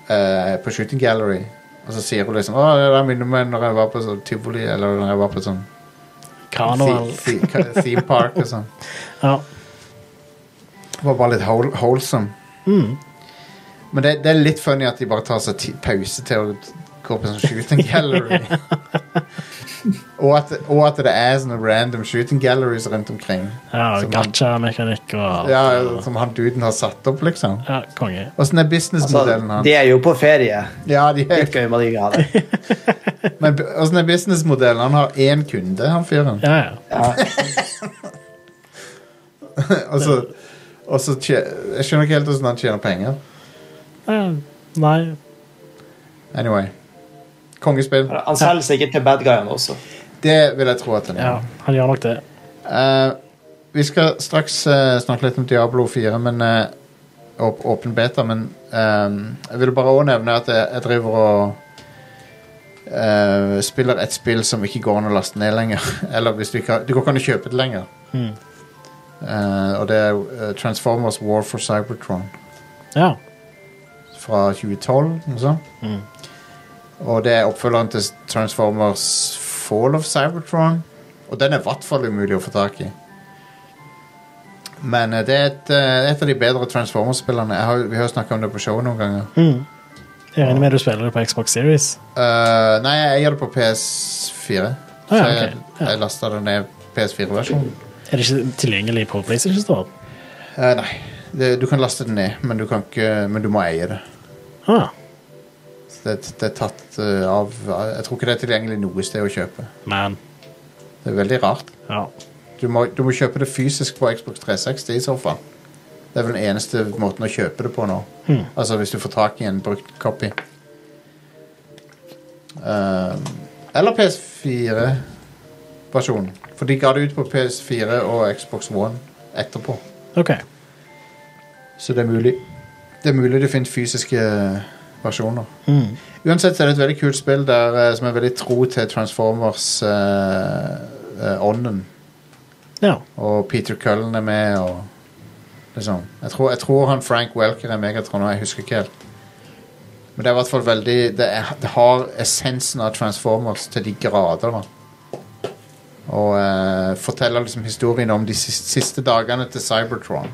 S2: eh, er på shooting gallery. Og så sier hun liksom Å, det der minner meg når jeg var på sånn tivoli, eller når jeg var på sånn
S3: Karneval.
S2: The- the- Theme park og sånn.
S3: Ja.
S2: Det var bare litt hol wholesome. Men det, det er litt funny at de bare tar seg ti- pause til å gå på sånn shooting gallery. og, at, og at det er sånne random shooting galleries rundt omkring.
S3: ja
S2: Som han-
S3: Gacha-mekanikk og alt.
S2: Ja, som han duden har satt opp, liksom.
S3: Ja, konge.
S2: Åssen er
S4: Altså,
S2: businessmodellen hans?
S4: de er jo på ferie.
S2: Ja, de er,
S4: Litt gøy må de ikke ha det.
S2: men b- åssen er businessmodellen? Han har én kunde, han fyren.
S3: Ja, ja.
S2: Og så, og så tje, Jeg skjønner ikke helt åssen han tjener penger.
S3: Eh, Nei.
S2: Anyway. Kongespill.
S4: Han selger seg ikke til bad guyene også.
S2: Det vil jeg tro at han gjør.
S3: Ja, han gjør nok det.
S2: Eh, vi skal straks eh, snakke litt om Diablo 4, men eh, åp- åpen beta, men ehm, jeg vil bare også nevne at jeg, jeg driver og eh, spiller et spill som ikke går an å laste ned lenger. Eller hvis du ikke har Du går ikke an å kjøpe det lenger. Eh, og det er eh, Transformers War for Cybertron
S3: Ja.
S2: fra 2012. Noe sånt.
S3: Mm.
S2: Og det er oppfølgeren til Transformers Fall of Cybertron. Og den er i hvert fall umulig å få tak i. Men eh, det er et, eh, et av de bedre Transformers-spillerne. Jeg har- Vi har jo snakka om det på showet noen ganger.
S3: Jeg regner med du spiller Mm. det på Xbox Series.
S2: Eh, nei, jeg eier det på PS4.
S3: Ah, ja,
S2: så jeg,
S3: ok. Ja.
S2: jeg lasta det ned PS4-versjonen.
S3: Er det ikke tilgjengelig på PlayStation Store?
S2: Eh, nei, det, du kan laste det ned, men du, kan ikke, men du må eie det.
S3: Ah,
S2: Så Det, det er tatt eh, av Jeg tror ikke det er tilgjengelig noe sted å kjøpe.
S3: man.
S2: Det er veldig rart.
S3: Ja.
S2: Du må, du må kjøpe det fysisk på Xbox 360 i så fall. Det er vel den eneste måten å kjøpe det på nå. Altså hvis du får tak i en brukt copy. Ehm, eller PS4-versjonen. For de ga det ut på PS4 og Xbox One etterpå.
S3: OK.
S2: Så det er mulig. Det er mulig det finnes fysiske versjoner. Uansett så er det et veldig kult spill der, eh, som er veldig tro til eh, Transformers-ånden.
S3: Ja.
S2: Og Peter Cullen er med og liksom. jeg, tror, jeg tror han Frank Welker er Megatron, og jeg husker ikke helt. Men det er i hvert fall veldig Det, er, det har essensen av Transformers til de grader. da. Og eh, forteller liksom historien om de siste, siste dagene til Cybertron.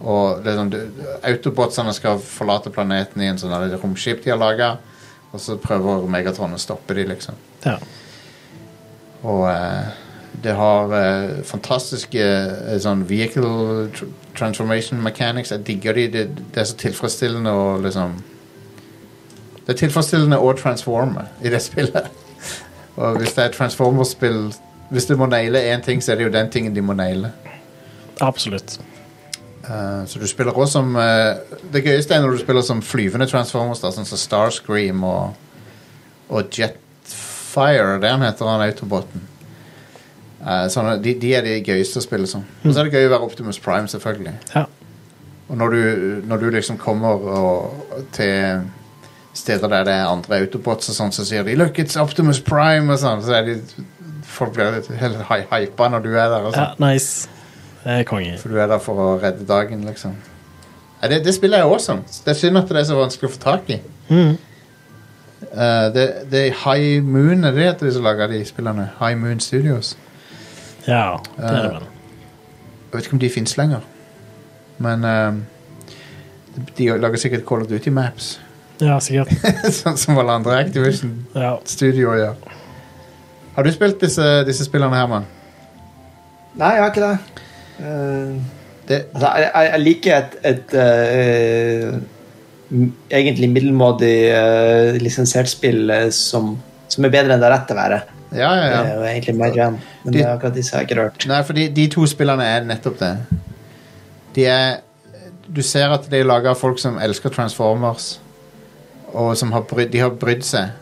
S2: Og liksom, du- Autobotsene skal forlate planeten i en sånn her romskip de har laga, og så prøver Megatron å stoppe de liksom.
S3: ja.
S2: Og eh, det har eh, fantastiske eh, sånn vehicle tr transformation mechanics. Jeg digger de. Det, det er så tilfredsstillende å liksom Det er tilfredsstillende å transforme i det spillet. Og hvis det er et transformerspill Hvis du må naile én ting, så er det jo den tingen de må naile.
S3: Absolutt.
S2: Eh, så du spiller også som eh, Det gøyeste er når du spiller som flyvende Transformers, da, sånn som Starscream og, og Jetfire. Det han heter han autoboten. Eh, sånne, de, de er de gøyeste å spille som. Og så er det gøy å være Optimus Prime, selvfølgelig.
S3: Ja.
S2: Og når du, når du liksom kommer og, til steder der det er andre autobots, og sånn, så sier de 'Look, it's Optimus Prime', og sånn. Så er de, folk blir litt helt hy- hypa når du er der. og sånn.
S3: ja nice. Det er konge.
S2: For du er der for å redde dagen, liksom. Nei, det, det spillet er awesome. Det er synd at det er så vanskelig å få tak i. Eh, det, det er High Moon er det det heter de som lager de spillene. High Moon Studios.
S3: Ja, det er det vel.
S2: Jeg vet ikke om de fins lenger. Men eh, de lager sikkert Call of Duty Maps.
S3: Ja, sikkert.
S2: sånn som alle andre Activision
S3: Ja.
S2: Studio gjør. Har du spilt disse, disse spillene, Herman?
S4: Nei, jeg har ikke det. Eh,
S2: Det,
S4: Altså, jeg, jeg- jeg liker et, et eh, m- egentlig middelmådig eh, lisensiert spill eh, som, som er bedre enn det har rett til å være.
S2: ja, ja,
S4: Det
S2: ja.
S4: er jo egentlig mer jam, men
S2: De-
S4: det er akkurat disse har jeg ikke rørt.
S2: Nei, for de, de to spillene er nettopp det. De er Du ser at de er laga av folk som elsker Transformers, og som har brydd, de har brydd seg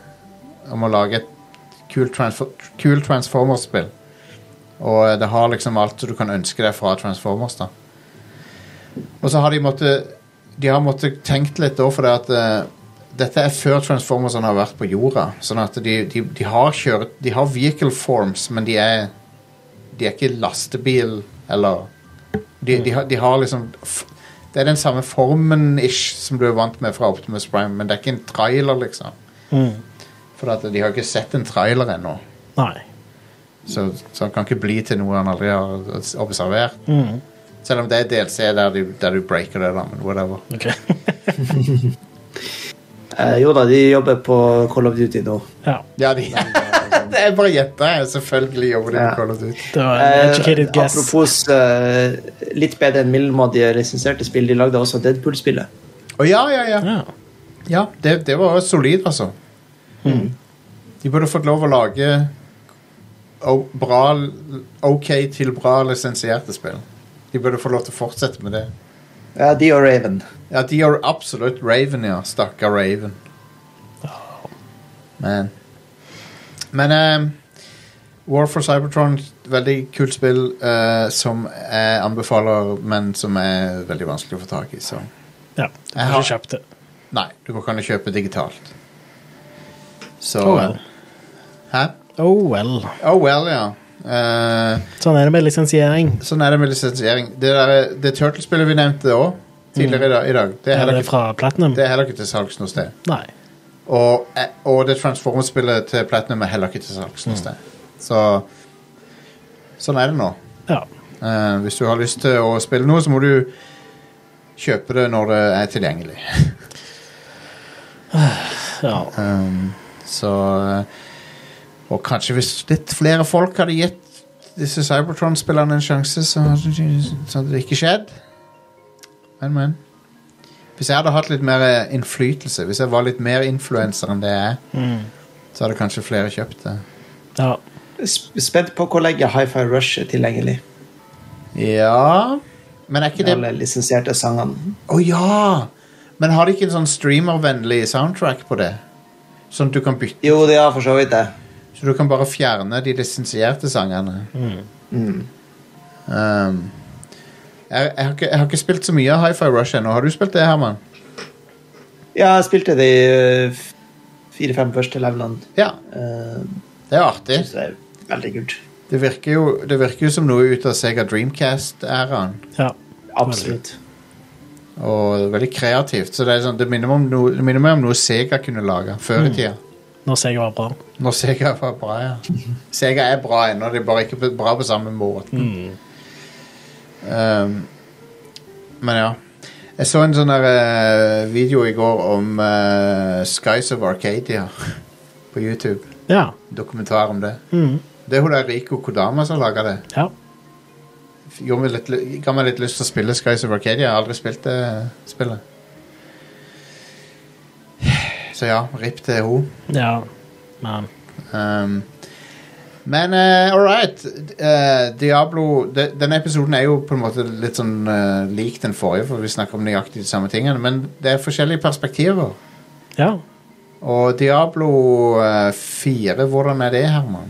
S2: om å lage et kult transfor, kul Transformers-spill. Og det har liksom alt du kan ønske deg fra Transformers, da. Og så har de måttet De har måttet tenkt litt da, for det at eh, dette er før Transformersene har vært på jorda. Sånn at de, de, de har kjørt De har vehicle forms, men de er de er ikke lastebil eller De, de, har, de har liksom f- Det er den samme formen ish som du er vant med fra Optimus Prime, men det er ikke en trailer, liksom. For at de har ikke sett en trailer ennå,
S3: Nei.
S2: så, så han kan ikke bli til noe han aldri har observert. Selv om det er DLC der du, der du breaker det, da, men whatever.
S3: Ok.
S4: Eh, jo da, de jobber på Call of Duty nå.
S3: Ja.
S2: Ja, de, det er bare å gjette. Selvfølgelig jobber de
S4: Ja.
S2: med Call of Duty.
S3: Det var
S4: Eh,
S3: en educated guess.
S4: apropos eh, litt bedre enn middelmådige lisensierte spill, de lagde også Deadpool-spillet.
S2: Å ja, ja, ja.
S3: Ja.
S2: Ja, det, det var også solid, altså. De burde fått lov å lage o- bra, OK til bra lisensierte spill. De burde få lov til å fortsette med det.
S4: Ja, de og Raven.
S2: Ja, de gjør absolutt Raven, ja. Stakkar Raven. Men Men ehm, War for Cybertron, veldig kult spill eh, som jeg anbefaler, men som er veldig vanskelig å få tak i. Så
S3: ja. Du
S2: Jeg
S3: har
S2: har-
S3: ikke kjøpt det.
S2: nei, du går ikke an å kjøpe digitalt. Så
S3: Oh well.
S2: eh, Hæ?
S3: Oh well.
S2: Oh well, ja. Eh,
S3: Sånn er det med lisensiering.
S2: sånn er det med lisensiering. Det, der- det Turtle-spillet vi nevnte òg, tidligere i dag, i dag det, er
S3: Er
S2: heller
S3: det
S2: ikke,
S3: fra Platinum?
S2: det er heller ikke til salgs noe sted.
S3: Nei.
S2: Og, eh, og det Transformers-spillet til Platinum er heller ikke til salgs
S3: Mm.
S2: noe sted. Så sånn er det nå.
S3: Ja.
S2: Eh, hvis du har lyst til å spille noe, så må du kjøpe det når det er tilgjengelig.
S3: ja.
S2: Um, så eh, Og kanskje hvis litt flere folk hadde gitt disse Cybertron-spillerne en sjanse, så hadde, de- så hadde det ikke skjedd. Men, men. Hvis jeg hadde hatt litt mer eh, innflytelse, hvis jeg var litt mer influenser enn det jeg er, så hadde kanskje flere kjøpt det.
S3: ja.
S4: Sp- Spent på hvor lenge Hi-Fi Rush er tilgjengelig.
S2: Ja Men er ikke det Å
S4: Alle lisensierte sangene.
S2: ja! Men har de ikke en sånn streamervennlig soundtrack på det? Sånn at du kan bytte
S4: Jo, de har for så vidt det.
S2: Så du kan bare fjerne de lisensierte sangene. Um, jeg, jeg, har ikke, jeg har ikke spilt så mye av Hi-Fi Rush ennå. Har du spilt det, Herman?
S4: Ja, jeg spilte de eh, fire-fem første levelene.
S2: Ja,
S4: Eh,
S2: det er artig.
S4: så det er veldig kult.
S2: Det virker jo, det virker jo som noe ut av Sega Dreamcast-æraen.
S3: ja.
S4: Absolutt.
S2: Og veldig kreativt. Så det, er sånn, det, minner meg om noe, det minner meg om noe Sega kunne lage før i tida.
S3: Nå ser jeg var bra.
S2: Når Sega var bra, ja. Sega er bra ennå, det er bare ikke bra på samme måten. Um, men ja. Jeg så en sånn der, eh, video i går om eh, Skies of Arcadia på YouTube.
S3: Ja.
S2: Dokumentar om det.
S3: Mm.
S2: Det er hun der Riko Kodama som laga det.
S3: Ja.
S2: Gjorde meg litt, ly- ga meg litt lyst til å spille Skies of Arcadia. Jeg har aldri spilt det eh, spillet. Så ja, ripp til henne.
S3: ja. Men
S2: Um, men eh, all right. Eh, Diablo de, Denne episoden er jo på en måte litt sånn eh, lik den forrige, for vi snakker om nøyaktig de samme tingene, men det er forskjellige perspektiver.
S3: ja.
S2: Og Diablo eh, 4, hvordan er det, Herman?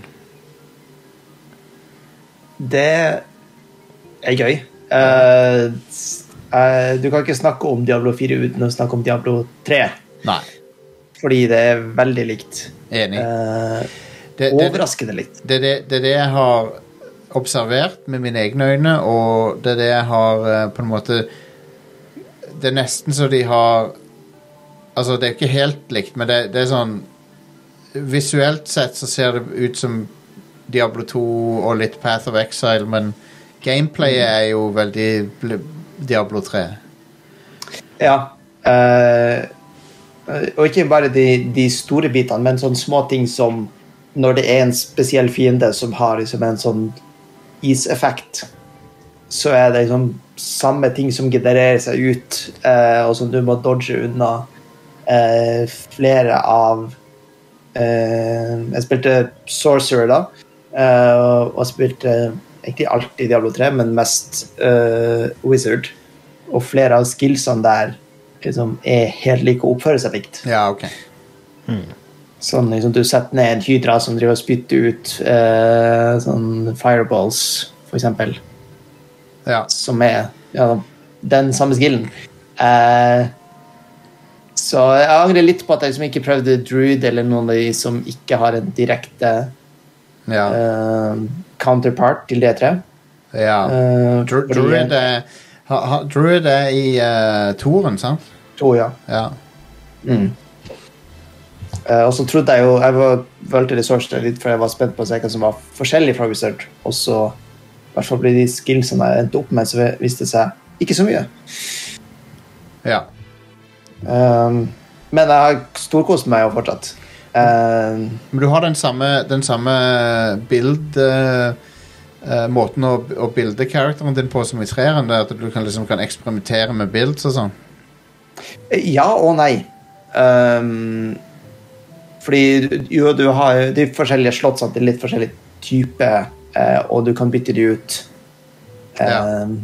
S4: Det er gøy. Eh, s- eh, du kan ikke snakke om Diablo 4 uten å snakke om Diablo 3,
S2: Nei.
S4: fordi det er veldig likt.
S2: Enig.
S4: Eh,
S2: det, det, det,
S4: overraskende likt.
S2: det, det er det jeg har observert med mine egne øyne, og det er det jeg har eh, på en måte Det er nesten så de har Altså, det er ikke helt likt, men det, det er sånn Visuelt sett så ser det ut som Diablo 2 og litt Path of Exile, men gameplayet
S4: Mm.
S2: er jo veldig bl- Diablo 3.
S4: Ja. eh, og ikke bare de, de store bitene, men sånne små ting som når det er en spesiell fiende som har liksom en sånn iseffekt, så er det liksom samme ting som genererer seg ut, eh, og som du må dodge unna eh, flere av eh, Jeg spilte Sorcerer, da, eh, og spilte egentlig alltid Diablo 3, men mest eh, Wizard. Og flere av skillsene der liksom, er helt like og oppfører seg likt.
S2: Ja, ok.
S4: Sånn liksom du setter ned en hydra som driver og spytter ut eh, sånn fireballs, for eksempel,
S2: Ja.
S4: som er ja, den samme skillen. Eh, så jeg angrer litt på at jeg liksom ikke prøvde druid eller noen av de som ikke har en direkte
S2: ja.
S4: eh, counterpart til D3.
S2: ja.
S4: Eh,
S2: Dru-
S4: fordi-
S2: Druid er, ha, ha, Druid er i uh, Toren, sant?
S4: To, ja. Mm.
S2: Ja.
S4: Eh, og så trodde jeg jo Jeg var, valgte ressursene litt for jeg var spent på å se hva som var forskjellig fra Wizard. Og så, i hvert fall ble de skillsene jeg endte opp med, så viste det seg ikke så mye.
S2: ja.
S4: Um, men jeg har storkost meg jo fortsatt. Um,
S2: Men du har den samme, den samme bild eh, eh, Måten å, å bilde karakteren din på som i treeren, det er at du kan, liksom, kan eksperimentere med bilder og sånn.
S4: ja og nei. Um, fordi jo, du har de forskjellige slottsene til litt forskjellig type, eh, og du kan bytte de ut.
S2: Ja.
S4: Um,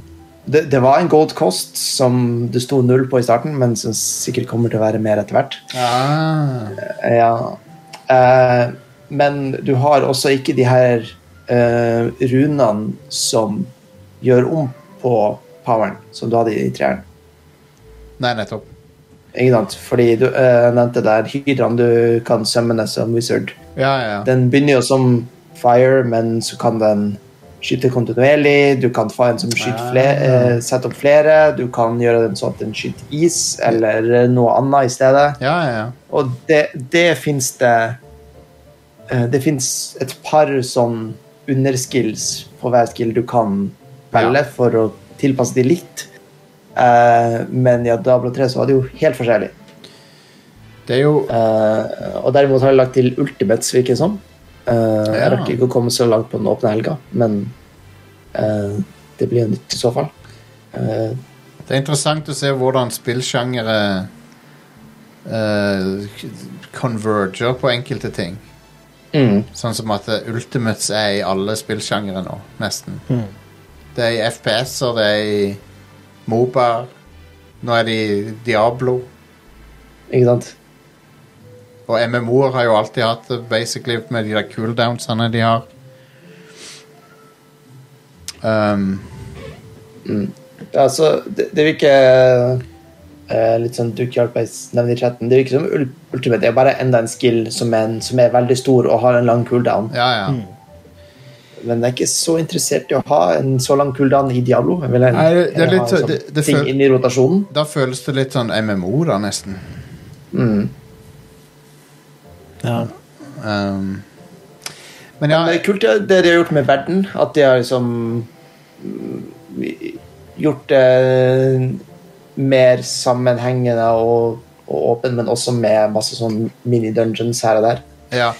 S4: det, det var en gold cost som det sto null på i starten, men som sikkert kommer til å være mer etter hvert.
S2: Ah,
S4: Ja. Eh, men du har også ikke de her eh, runene som gjør om på poweren som du hadde i treeren.
S2: nei, nettopp.
S4: Ikke sant? Fordi du eh, nevnte der hydraen du kan summone som wizard.
S2: Ja, ja. ja.
S4: Den begynner jo som fire, men så kan den skyte kontinuerlig. Du kan få en som skyter flere, eh, setter opp flere. Du kan gjøre den sånn at den skyter is eller noe annet i stedet.
S2: ja, ja, ja.
S4: Og det, det fins det eh, Det fins et par sånn underskills på hver skill du kan velge for å tilpasse de litt. Eh, men i Diablo 3 så var det jo helt forskjellig.
S2: Det er jo
S4: Eh, og derimot har jeg lagt til Ultimates, virker det som. Eh, Jeg rakk ikke å komme så langt på den åpne helga, men eh, det blir jo nytt i så fall. Eh,
S2: Det er interessant å se hvordan spillsjangere eh, converger på enkelte ting.
S4: mm,
S2: Sånn som at eh, Ultimates er i alle spillsjangere nå, nesten. Det er i FPS-er, det er i Mobar, nå er det i Diablo.
S4: ikke sant?
S2: Og MMO-er har jo alltid hatt det, basically, med de der cooldownsene de har. Um,
S4: Ja, så det, det virker eh, litt sånn Duke Hjelpeis nevner i chatten. Det virker som ul- Ultimate er bare enda en skill som er, en, som er veldig stor og har en lang cooldown.
S2: ja, ja.
S4: Men jeg er ikke så interessert i å ha en så lang cooldown i Diablo. Jeg vil
S2: Nei, det- det er
S4: heller ha
S2: litt-
S4: en sånn
S2: det- det
S4: ting
S2: føl-
S4: inn i rotasjonen.
S2: Da føles det litt sånn MMO, da, nesten.
S3: Ja.
S2: Um, men ja,
S4: Men det er kult ja, det de har gjort med verden. At de har liksom mm, gjort det mer sammenhengende og, og åpen, men også med masse sånn mini-dungeons her og der.
S2: Ja.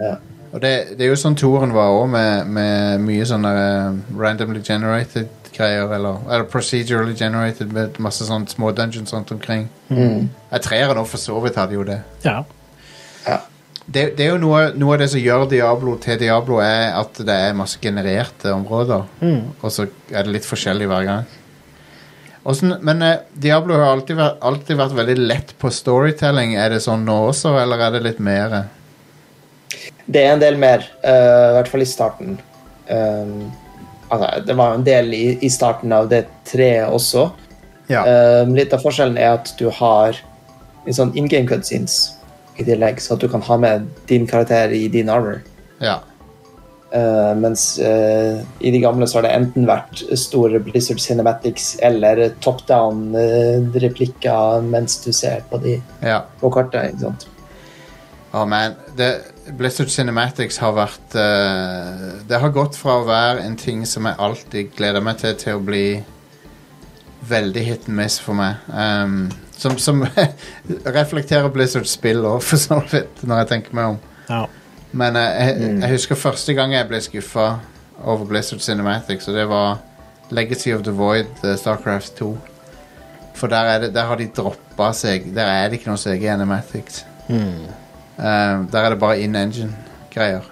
S4: Ja.
S2: Og det, det er jo sånn Toren var òg, med, med mye sånne eh, randomly generated greier. Eller, eller procedurally generated med masse sånne små dungeons rundt omkring. Jeg trer nå for så vidt hadde jo det.
S3: ja.
S4: Ja.
S2: Det, det er jo noe, noe av det som gjør Diablo til Diablo, er at det er masse genererte områder. Og så er det litt forskjellig hver gang. Åssen- men eh, Diablo har alltid vært, alltid vært veldig lett på storytelling. Er det sånn nå også, eller er det litt mer? eh?
S4: Det er en del mer, eh, i hvert fall i starten. Um, altså, det var jo en del i, i starten av det treet også.
S2: Ja.
S4: Um, litt av forskjellen er at du har en sånn in game cutscenes i tillegg, så at du kan ha med din karakter i din armor.
S2: ja.
S4: Eh, mens eh, i de gamle så har det enten vært store Blizzard Cinematics eller top down-replikker mens du ser på de
S2: ja.
S4: på kartet. ikke sant?
S2: Å, man. Det, Blizzard Cinematics har vært eh, Det har gått fra å være en ting som jeg alltid gleder meg til, til å bli veldig hit and miss for meg. Ehm, som som reflekterer Blizzards spill òg, for så vidt, når jeg tenker meg om.
S3: ja.
S2: Men eh, jeg, jeg husker første gang jeg ble skuffa over Blizzard Cinematics, og det var Legacy of the Void, eh, Starcraft 2. For der, er det, der har de droppa seg Der er det ikke noe CG Animatics. Eh, der er det bare in engine-greier.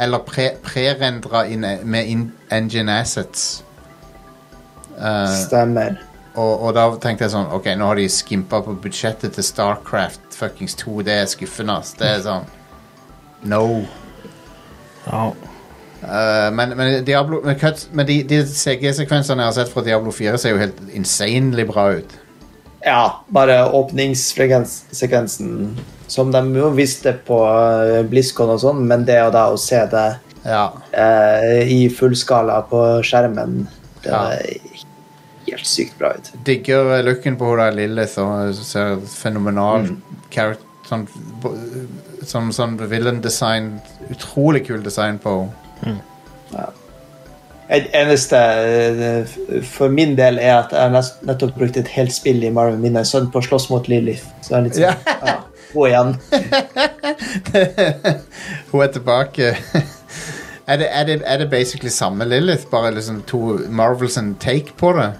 S2: Eller pre- prerendra pre med in engine assets. Eh,
S4: Stemmer.
S2: og, og da tenkte jeg sånn Ok, nå har de skimpa på budsjettet til Starcraft fuckings 2. Det er skuffende, ass. Det er sånn No.
S3: Ja.
S2: Eh, men, men Diablo Men, cuts- men de, de CG-sekvensene jeg har sett fra Diablo 4, ser jo helt insanely bra ut.
S4: Ja, bare åpningssekvensen som de jo visste på eh, BlizzCon og sånn, men det å da å se det
S2: Ja.
S4: eh, i fullskala på skjermen, det
S2: Ja.
S4: var helt sykt bra ut.
S2: Digger eh, looken på hun der Lilith og ser fenomenal
S4: Mm.
S2: character Sånn, bo- som sånn villain design Utrolig kul design på henne.
S4: Et eneste eh, f- for min del er at jeg nest- nettopp brukte et helt spill i Marvin Minne Sønn på å slåss mot Lilith. Så jeg er litt sånn, ja, gå igjen.
S2: Hun er tilbake. er, det, er, det, er det basically samme Lilith, bare liksom to Marvels and take på det?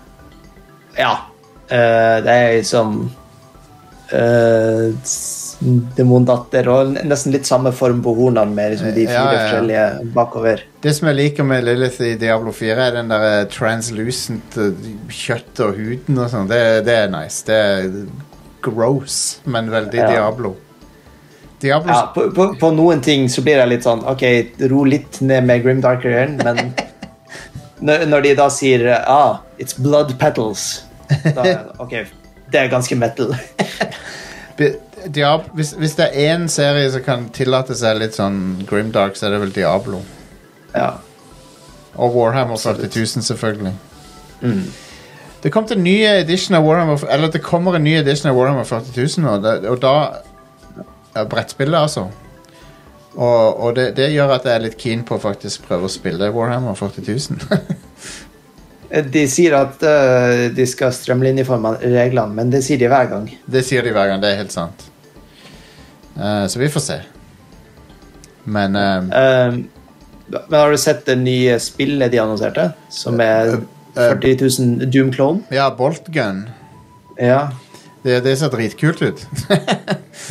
S4: Ja. eh, det er liksom eh, s- Demondatter og n- nesten litt samme form på hornene med liksom, de
S2: Ja,
S4: fire
S2: ja, ja.
S4: forskjellige bakover.
S2: Det som jeg liker med Lilith i Diablo 4, er den der eh, translucent eh, kjøtt og huden og sånn. Det, det er nice. Det er gross, men veldig
S4: Ja.
S2: Diablo. Diablo
S4: Ja, på, på, på noen ting så blir jeg litt sånn Ok, ro litt ned med Grim Darker-en, men når, når de da sier ah, It's blood petals, da er jeg, Ok, det er ganske metal.
S2: Bi- Diab hvis, hvis det er én serie som kan tillate seg litt sånn grimdark, så er det vel Diablo.
S4: ja.
S2: Og Warhammer 40 000, selvfølgelig. Det kom til en ny edition av Warhammer Eller det kommer en ny edition av Warhammer 40 000 nå, det- og da ja, Brettspillet, altså. Og, og det, det gjør at jeg er litt keen på å faktisk prøve å spille Warhammer 40 000.
S4: De sier at eh, de skal strømlinjeforme reglene, men det sier de hver gang.
S2: Det sier de hver gang, det er helt sant. Eh, så vi får se. Men eh,
S4: Eh, men har du sett det nye spillet de annonserte? Som er 40 000 Doom Clone?
S2: Ja, Boltgun.
S4: Ja.
S2: Det, det ser dritkult ut.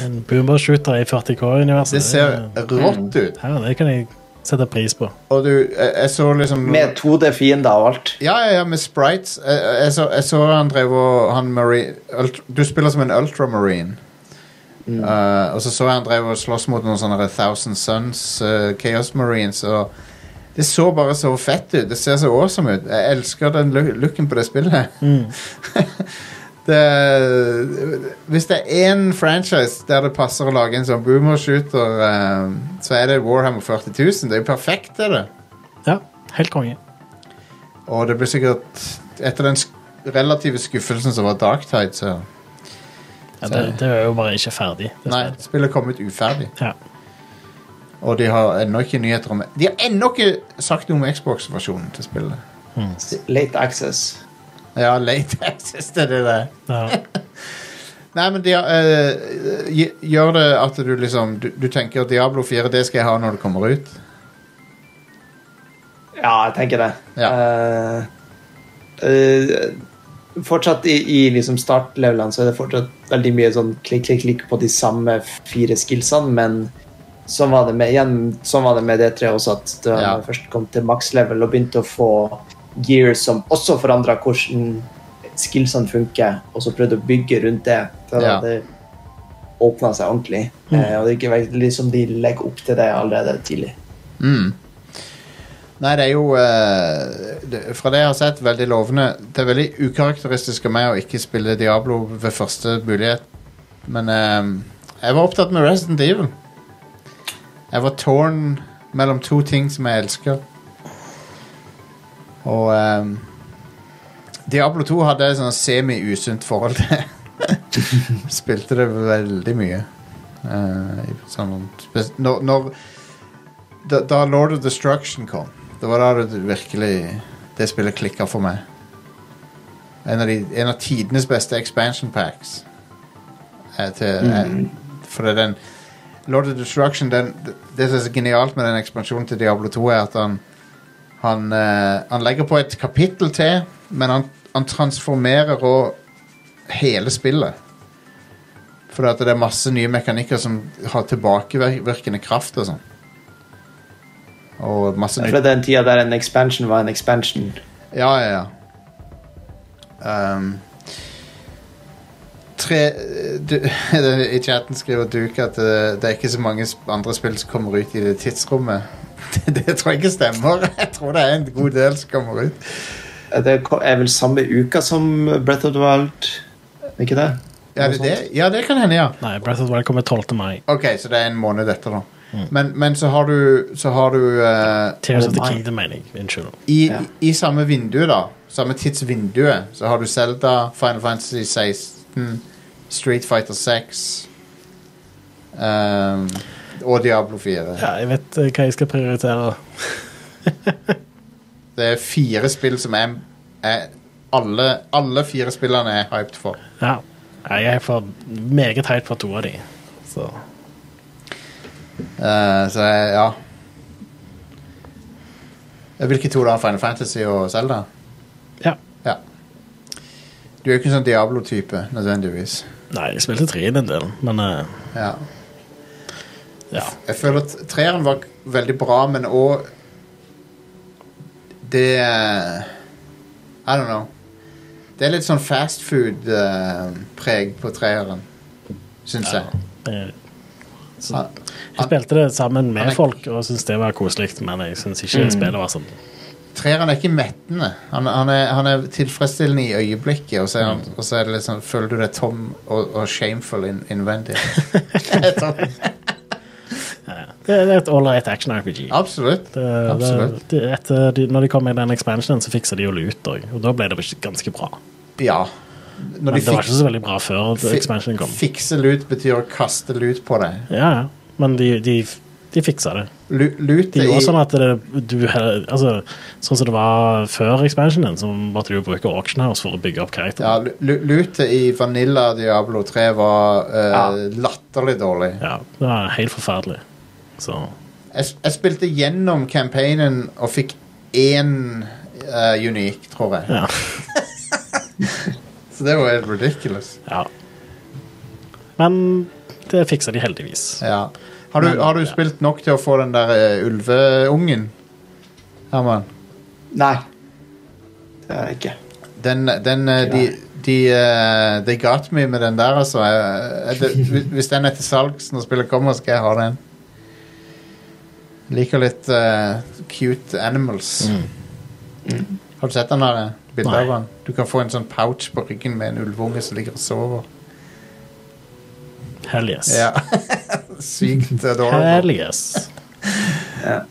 S3: En boomershooter i 40K-universet.
S2: Det ser rått ut.
S3: Ja, det kan jeg sette pris på.
S2: Og du, jeg, jeg så liksom
S4: Med 2D-fiender og alt.
S2: Ja, ja, ja, med sprites. Jeg, jeg, så, jeg så han drev og han Marine, ultra, Du spiller som en ultramarine. Uh, og så så jeg han drev og sloss mot noen sånne Thousand Sons uh, Chaos Marines. Og det så bare så fett ut. Det ser så awesome ut. Jeg elsker den lu- looken på det spillet. det, hvis det er én franchise der det passer å lage en sånn boomershooter, uh, så er det Warhammer 40 000. Det er jo perfekt, det er det.
S3: Ja, helt konge.
S2: Og det blir sikkert Etter den sk relative skuffelsen som var Darktide, så
S3: Ja, det, det er jo bare ikke ferdig. Det
S2: Nei,
S3: spillet.
S2: spillet kom ut uferdig.
S3: Ja.
S2: Og de har ennå ikke nyheter om De har ennå ikke sagt noe om Xbox-versjonen til spillet.
S4: Late access.
S2: Ja, late access til det der.
S3: Ja.
S2: Nei, men de, har, eh, gj- gjør det at du liksom du, du tenker Diablo 4, det skal jeg ha når det kommer ut.
S4: Ja, jeg tenker det.
S2: Ja.
S4: Eh, eh, fortsatt i, i liksom startlevelene så er det fortsatt veldig mye sånn klikk, klikk, klikk på de samme fire skillsene, men sånn var det med, igjen, sånn var det med D3 også, at da
S2: Ja.
S4: jeg først kom til max-level og begynte å få gear som også forandra hvordan skillsene funker, og så prøvde å bygge rundt det. Da
S2: Ja. Mm.
S4: det åpna seg ordentlig. Eh, og det er ikke veldig som de legger opp til det allerede tidlig.
S2: Nei, det er jo eh, det, Fra det jeg har sett, veldig lovende. Det er veldig ukarakteristisk av meg å ikke spille Diablo ved første mulighet. Men eh, jeg var opptatt med Resident Evil. Jeg var torn mellom to ting som jeg elsker. Og eh, Diablo 2 hadde et sånn semi-usunt forhold til. Spilte det veldig mye. Eh, i sånn, spes- når, når da, da Lord of Destruction kom, det var da det virkelig Det spillet klikka for meg. En av, de, en av tidenes beste expansion packs. Eh, til, eh, for det er den Lord of Destruction den, Det som er så genialt med den ekspansjonen til Diablo 2, er at han Han, eh, han legger på et kapittel til, men han, han transformerer òg hele spillet. Fordi at det er masse nye mekanikker som har tilbakevirkende kraft og sånn. Og masse nytt
S4: Fra den tida der en expansion var en expansion.
S2: Ja, ja, ja. Um, tre, du, I chatten skriver Duke at eh, det er ikke så mange sp- andre spill som kommer ut i det tidsrommet. Det, det tror jeg ikke stemmer. Jeg tror det er en god del som kommer ut.
S4: Det ko- er vel samme uka som Breath of the Wild, ikke det?
S2: Ja, det, det, ja, det kan hende, ja.
S3: Nei, Breath of the Wild kommer 12. mai.
S2: Ok, så det er en måned etter, da. Men, men så har du, så har du eh,
S3: Tears of the
S4: Nei.
S3: Kingdom, mener jeg. Unnskyld.
S2: i,
S4: Ja.
S2: I samme vindu, da. Samme tidsvinduet. Så har du Zelda, Final Fantasy 16, Street Fighter 6 ehm, og Diablo 4.
S3: Ja, jeg vet eh, hva jeg skal prioritere.
S2: Det er fire spill som er, er alle, alle fire spillene er hyped for.
S3: Ja. Nei, Jeg er for meget heit for to av de. Så
S2: Eh, så jeg- ja Eh, Hvilke to da? Final Fantasy og Zelda?
S3: ja.
S2: Ja. Du er jo ikke en sånn Diablo-type, nødvendigvis.
S3: Nei, jeg spilte tre i den delen, men eh,
S2: Ja.
S3: ja.
S2: Jeg føler at treeren var k- veldig bra, men òg Det eh, I don't know. Det er litt sånn fast food-preg på treeren, syns jeg.
S3: eh, Så,
S2: Han-
S3: jeg spilte det sammen
S2: han er- Mm.
S3: med folk og syntes det var koselig, men jeg syns ikke spillet var sånn.
S2: Treeren er ikke mettende. Han, han, er, han er tilfredsstillende i øyeblikket, og så, er han,
S3: Mm.
S2: og så er det litt sånn, føler du deg tom og, og shameful inn- innvendig.
S3: Det det er et ålreit action-RPG.
S2: Absolutt.
S3: Det, det,
S2: Absolutt.
S3: det, etter de, når de kom med den expansionen, så fiksa de jo lut òg, og da ble det ganske bra.
S2: Ja. Når
S3: Men
S2: de
S3: det var
S2: fik,
S3: ikke så veldig bra før
S2: fi-
S3: expansionen kom.
S2: fikse lut, betyr å kaste lut på deg.
S3: Ja, ja. Men de, de, de fiksa det.
S2: Lu- Lut
S3: De
S2: er
S3: gjorde
S2: i-
S3: sånn at det, du he- altså, Sånn som det var før expansionen, så måtte du jo bruke auction house for å bygge opp
S2: Ja,
S3: karakteren.
S2: lu- lu- lute i Vanilla Diablo 3 var eh, latterlig dårlig.
S3: Ja. det var helt forferdelig. Så
S2: Jeg, s- jeg spilte gjennom campaignen og fikk én eh, unik, tror jeg.
S3: ja.
S2: Så det var helt ridiculous.
S3: ja. Men det fiksa de heldigvis.
S2: Ja. Har, du, har du spilt nok til å få den der eh, ulveungen, Herman?
S4: Nei. Det er det ikke.
S2: Den, den eh, de, de, eh, they got me med den der, altså. Jeg- jeg- det- hvis- Hvis den er til salgs når spillet kommer, skal jeg ha den. Liker litt eh, cute animals.
S4: Mm.
S2: Har du sett den der eh, bildet
S3: Nei.
S2: av den? Du kan få en sånn pouch på ryggen med en ulveunge som ligger og sover.
S3: Hell yes.
S2: Ja. Sykt eh, adorable.
S3: Hell yes.
S4: Eh,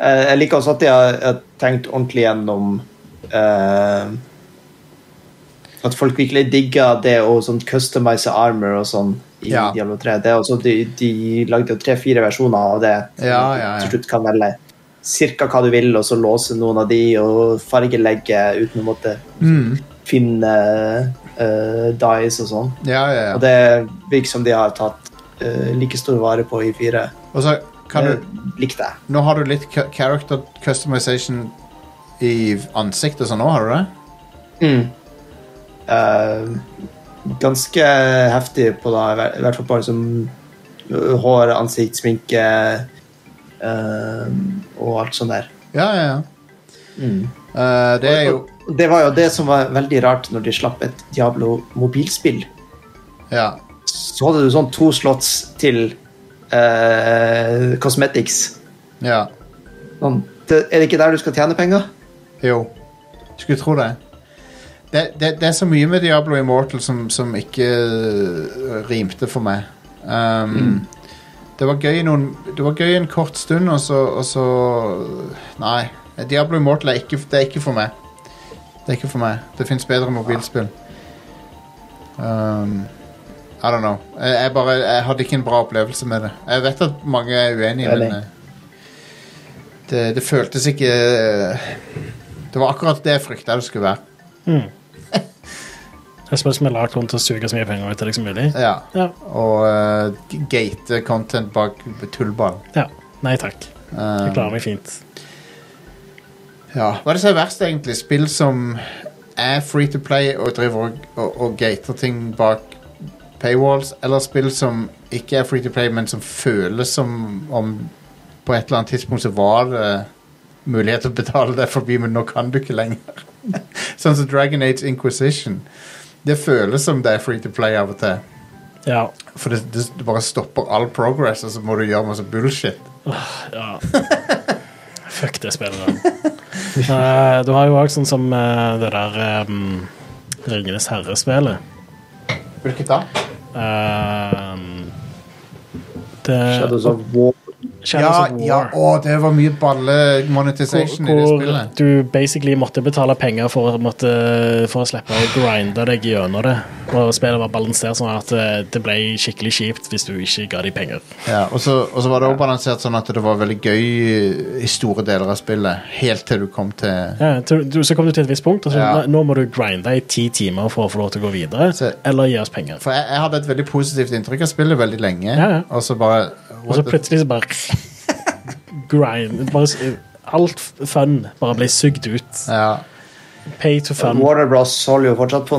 S4: Jeg liker også at de har har tenkt ordentlig gjennom eh, At folk virkelig digger det å sånn customize armor og sånn i
S2: Ja.
S4: Diablo 3. Det er også, de, de lagde jo tre-fire versjoner av det.
S2: Ja, ja, ja.
S4: Til slutt kan velge cirka hva du vil, og så låse noen av de og fargelegge uten å måtte
S2: Mm.
S4: finne eh, dice og sånn.
S2: Ja, ja, ja.
S4: Og det virker som de har tatt eh, like stor vare på i fire.
S2: Og så kan du
S4: Det likte jeg.
S2: Nå har du litt ca- character customization i ansiktet og sånn nå, har du det?
S4: Eh, ganske heftig på da, i hver- i hvert fall på liksom, eh, hår, ansikt, sminke eh, og alt sånt der.
S2: Ja, ja, ja. Eh, det er jo
S4: Og Det var jo det som var veldig rart når de slapp et Diablo mobilspill.
S2: Ja.
S4: Så hadde du sånn to slots til eh, cosmetics.
S2: ja.
S4: Sånn, det, er det ikke der du skal tjene penger?
S2: Jo. Skulle tro det. Det, det. det er så mye med Diablo Immortal som, som ikke eh, rimte for meg. Um, Det var gøy i noen Det var gøy en kort stund, og så, og så Nei. Diablo Immortal er ikke, det er ikke for meg. Det er ikke for meg. Det fins bedre mobilspill. Um, I don't know. Jeg, jeg bare Jeg hadde ikke en bra opplevelse med det. Jeg vet at mange er uenige,
S4: Enig.
S2: men eh, det, det føltes ikke eh, Det var akkurat det jeg frykta det skulle være.
S3: Et spill som er lagd rundt å suge så mye penger ut av deg som mulig.
S2: Ja.
S3: Ja.
S2: Og eh, gate content bak tullball.
S3: ja. Nei takk.
S2: Um,
S3: Jeg klarer meg fint.
S2: Ja. Hva er det som er verst, egentlig? Spill som er free to play og driver og, og, og gater ting bak paywalls, eller spill som ikke er free to play, men som føles som om på et eller annet tidspunkt så var det mulighet til å betale det forbi, men nå kan du ikke lenger. sånn som Dragon Age Inquisition. Det føles som det er free to play av og til.
S3: Ja.
S2: For det, det, det bare stopper all progress, og så må du gjøre masse bullshit.
S3: ja. Fuck det spillet. da. Eh, du har jo òg sånn som eh, det der um, Ringenes herre-spelet.
S2: Hvilket da?
S3: Ehm, det
S4: Shadows of War.
S3: Shadows of
S2: ja, ja,
S3: altså, War.
S2: å, det var mye balle monetization i det
S3: Hvor
S2: spillet.
S3: du basically måtte betale penger for, å måtte, for å slippe å grinde deg gjennom det. Og spillet var balansert sånn at eh, det ble skikkelig kjipt hvis du ikke ga de penger.
S2: Ja, og så, og så var det også balansert sånn at det var veldig gøy i store deler av spillet, helt til du kom til
S3: Ja, til, du, så kom du til et visst punkt, og så
S2: Ja.
S3: nå- nå må du grinde i ti timer for å få lov til å gå videre,
S2: Så-
S3: eller gi oss penger.
S2: For jeg, jeg hadde et veldig positivt inntrykk av spillet veldig lenge,
S3: Ja, ja.
S2: og så bare
S3: Og så plutselig så bare grind. Bare, s- alt f- fun bare blir sugd ut.
S2: Ja,
S3: Pay to fun.
S4: Warner Bros. holder jo fortsatt på,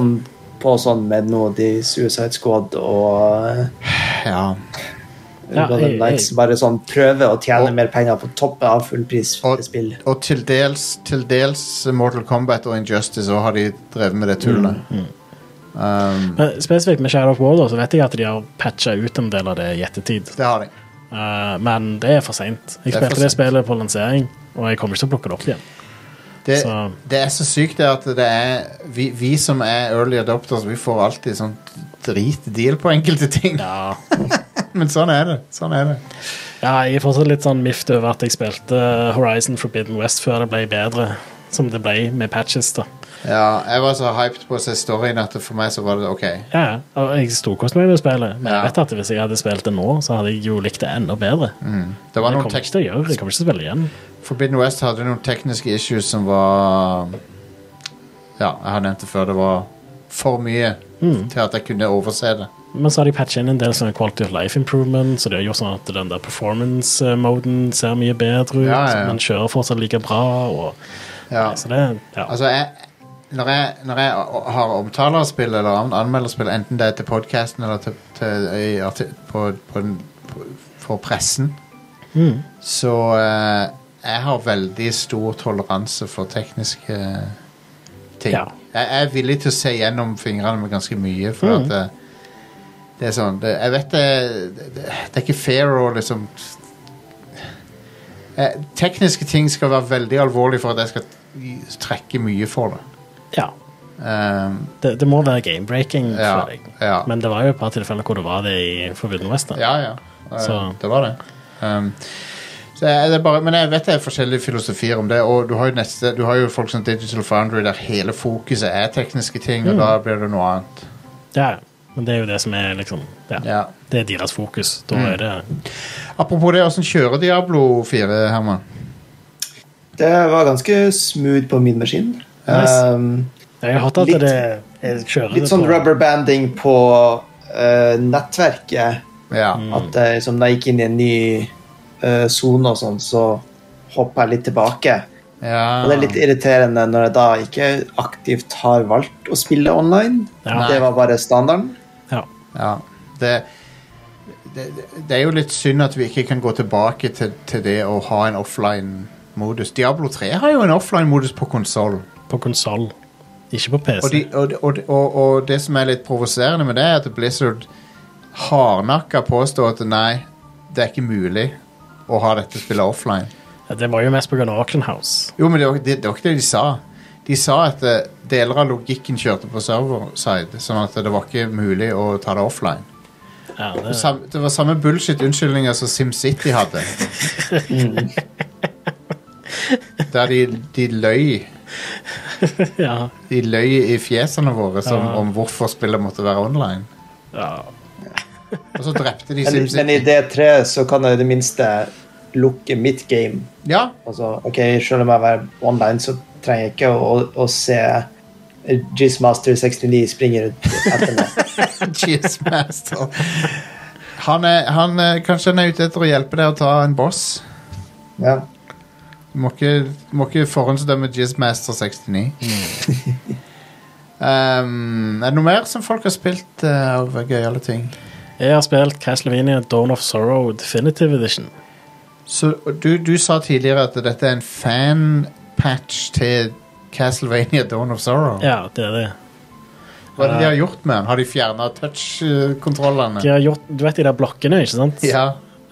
S4: på sånn med noe de Suicide Squad og eh,
S2: ja.
S3: Ja,
S4: Golden
S3: jeg- jeg-
S4: Knights bare sånn prøve å tjene
S2: Og-
S4: mer penger på toppen av fullpris
S2: Og,
S4: til spill.
S2: og til, dels, til dels Mortal Kombat og Injustice òg har de drevet med det
S3: Mm,
S2: tullet. Um,
S3: Men spesifikt med Shadow of War da, så vet jeg at de har patcha ut en del av det i ettertid.
S2: det har de.
S3: Eh, men det er for seint. Jeg
S2: Det er for
S3: spilte det
S2: sent.
S3: spillet på lansering, og jeg kommer ikke til å plukke det opp igjen.
S2: Det,
S3: Så-
S2: det er så sykt det at det er vi, vi som er early adopters, vi får alltid sånn dritdeal på enkelte ting.
S3: Ja,
S2: Men sånn er det. Sånn er det.
S3: ja Jeg er fortsatt litt sånn miffed over at jeg spilte eh, Horizon Forbidden West før det ble bedre, som det ble med patches. da
S2: Ja, jeg var så hyped på å se storyen at for meg så var det OK.
S3: Ja, ja. og jeg storkoste meg med spillet, men
S2: Ja.
S3: jeg vet at hvis jeg hadde spilt det nå, så hadde jeg jo likt det enda bedre.
S2: Det var
S3: Men jeg
S2: noen
S3: kommer
S2: tek
S3: ikke til å gjøre det. Jeg kommer ikke til å spille igjen.
S2: Forbidden West hadde noen tekniske issues som var Ja, jeg har nevnt det før. Det var for mye
S3: Mm.
S2: til at jeg kunne overse det.
S3: Men så har de patchet inn en del sånne quality of life improvement, så de har gjort sånn at den der performance-moden ser mye bedre ut,
S2: Ja, ja, ja.
S3: men kjører fortsatt like bra, og
S2: Ja.
S3: så det ja.
S2: Altså, jeg, når, jeg, når jeg har omtaler av spill eller an anmelder spill, enten det er til podkasten eller til, til, i arti- på, på, den- på, for pressen, så eh, jeg har veldig stor toleranse for tekniske eh, ting.
S3: Ja.
S2: Jeg, jeg er villig til å se gjennom fingrene med ganske mye, for at eh, det er sånn det, Jeg vet det, det, det er ikke fair å liksom eh, Tekniske ting skal være veldig alvorlig for at jeg skal trekke mye for det.
S3: ja.
S2: Um,
S3: Det, det må være game-breaking,
S2: Ja,
S3: føler jeg.
S2: ja.
S3: Men det var jo et par tilfeller hvor det var det i Forbidden West. da.
S2: ja, ja. Eh,
S3: Så-
S2: Det var det. Um, så jeg, det er bare, men jeg vet det er forskjellige filosofier om det, og du har jo, neste, du har jo folk som Digital Foundry der hele fokuset er tekniske ting, og da blir det noe annet.
S3: Ja, ja. Men det er jo det som er liksom Ja.
S2: Ja. Mm.
S3: Det er deres fokus. Da er det
S2: Apropos det, åssen kjører Diablo 4, Herman?
S4: Det var ganske smooth på min maskin.
S3: Nice.
S4: Um,
S3: Jeg har hørt at
S4: Litt-
S3: det jeg kjører
S4: litt
S3: det
S4: sånn
S3: på-
S4: rubber banding på eh, nettverket.
S2: Ja.
S3: Mm.
S4: At jeg, liksom, når jeg gikk inn i en ny eh, sone og sånn, så hoppa jeg litt tilbake.
S2: ja.
S4: Og
S3: Ah.
S4: det er litt irriterende når jeg da ikke aktivt har valgt å spille online.
S3: Ja.
S4: Det var bare standarden.
S3: Ja.
S2: Ja. Det, det, det er jo litt synd at vi ikke kan gå tilbake til, til det å ha en offline-modus. Diablo 3 har jo en offline-modus på konsoll.
S3: På konsoll, ikke på PC.
S2: Og, de, og, og, og, og det som er litt provoserende med det, er at Blizzard hardnakka påstår at nei, det er ikke mulig å ha dette spillet offline.
S3: Ja, det var jo mest pga. Auction House.
S2: Jo, men det var, det, det var ikke det de sa. De sa at eh, deler av logikken kjørte på serverside, sånn at det var ikke mulig å ta det offline.
S3: Ja, det,
S2: Sam, det var samme bullshit-unnskyldninger som SimCity hadde.
S3: Mm.
S2: Der de, de løy
S3: ja,
S2: De løy i fjesene våre som,
S3: Ja.
S2: om hvorfor spillet måtte være online.
S3: ja.
S2: Og så drepte de
S4: Men, men i
S2: SimCity.
S4: D3 så kan jeg i det minste lukke mitt game.
S2: Ja,
S4: Altså, ok, Selv om jeg er online, så trenger jeg ikke å, å se Jizzmaster69 springe rundt etter meg.
S2: Cheers Master. Han er, han, er- kanskje han er ute etter å hjelpe deg å ta en boss.
S4: Ja.
S2: Du må ikke, du må ikke forhåndsdømme Jizzmaster 69. um, er det noe mer som folk har spilt eh, av gøyale ting?
S3: Jeg har spilt Castlevania Dawn of Sorrow Definitive Edition.
S2: Så du, du sa tidligere at dette er en fanpatch til Castlevania Dawn of Sorrow.
S3: Ja, det er det.
S2: Hva er det de har gjort med den? Har de fjerna touch-kontrollene?
S3: De har gjort, du vet de der blokkene, ikke sant?
S2: Ja.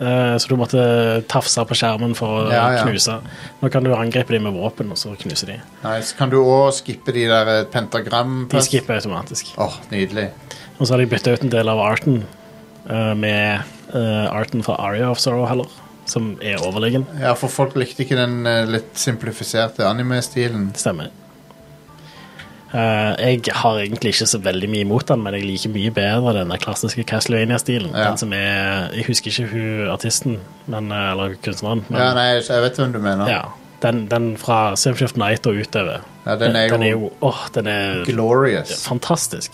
S3: Eh, så du måtte tafse på skjermen for å
S2: Ja, ja.
S3: knuse. Nå kan du angripe dem med våpen, og så knuse de.
S2: Nice. Kan du òg skippe de der eh, pentagram
S3: De skipper automatisk.
S2: Åh, Nydelig.
S3: Og så har de bytta ut en del av arten eh, med eh, arten fra Aria of Sorrow heller, som er overlegen.
S2: Ja, for folk likte ikke den eh, litt simplifiserte anime-stilen.
S3: Det stemmer. Eh, jeg har egentlig ikke så veldig mye imot den, men jeg liker mye bedre den der klassiske Castlevania-stilen.
S2: Ja.
S3: Den som er Jeg husker ikke hun artisten, men, eh, eller kunstneren, men
S2: Ja, nei, jeg- jeg vet hvem du mener.
S3: ja. den, den fra Symphony of Night og utover.
S2: Ja, den er
S3: Den er
S2: jo
S3: jo Åh, den er
S2: glorious.
S3: fantastisk.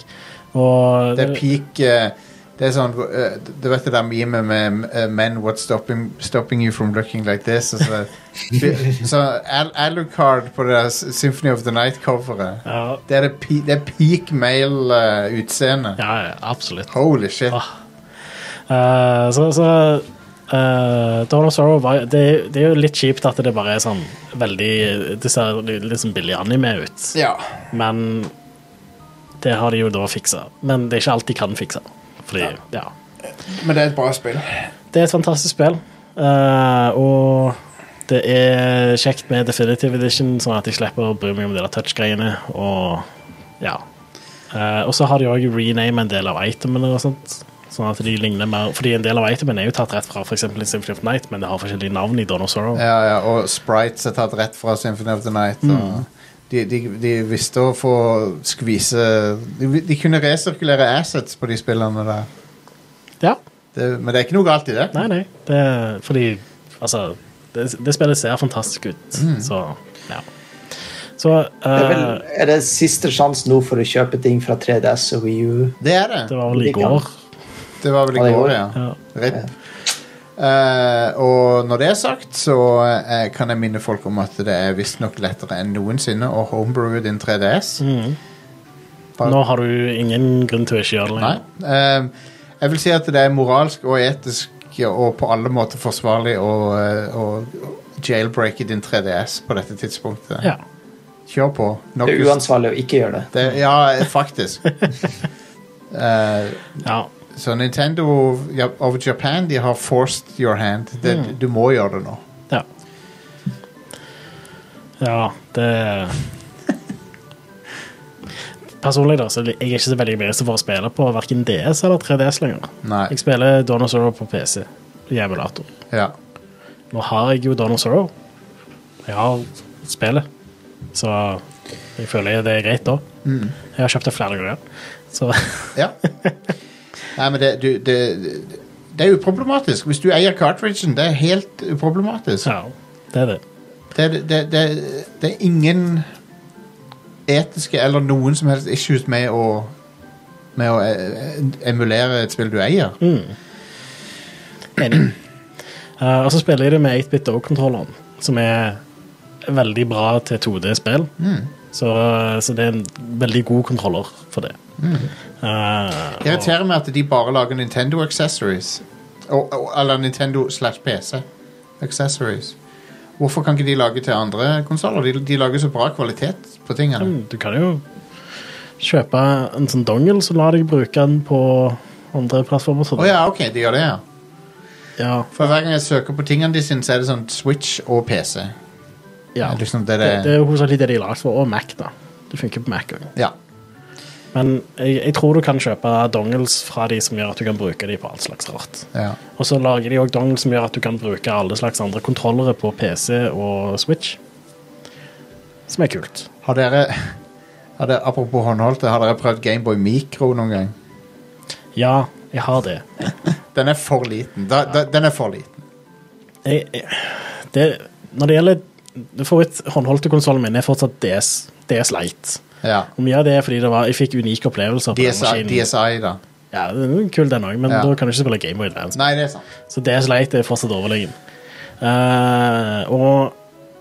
S3: Og
S2: Det er peak eh, Det er sånn eh, Du vet det der memet med eh, Men what's stopping, stopping you from looking like this? Og så, så Al Alucard på det der Symphony of the Night-coveret.
S3: ja,
S2: Det er, det, pe- det er peak male eh, utseende.
S3: ja, Ah. ja, absolutt.
S2: Holy shit.
S3: Åh. Eh, så så eh, Dawn of Sorrow var, det, det er jo litt kjipt at det bare er sånn veldig Det ser litt litt sånn billig anime ut,
S2: Ja.
S3: men det har de jo da fiksa. Men det er ikke alt de kan fikse. Fordi, ja.
S2: Men det er et bra spill.
S3: Det er et fantastisk spill, eh, og det er kjekt med Definitive Edition, sånn at jeg slipper å bry meg om de der touch-greiene. Og ja. Eh, og så har de òg rename en del av itemene og sånt. Sånn at de ligner mer Fordi en del av itemene er jo tatt rett fra for eksempel i Symphony of Night, men det har forskjellige navn i Dawn of Sorrow.
S2: Ja, ja, og sprites er tatt rett fra Symphony of the Night. Og de, de, de visste å få skvise de, de kunne resirkulere assets på de spillene der.
S3: Ja.
S2: Det, men det er ikke noe galt i det.
S3: Nei, nei. Det er fordi Altså, det, det spillet ser fantastisk ut, så ja. Så
S4: Mm. Det er, vel,
S3: eh,
S4: er det siste sjanse nå for å kjøpe ting fra 3DS og Wii U?
S2: Det er det.
S3: det var vel i
S4: det kan-
S3: går.
S2: Det var vel
S4: Ja,
S2: i
S4: det
S2: går,
S4: gjorde
S2: ja.
S3: Ja.
S2: Rip. Eh, og når det er sagt, så eh, kan jeg minne folk om at det er visstnok lettere enn noensinne å homebrewe din 3DS. Bare-
S3: Nå har du ingen grunn til å ikke gjøre det
S2: Nei.
S3: lenger.
S2: Eh, jeg vil si at det er moralsk og etisk og på alle måter forsvarlig å, eh, å jailbreake din 3DS på dette tidspunktet.
S3: Ja.
S2: Kjør på. Nok
S4: Det er
S2: just-
S4: uansvarlig å ikke gjøre det.
S2: det, ja, faktisk. Eh,
S3: Ja,
S2: så Nintendo ja- of Japan de har forced your hand. Det, Du må gjøre det nå.
S3: ja. Ja, det Personlig da, så jeg er ikke så veldig begeistret for å spille på hverken DS eller 3DS lenger.
S2: Nei.
S3: Jeg spiller Dawn of Sorrow på PC i emulator.
S2: Ja.
S3: Nå har jeg jo Dawn of Sorrow. Jeg har spillet, så jeg føler det er greit da.
S2: Mm.
S3: Jeg har kjøpt det flere ganger. Så
S2: ja. Nei, men det, du, det, det det er uproblematisk. Hvis du eier cartridgen, det er helt uproblematisk.
S3: ja, det er det.
S2: det, det, det, det er ingen etiske eller noen som helst issues med å med å eh, emulere et spill du eier.
S3: Enig. Eh, og så spiller jeg det med 8-bit dog-kontrolleren, som er veldig bra til 2D-spill.
S2: Mm.
S3: Så, så det er en veldig god kontroller for det.
S2: Mm.
S3: Eh,
S2: Det irriterer meg at de bare lager Nintendo accessories. Og, og, eller Nintendo slash PC accessories. Hvorfor kan ikke de lage til andre konsoller? De, de lager så bra kvalitet på
S3: og,
S2: tingene.
S3: mm, du kan jo kjøpe en sånn dongle, så lar deg bruke den på andre plattformer.
S2: Å ja, ok, de gjør det, ja.
S3: Ja,
S2: For hver gang jeg søker på tingene de sine, så er det sånn Switch og PC.
S3: ja.
S2: Det er liksom
S3: Det,
S2: det det-
S3: det er jo hovedsakelig det de er lagd for, altså, og Mac. da. Det funker på Mac òg.
S2: Ja.
S3: Men jeg, jeg tror du kan kjøpe dongles fra de som gjør at du kan bruke de på alt slags rart.
S2: ja.
S3: Og så lager de òg dongle som gjør at du kan bruke alle slags andre kontrollere på PC og Switch. Som er kult.
S2: Har dere, har dere Apropos håndholdte, har dere prøvd Gameboy Micro noen gang?
S3: Ja, jeg har det.
S2: Den er for liten. Da, da, den er for liten.
S3: Jeg, jeg, det når det gjelder det Håndholdte-konsollen min er fortsatt DS, DS Lite.
S2: Ja.
S3: Og mye av det er fordi det var, jeg fikk unike opplevelser. på den
S2: DSI,
S3: maskinen.
S2: DSI, da.
S3: Ja, den er kul den også, men
S2: Ja.
S3: da kan du ikke spille Game Boy Advance.
S2: Nei, det er sant.
S3: Så DS Lite er fortsatt overlegen. Eh, og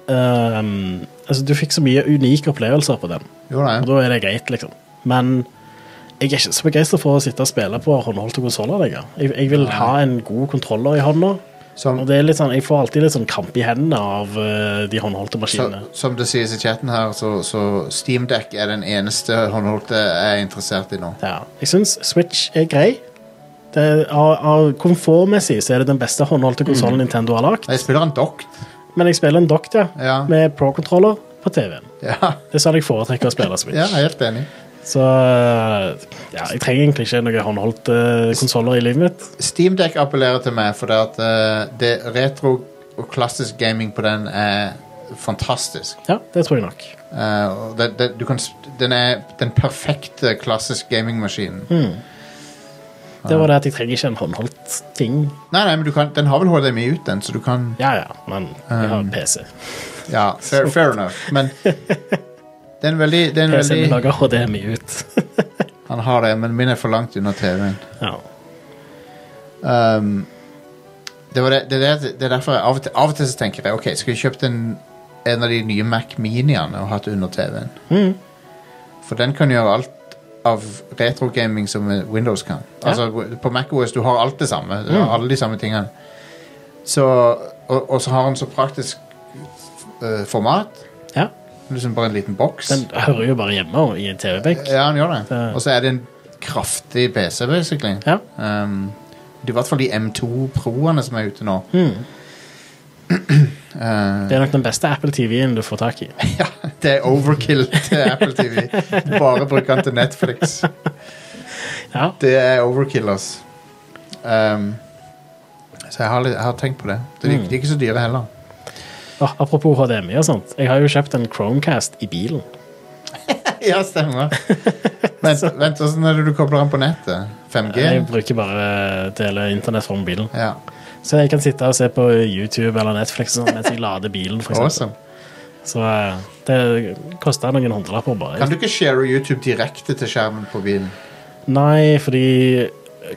S3: ehm, altså, Du fikk så mye unike opplevelser på den,
S2: Jo
S3: og
S2: da.
S3: da er det greit, liksom. Men jeg er ikke så begeistra for å sitte og spille på håndholdte konsoller lenger. Jeg, jeg vil ha en god kontroller i hånda.
S2: Som,
S3: Og det er litt sånn, Jeg får alltid litt sånn krampe i hendene av eh, de håndholdte
S2: så,
S3: maskinene.
S2: som det sies i chatten her, så, så Steam Deck er den eneste håndholdte jeg er interessert i nå.
S3: Ja. Jeg syns Switch er grei. Det er, av, av Komfortmessig så er det den beste håndholdte konsollen
S2: Mm.
S3: Nintendo har lagd.
S2: Jeg spiller en dokt.
S3: Men jeg spiller en Doctia
S2: Ja.
S3: med pro-controller på TV-en.
S2: Ja,
S3: Det er sånn jeg foretrekker å spille Switch.
S2: ja, jeg er helt enig.
S3: Så eh, ja, jeg trenger egentlig ikke noen håndholdte eh, konsoller i livet mitt.
S2: Steam Deck appellerer til meg, for det at eh, det retro og klassisk gaming på den er fantastisk.
S3: Ja, det tror jeg nok.
S2: Eh, og det, det, du kan, sp- den er den perfekte klassisk gamingmaskinen.
S3: Det var det at jeg trenger ikke en håndholdt ting.
S2: Nei, nei, men du kan, den har vel HDMI ut, den, så du kan
S3: Ja ja, men jeg har en PC.
S2: Ja, fair, fair enough. Men det er en veldig, det er en
S3: PC-en min
S2: veldig
S3: lager HDMI ut.
S2: Han har det, men min er for langt unna TV-en.
S3: ja.
S2: Um, det, var det, det, er det, det er derfor jeg av og til, av og til så tenker jeg Ok, skulle jeg kjøpt en, en av de nye Mac Miniene og hatt under TV-en.
S3: Mm.
S2: For den kan gjøre alt av retrogaming som Windows kan. Altså På MacOS du har alt det samme.
S3: Mm.
S2: Du har alle de samme tingene. Så, og, og så har den så praktisk eh, format.
S3: ja.
S2: Liksom bare en liten boks.
S3: Den hører jo bare hjemme i en TV-benk.
S2: Ja, han gjør det.
S3: Det-
S2: Og så er det en kraftig PC, basically.
S3: Ja.
S2: Um, det er I hvert fall de M2 Pro-ene som er ute nå. Uh,
S3: hmm. Det er nok den beste Apple TV-en du får tak i.
S2: ja, det er overkill til Apple TV. Bare bruk den til Netflix.
S3: Ja.
S2: Det er overkill, ass. Um, så jeg har, litt, jeg har tenkt på det. De,
S3: Mm.
S2: de er ikke så dyre heller.
S3: Ah, apropos HDMI og sånt. Jeg har jo kjøpt en Chromecast i bilen.
S2: Ja, stemmer. Vent, vent, åssen er det du kobler den på nettet? 5G?
S3: Jeg bruker bare dele internett fra mobilen.
S2: Ja,
S3: Så jeg kan sitte og se på YouTube eller Netflix og sånt, mens jeg lader bilen. For eksempel.
S2: awesome.
S3: Så eh, det koster noen hundrelapper bare.
S2: Kan du ikke share YouTube direkte til skjermen på bilen?
S3: Nei, fordi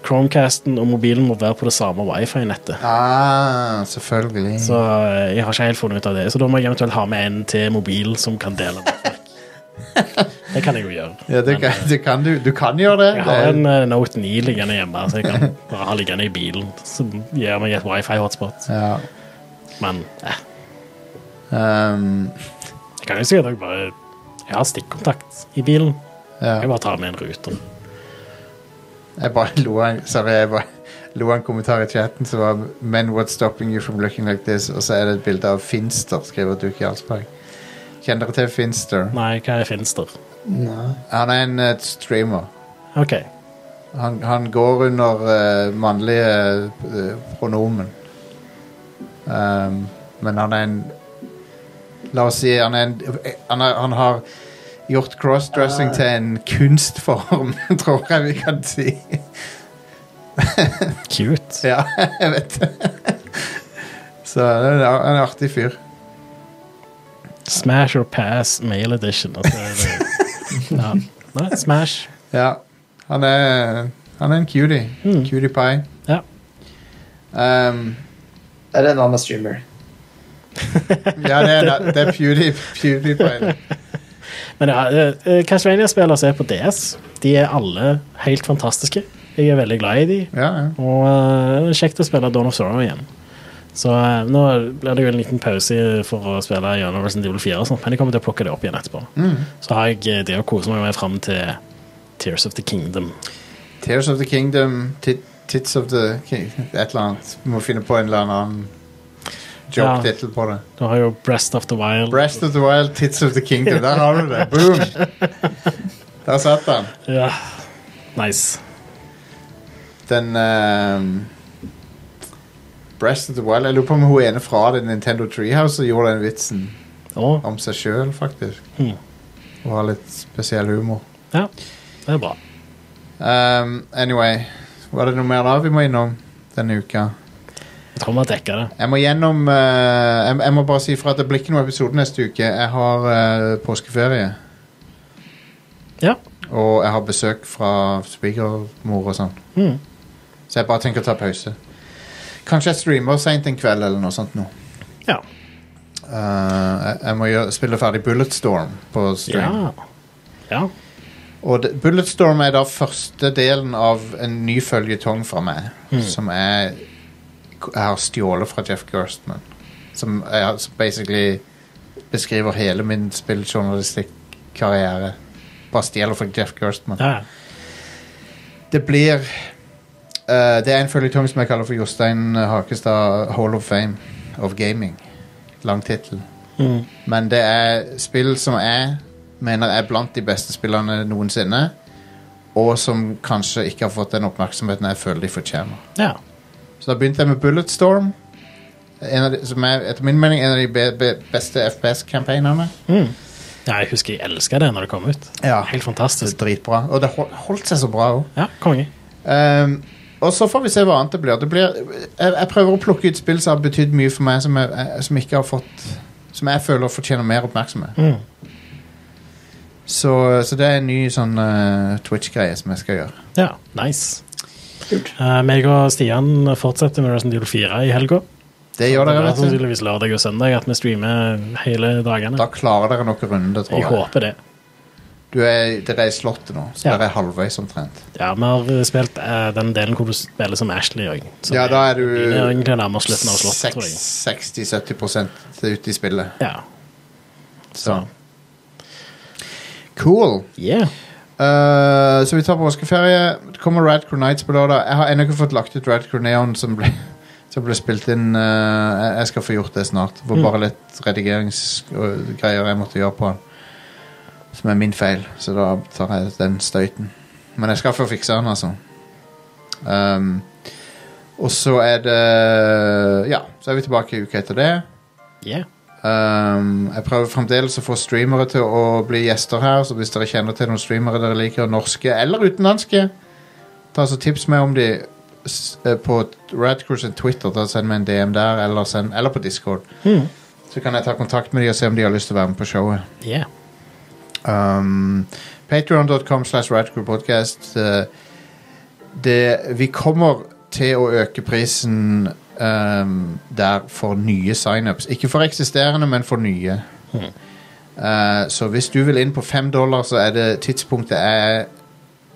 S3: Chromecasten og mobilen må være på det samme wifi-nettet.
S2: Ah, selvfølgelig.
S3: Så eh, jeg har ikke helt funnet ut av det. Så da må jeg eventuelt ha med en til mobil som kan dele nettverk. Det kan jeg jo gjøre.
S2: ja, det kan, det kan du, du kan gjøre det.
S3: Jeg
S2: Det
S3: har
S2: er-
S3: en eh, Note 9 liggende hjemme, så jeg kan bare ha liggende i bilen. Som gir meg et wifi-hotspot.
S2: ja.
S3: Men eh,
S2: Um,
S3: jeg kan jo sikkert også bare Jeg har stikkontakt i bilen.
S2: ja.
S3: Jeg bare tar med en ruter.
S2: Jeg bare lo av en- sorry, jeg bare lo av en kommentar i chatten som var Men what's stopping you from looking like this? Og så er det et bilde av Finster, skriver Duke Jarlsberg. Kjenner dere til Finster?
S3: Nei, hva er Finster?
S4: Nei.
S2: Han er en eh, streamer.
S3: OK.
S2: Han, han går under eh, mannlige eh, pronomen. Um, men han er en La oss si han er en Han, er, han har gjort crossdressing til en kunstform, tror jeg vi kan si.
S3: Cute.
S2: ja, jeg vet det. Så han er en ar- en artig fyr.
S3: Smash or pass mail edition. Altså, det- ja. Nei, smash.
S2: Ja. Han er, han er en cutie. Cutie pie.
S3: Ja.
S2: Um,
S4: Er det en annen streamer?
S2: ja, det er, det er Pewdie, PewDiePie.
S3: Men ja, eh, eh, Castlevania-spillere som er på DS, de er alle helt fantastiske. Jeg er veldig glad i de.
S2: Ja, ja.
S3: Og eh, det er kjekt å spille Dawn of Sorrow igjen. Så eh, nå blir det jo en liten pause for å spille gjennom Resident Evil 4, og sånt, men jeg kommer til å plukke det opp igjen etterpå. Så har jeg eh, det å kose meg med fram til Tears of the Kingdom.
S2: Tears of the Kingdom, tit, Tits of the King, et eller annet. Vi må finne på en eller annen joke-tittel på det.
S3: Du har jo Breast of the Wild.
S2: Breast of the Wild, Tits of the Kingdom. Der har du det. Boom! Der satt den.
S3: Ja. Nice.
S2: Den ehm, Breast of the Wild Jeg lurer på om hun ene fra det Nintendo Treehouse som gjorde den vitsen
S3: Og
S2: om seg sjøl, faktisk.
S3: Mhm.
S2: Og har litt spesiell humor.
S3: Ja, det er bra.
S2: Ehm, anyway, var det noe mer da vi må innom denne uka?
S3: Jeg tror vi har dekka det.
S2: Jeg må gjennom eh, jeg, jeg må bare si fra at det blir ikke noen episode neste uke. Jeg har eh, påskeferie.
S3: Ja.
S2: Og jeg har besøk fra svigermor og sånn.
S3: Mhm.
S2: Så jeg bare tenker å ta pause. Kanskje jeg streamer seint en kveld eller noe sånt nå.
S3: ja.
S2: Eh, eh, jeg- jeg må gjøre, spille ferdig Bulletstorm på stream.
S3: Ja. ja.
S2: Og det- Bulletstorm er da første delen av en ny føljetong fra meg,
S3: Mm.
S2: som jeg, jeg har stjålet fra Jeff Gerstman. Som jeg har- som basically beskriver hele min spilljournalistikkarriere. Bare stjeler fra Jeff Gerstman.
S3: ja.
S2: Det blir eh, Det er en føljetong som jeg kaller for Jostein Hakestad Hall of Fame of Gaming. Lang tittel.
S3: Mm.
S2: Men det er spill som jeg mener er blant de beste spillene noensinne. Og som kanskje ikke har fått den oppmerksomheten jeg føler de fortjener.
S3: ja.
S2: Så da begynte jeg med Bulletstorm. En av de, som er etter min mening en av de be, be, beste FPS-kampanjene.
S3: ja jeg husker jeg elska det når det kom ut.
S2: Ja.
S3: Helt
S2: Det er
S3: fantastisk.
S2: Dritbra. Og det hol- holdt seg så bra òg.
S3: Ja, konge.
S2: Ehm, og så får vi se hva annet det blir. Det blir jeg, jeg prøver å plukke ut spill som har betydd mye for meg, som jeg, jeg- som ikke har fått Som jeg føler fortjener mer oppmerksomhet.
S3: Mm.
S2: Så, så det er en ny sånn eh, Twitch-greie som jeg skal gjøre.
S3: Ja, nice. Uh, meg og Stian fortsetter med Resident Evil 4 i helga.
S2: Det gjør
S3: det
S2: dere,
S3: er sånn
S2: vet du.
S3: sannsynligvis lørdag og søndag at vi streamer hele dagene.
S2: Da klarer dere noen runder, tror
S3: Jeg
S2: jeg.
S3: håper det.
S2: Du er, dere er i Slottet nå, så
S3: Ja.
S2: dere er halvveis omtrent.
S3: Ja, Vi har spilt eh, den delen hvor du spiller som Ashley òg.
S2: Ja, da er du
S3: Det er egentlig nærmere slutten av slottet, tror jeg.
S2: 60-70 ute i spillet.
S3: Ja.
S2: Så. Cool.
S3: Yeah.
S2: Eh, så vi tar påskeferie. Det kommer Rad Crew Nights på lørdag. Jeg har ennå ikke fått lagt ut Rad Crew Neon, som ble, som ble spilt inn. eh, jeg- jeg skal få gjort det snart. Det var bare litt redigeringsgreier jeg måtte gjøre på den, som er min feil. Så da tar jeg den støyten. Men jeg skal få fiksa den, altså. Um, og så er det Ja, så er vi tilbake i uka etter det.
S3: Yeah.
S2: Um, jeg prøver fremdeles å få streamere til å bli gjester her, så hvis dere kjenner til noen streamere dere liker, norske eller utenlandske, ta så tips meg om de s- eh, på Radcrew sin Twitter. Da send meg en DM der, eller, send, eller på Discord.
S3: Mm.
S2: Så kan jeg ta kontakt med de og se om de har lyst til å være med på showet.
S3: Yeah.
S2: Um, Patreon.com slash radcrewpodcast. Eh, det, vi kommer til å øke prisen um, der for nye signups. Ikke for eksisterende, men for nye. Eh, så hvis du vil inn på fem dollar, så er det tidspunktet er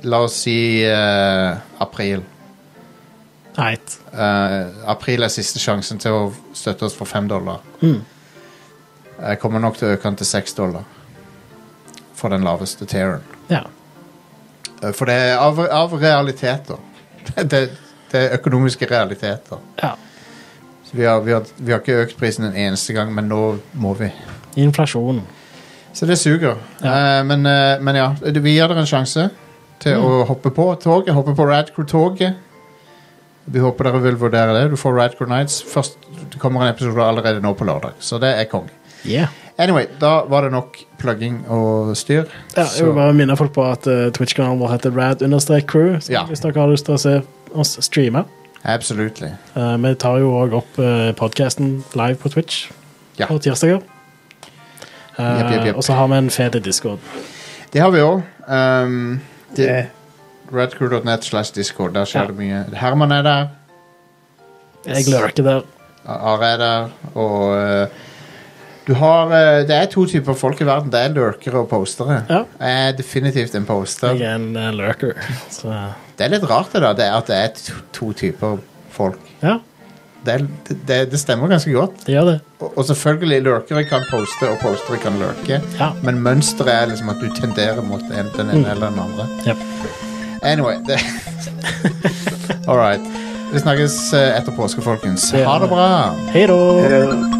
S2: La oss si eh, april.
S3: Right.
S2: Eh, april er siste sjansen til å støtte oss for fem dollar. Jeg kommer nok til å øke den til seks dollar for den laveste tieren.
S3: Ja.
S2: Eh, For det er av, av realiteter. Det, det er økonomiske realiteter.
S3: ja.
S2: Så vi, har, vi, har, vi har ikke økt prisen en eneste gang, men nå må vi.
S3: Inflasjon.
S2: Så det suger. Eh, men, eh, men ja, det- vi gir dere en sjanse til
S3: Mm.
S2: å hoppe på toget. Hoppe på Radcrew-toget. Vi håper dere vil vurdere det. Du får Radcrew Nights. Først, det kommer en episode allerede nå på lørdag, så det er konge.
S3: Yeah.
S2: Anyway, da var det nok plugging og styr.
S3: Ja, jeg vil
S2: Så-
S3: bare minne folk på at eh, Twitch-kanalen vår heter rad-crew. Så
S2: Ja.
S3: Hvis dere har lyst til å se oss streame.
S2: Absolutely.
S3: Eh, vi tar jo òg opp uh, podkasten live på Twitch
S2: Ja.
S3: på tirsdager. Eh,
S2: Jepp, jepp, jepp.
S3: Og så har vi en fet discord.
S2: Det har vi òg. Um, det-
S4: Eh,
S2: Radcrew.net slash Discord. Der skjer
S3: Ja.
S2: det mye. Herman er der.
S3: Jeg lurker der.
S2: Are er der. Og eh, du har eh, Det er to typer folk i verden. Det er lurkere og postere.
S3: Ja.
S2: Jeg er definitivt en poster.
S3: Jeg er en eh, lurker. Så
S2: Det er litt rart det da, det er at det er to, to typer folk.
S3: ja,
S2: Det, er, det, det stemmer ganske godt.
S3: det gjør det.
S2: Og, og selvfølgelig, lurkere kan poste, og postere kan lurke.
S3: Ja. Mm.
S2: Men mønsteret er liksom at du tenderer mot en, den ene eller den andre.
S3: Jepp.
S2: Anyway det... All right. Vi snakkes eh, etter påske, folkens. Ha det bra!
S3: Hei da.
S4: er det-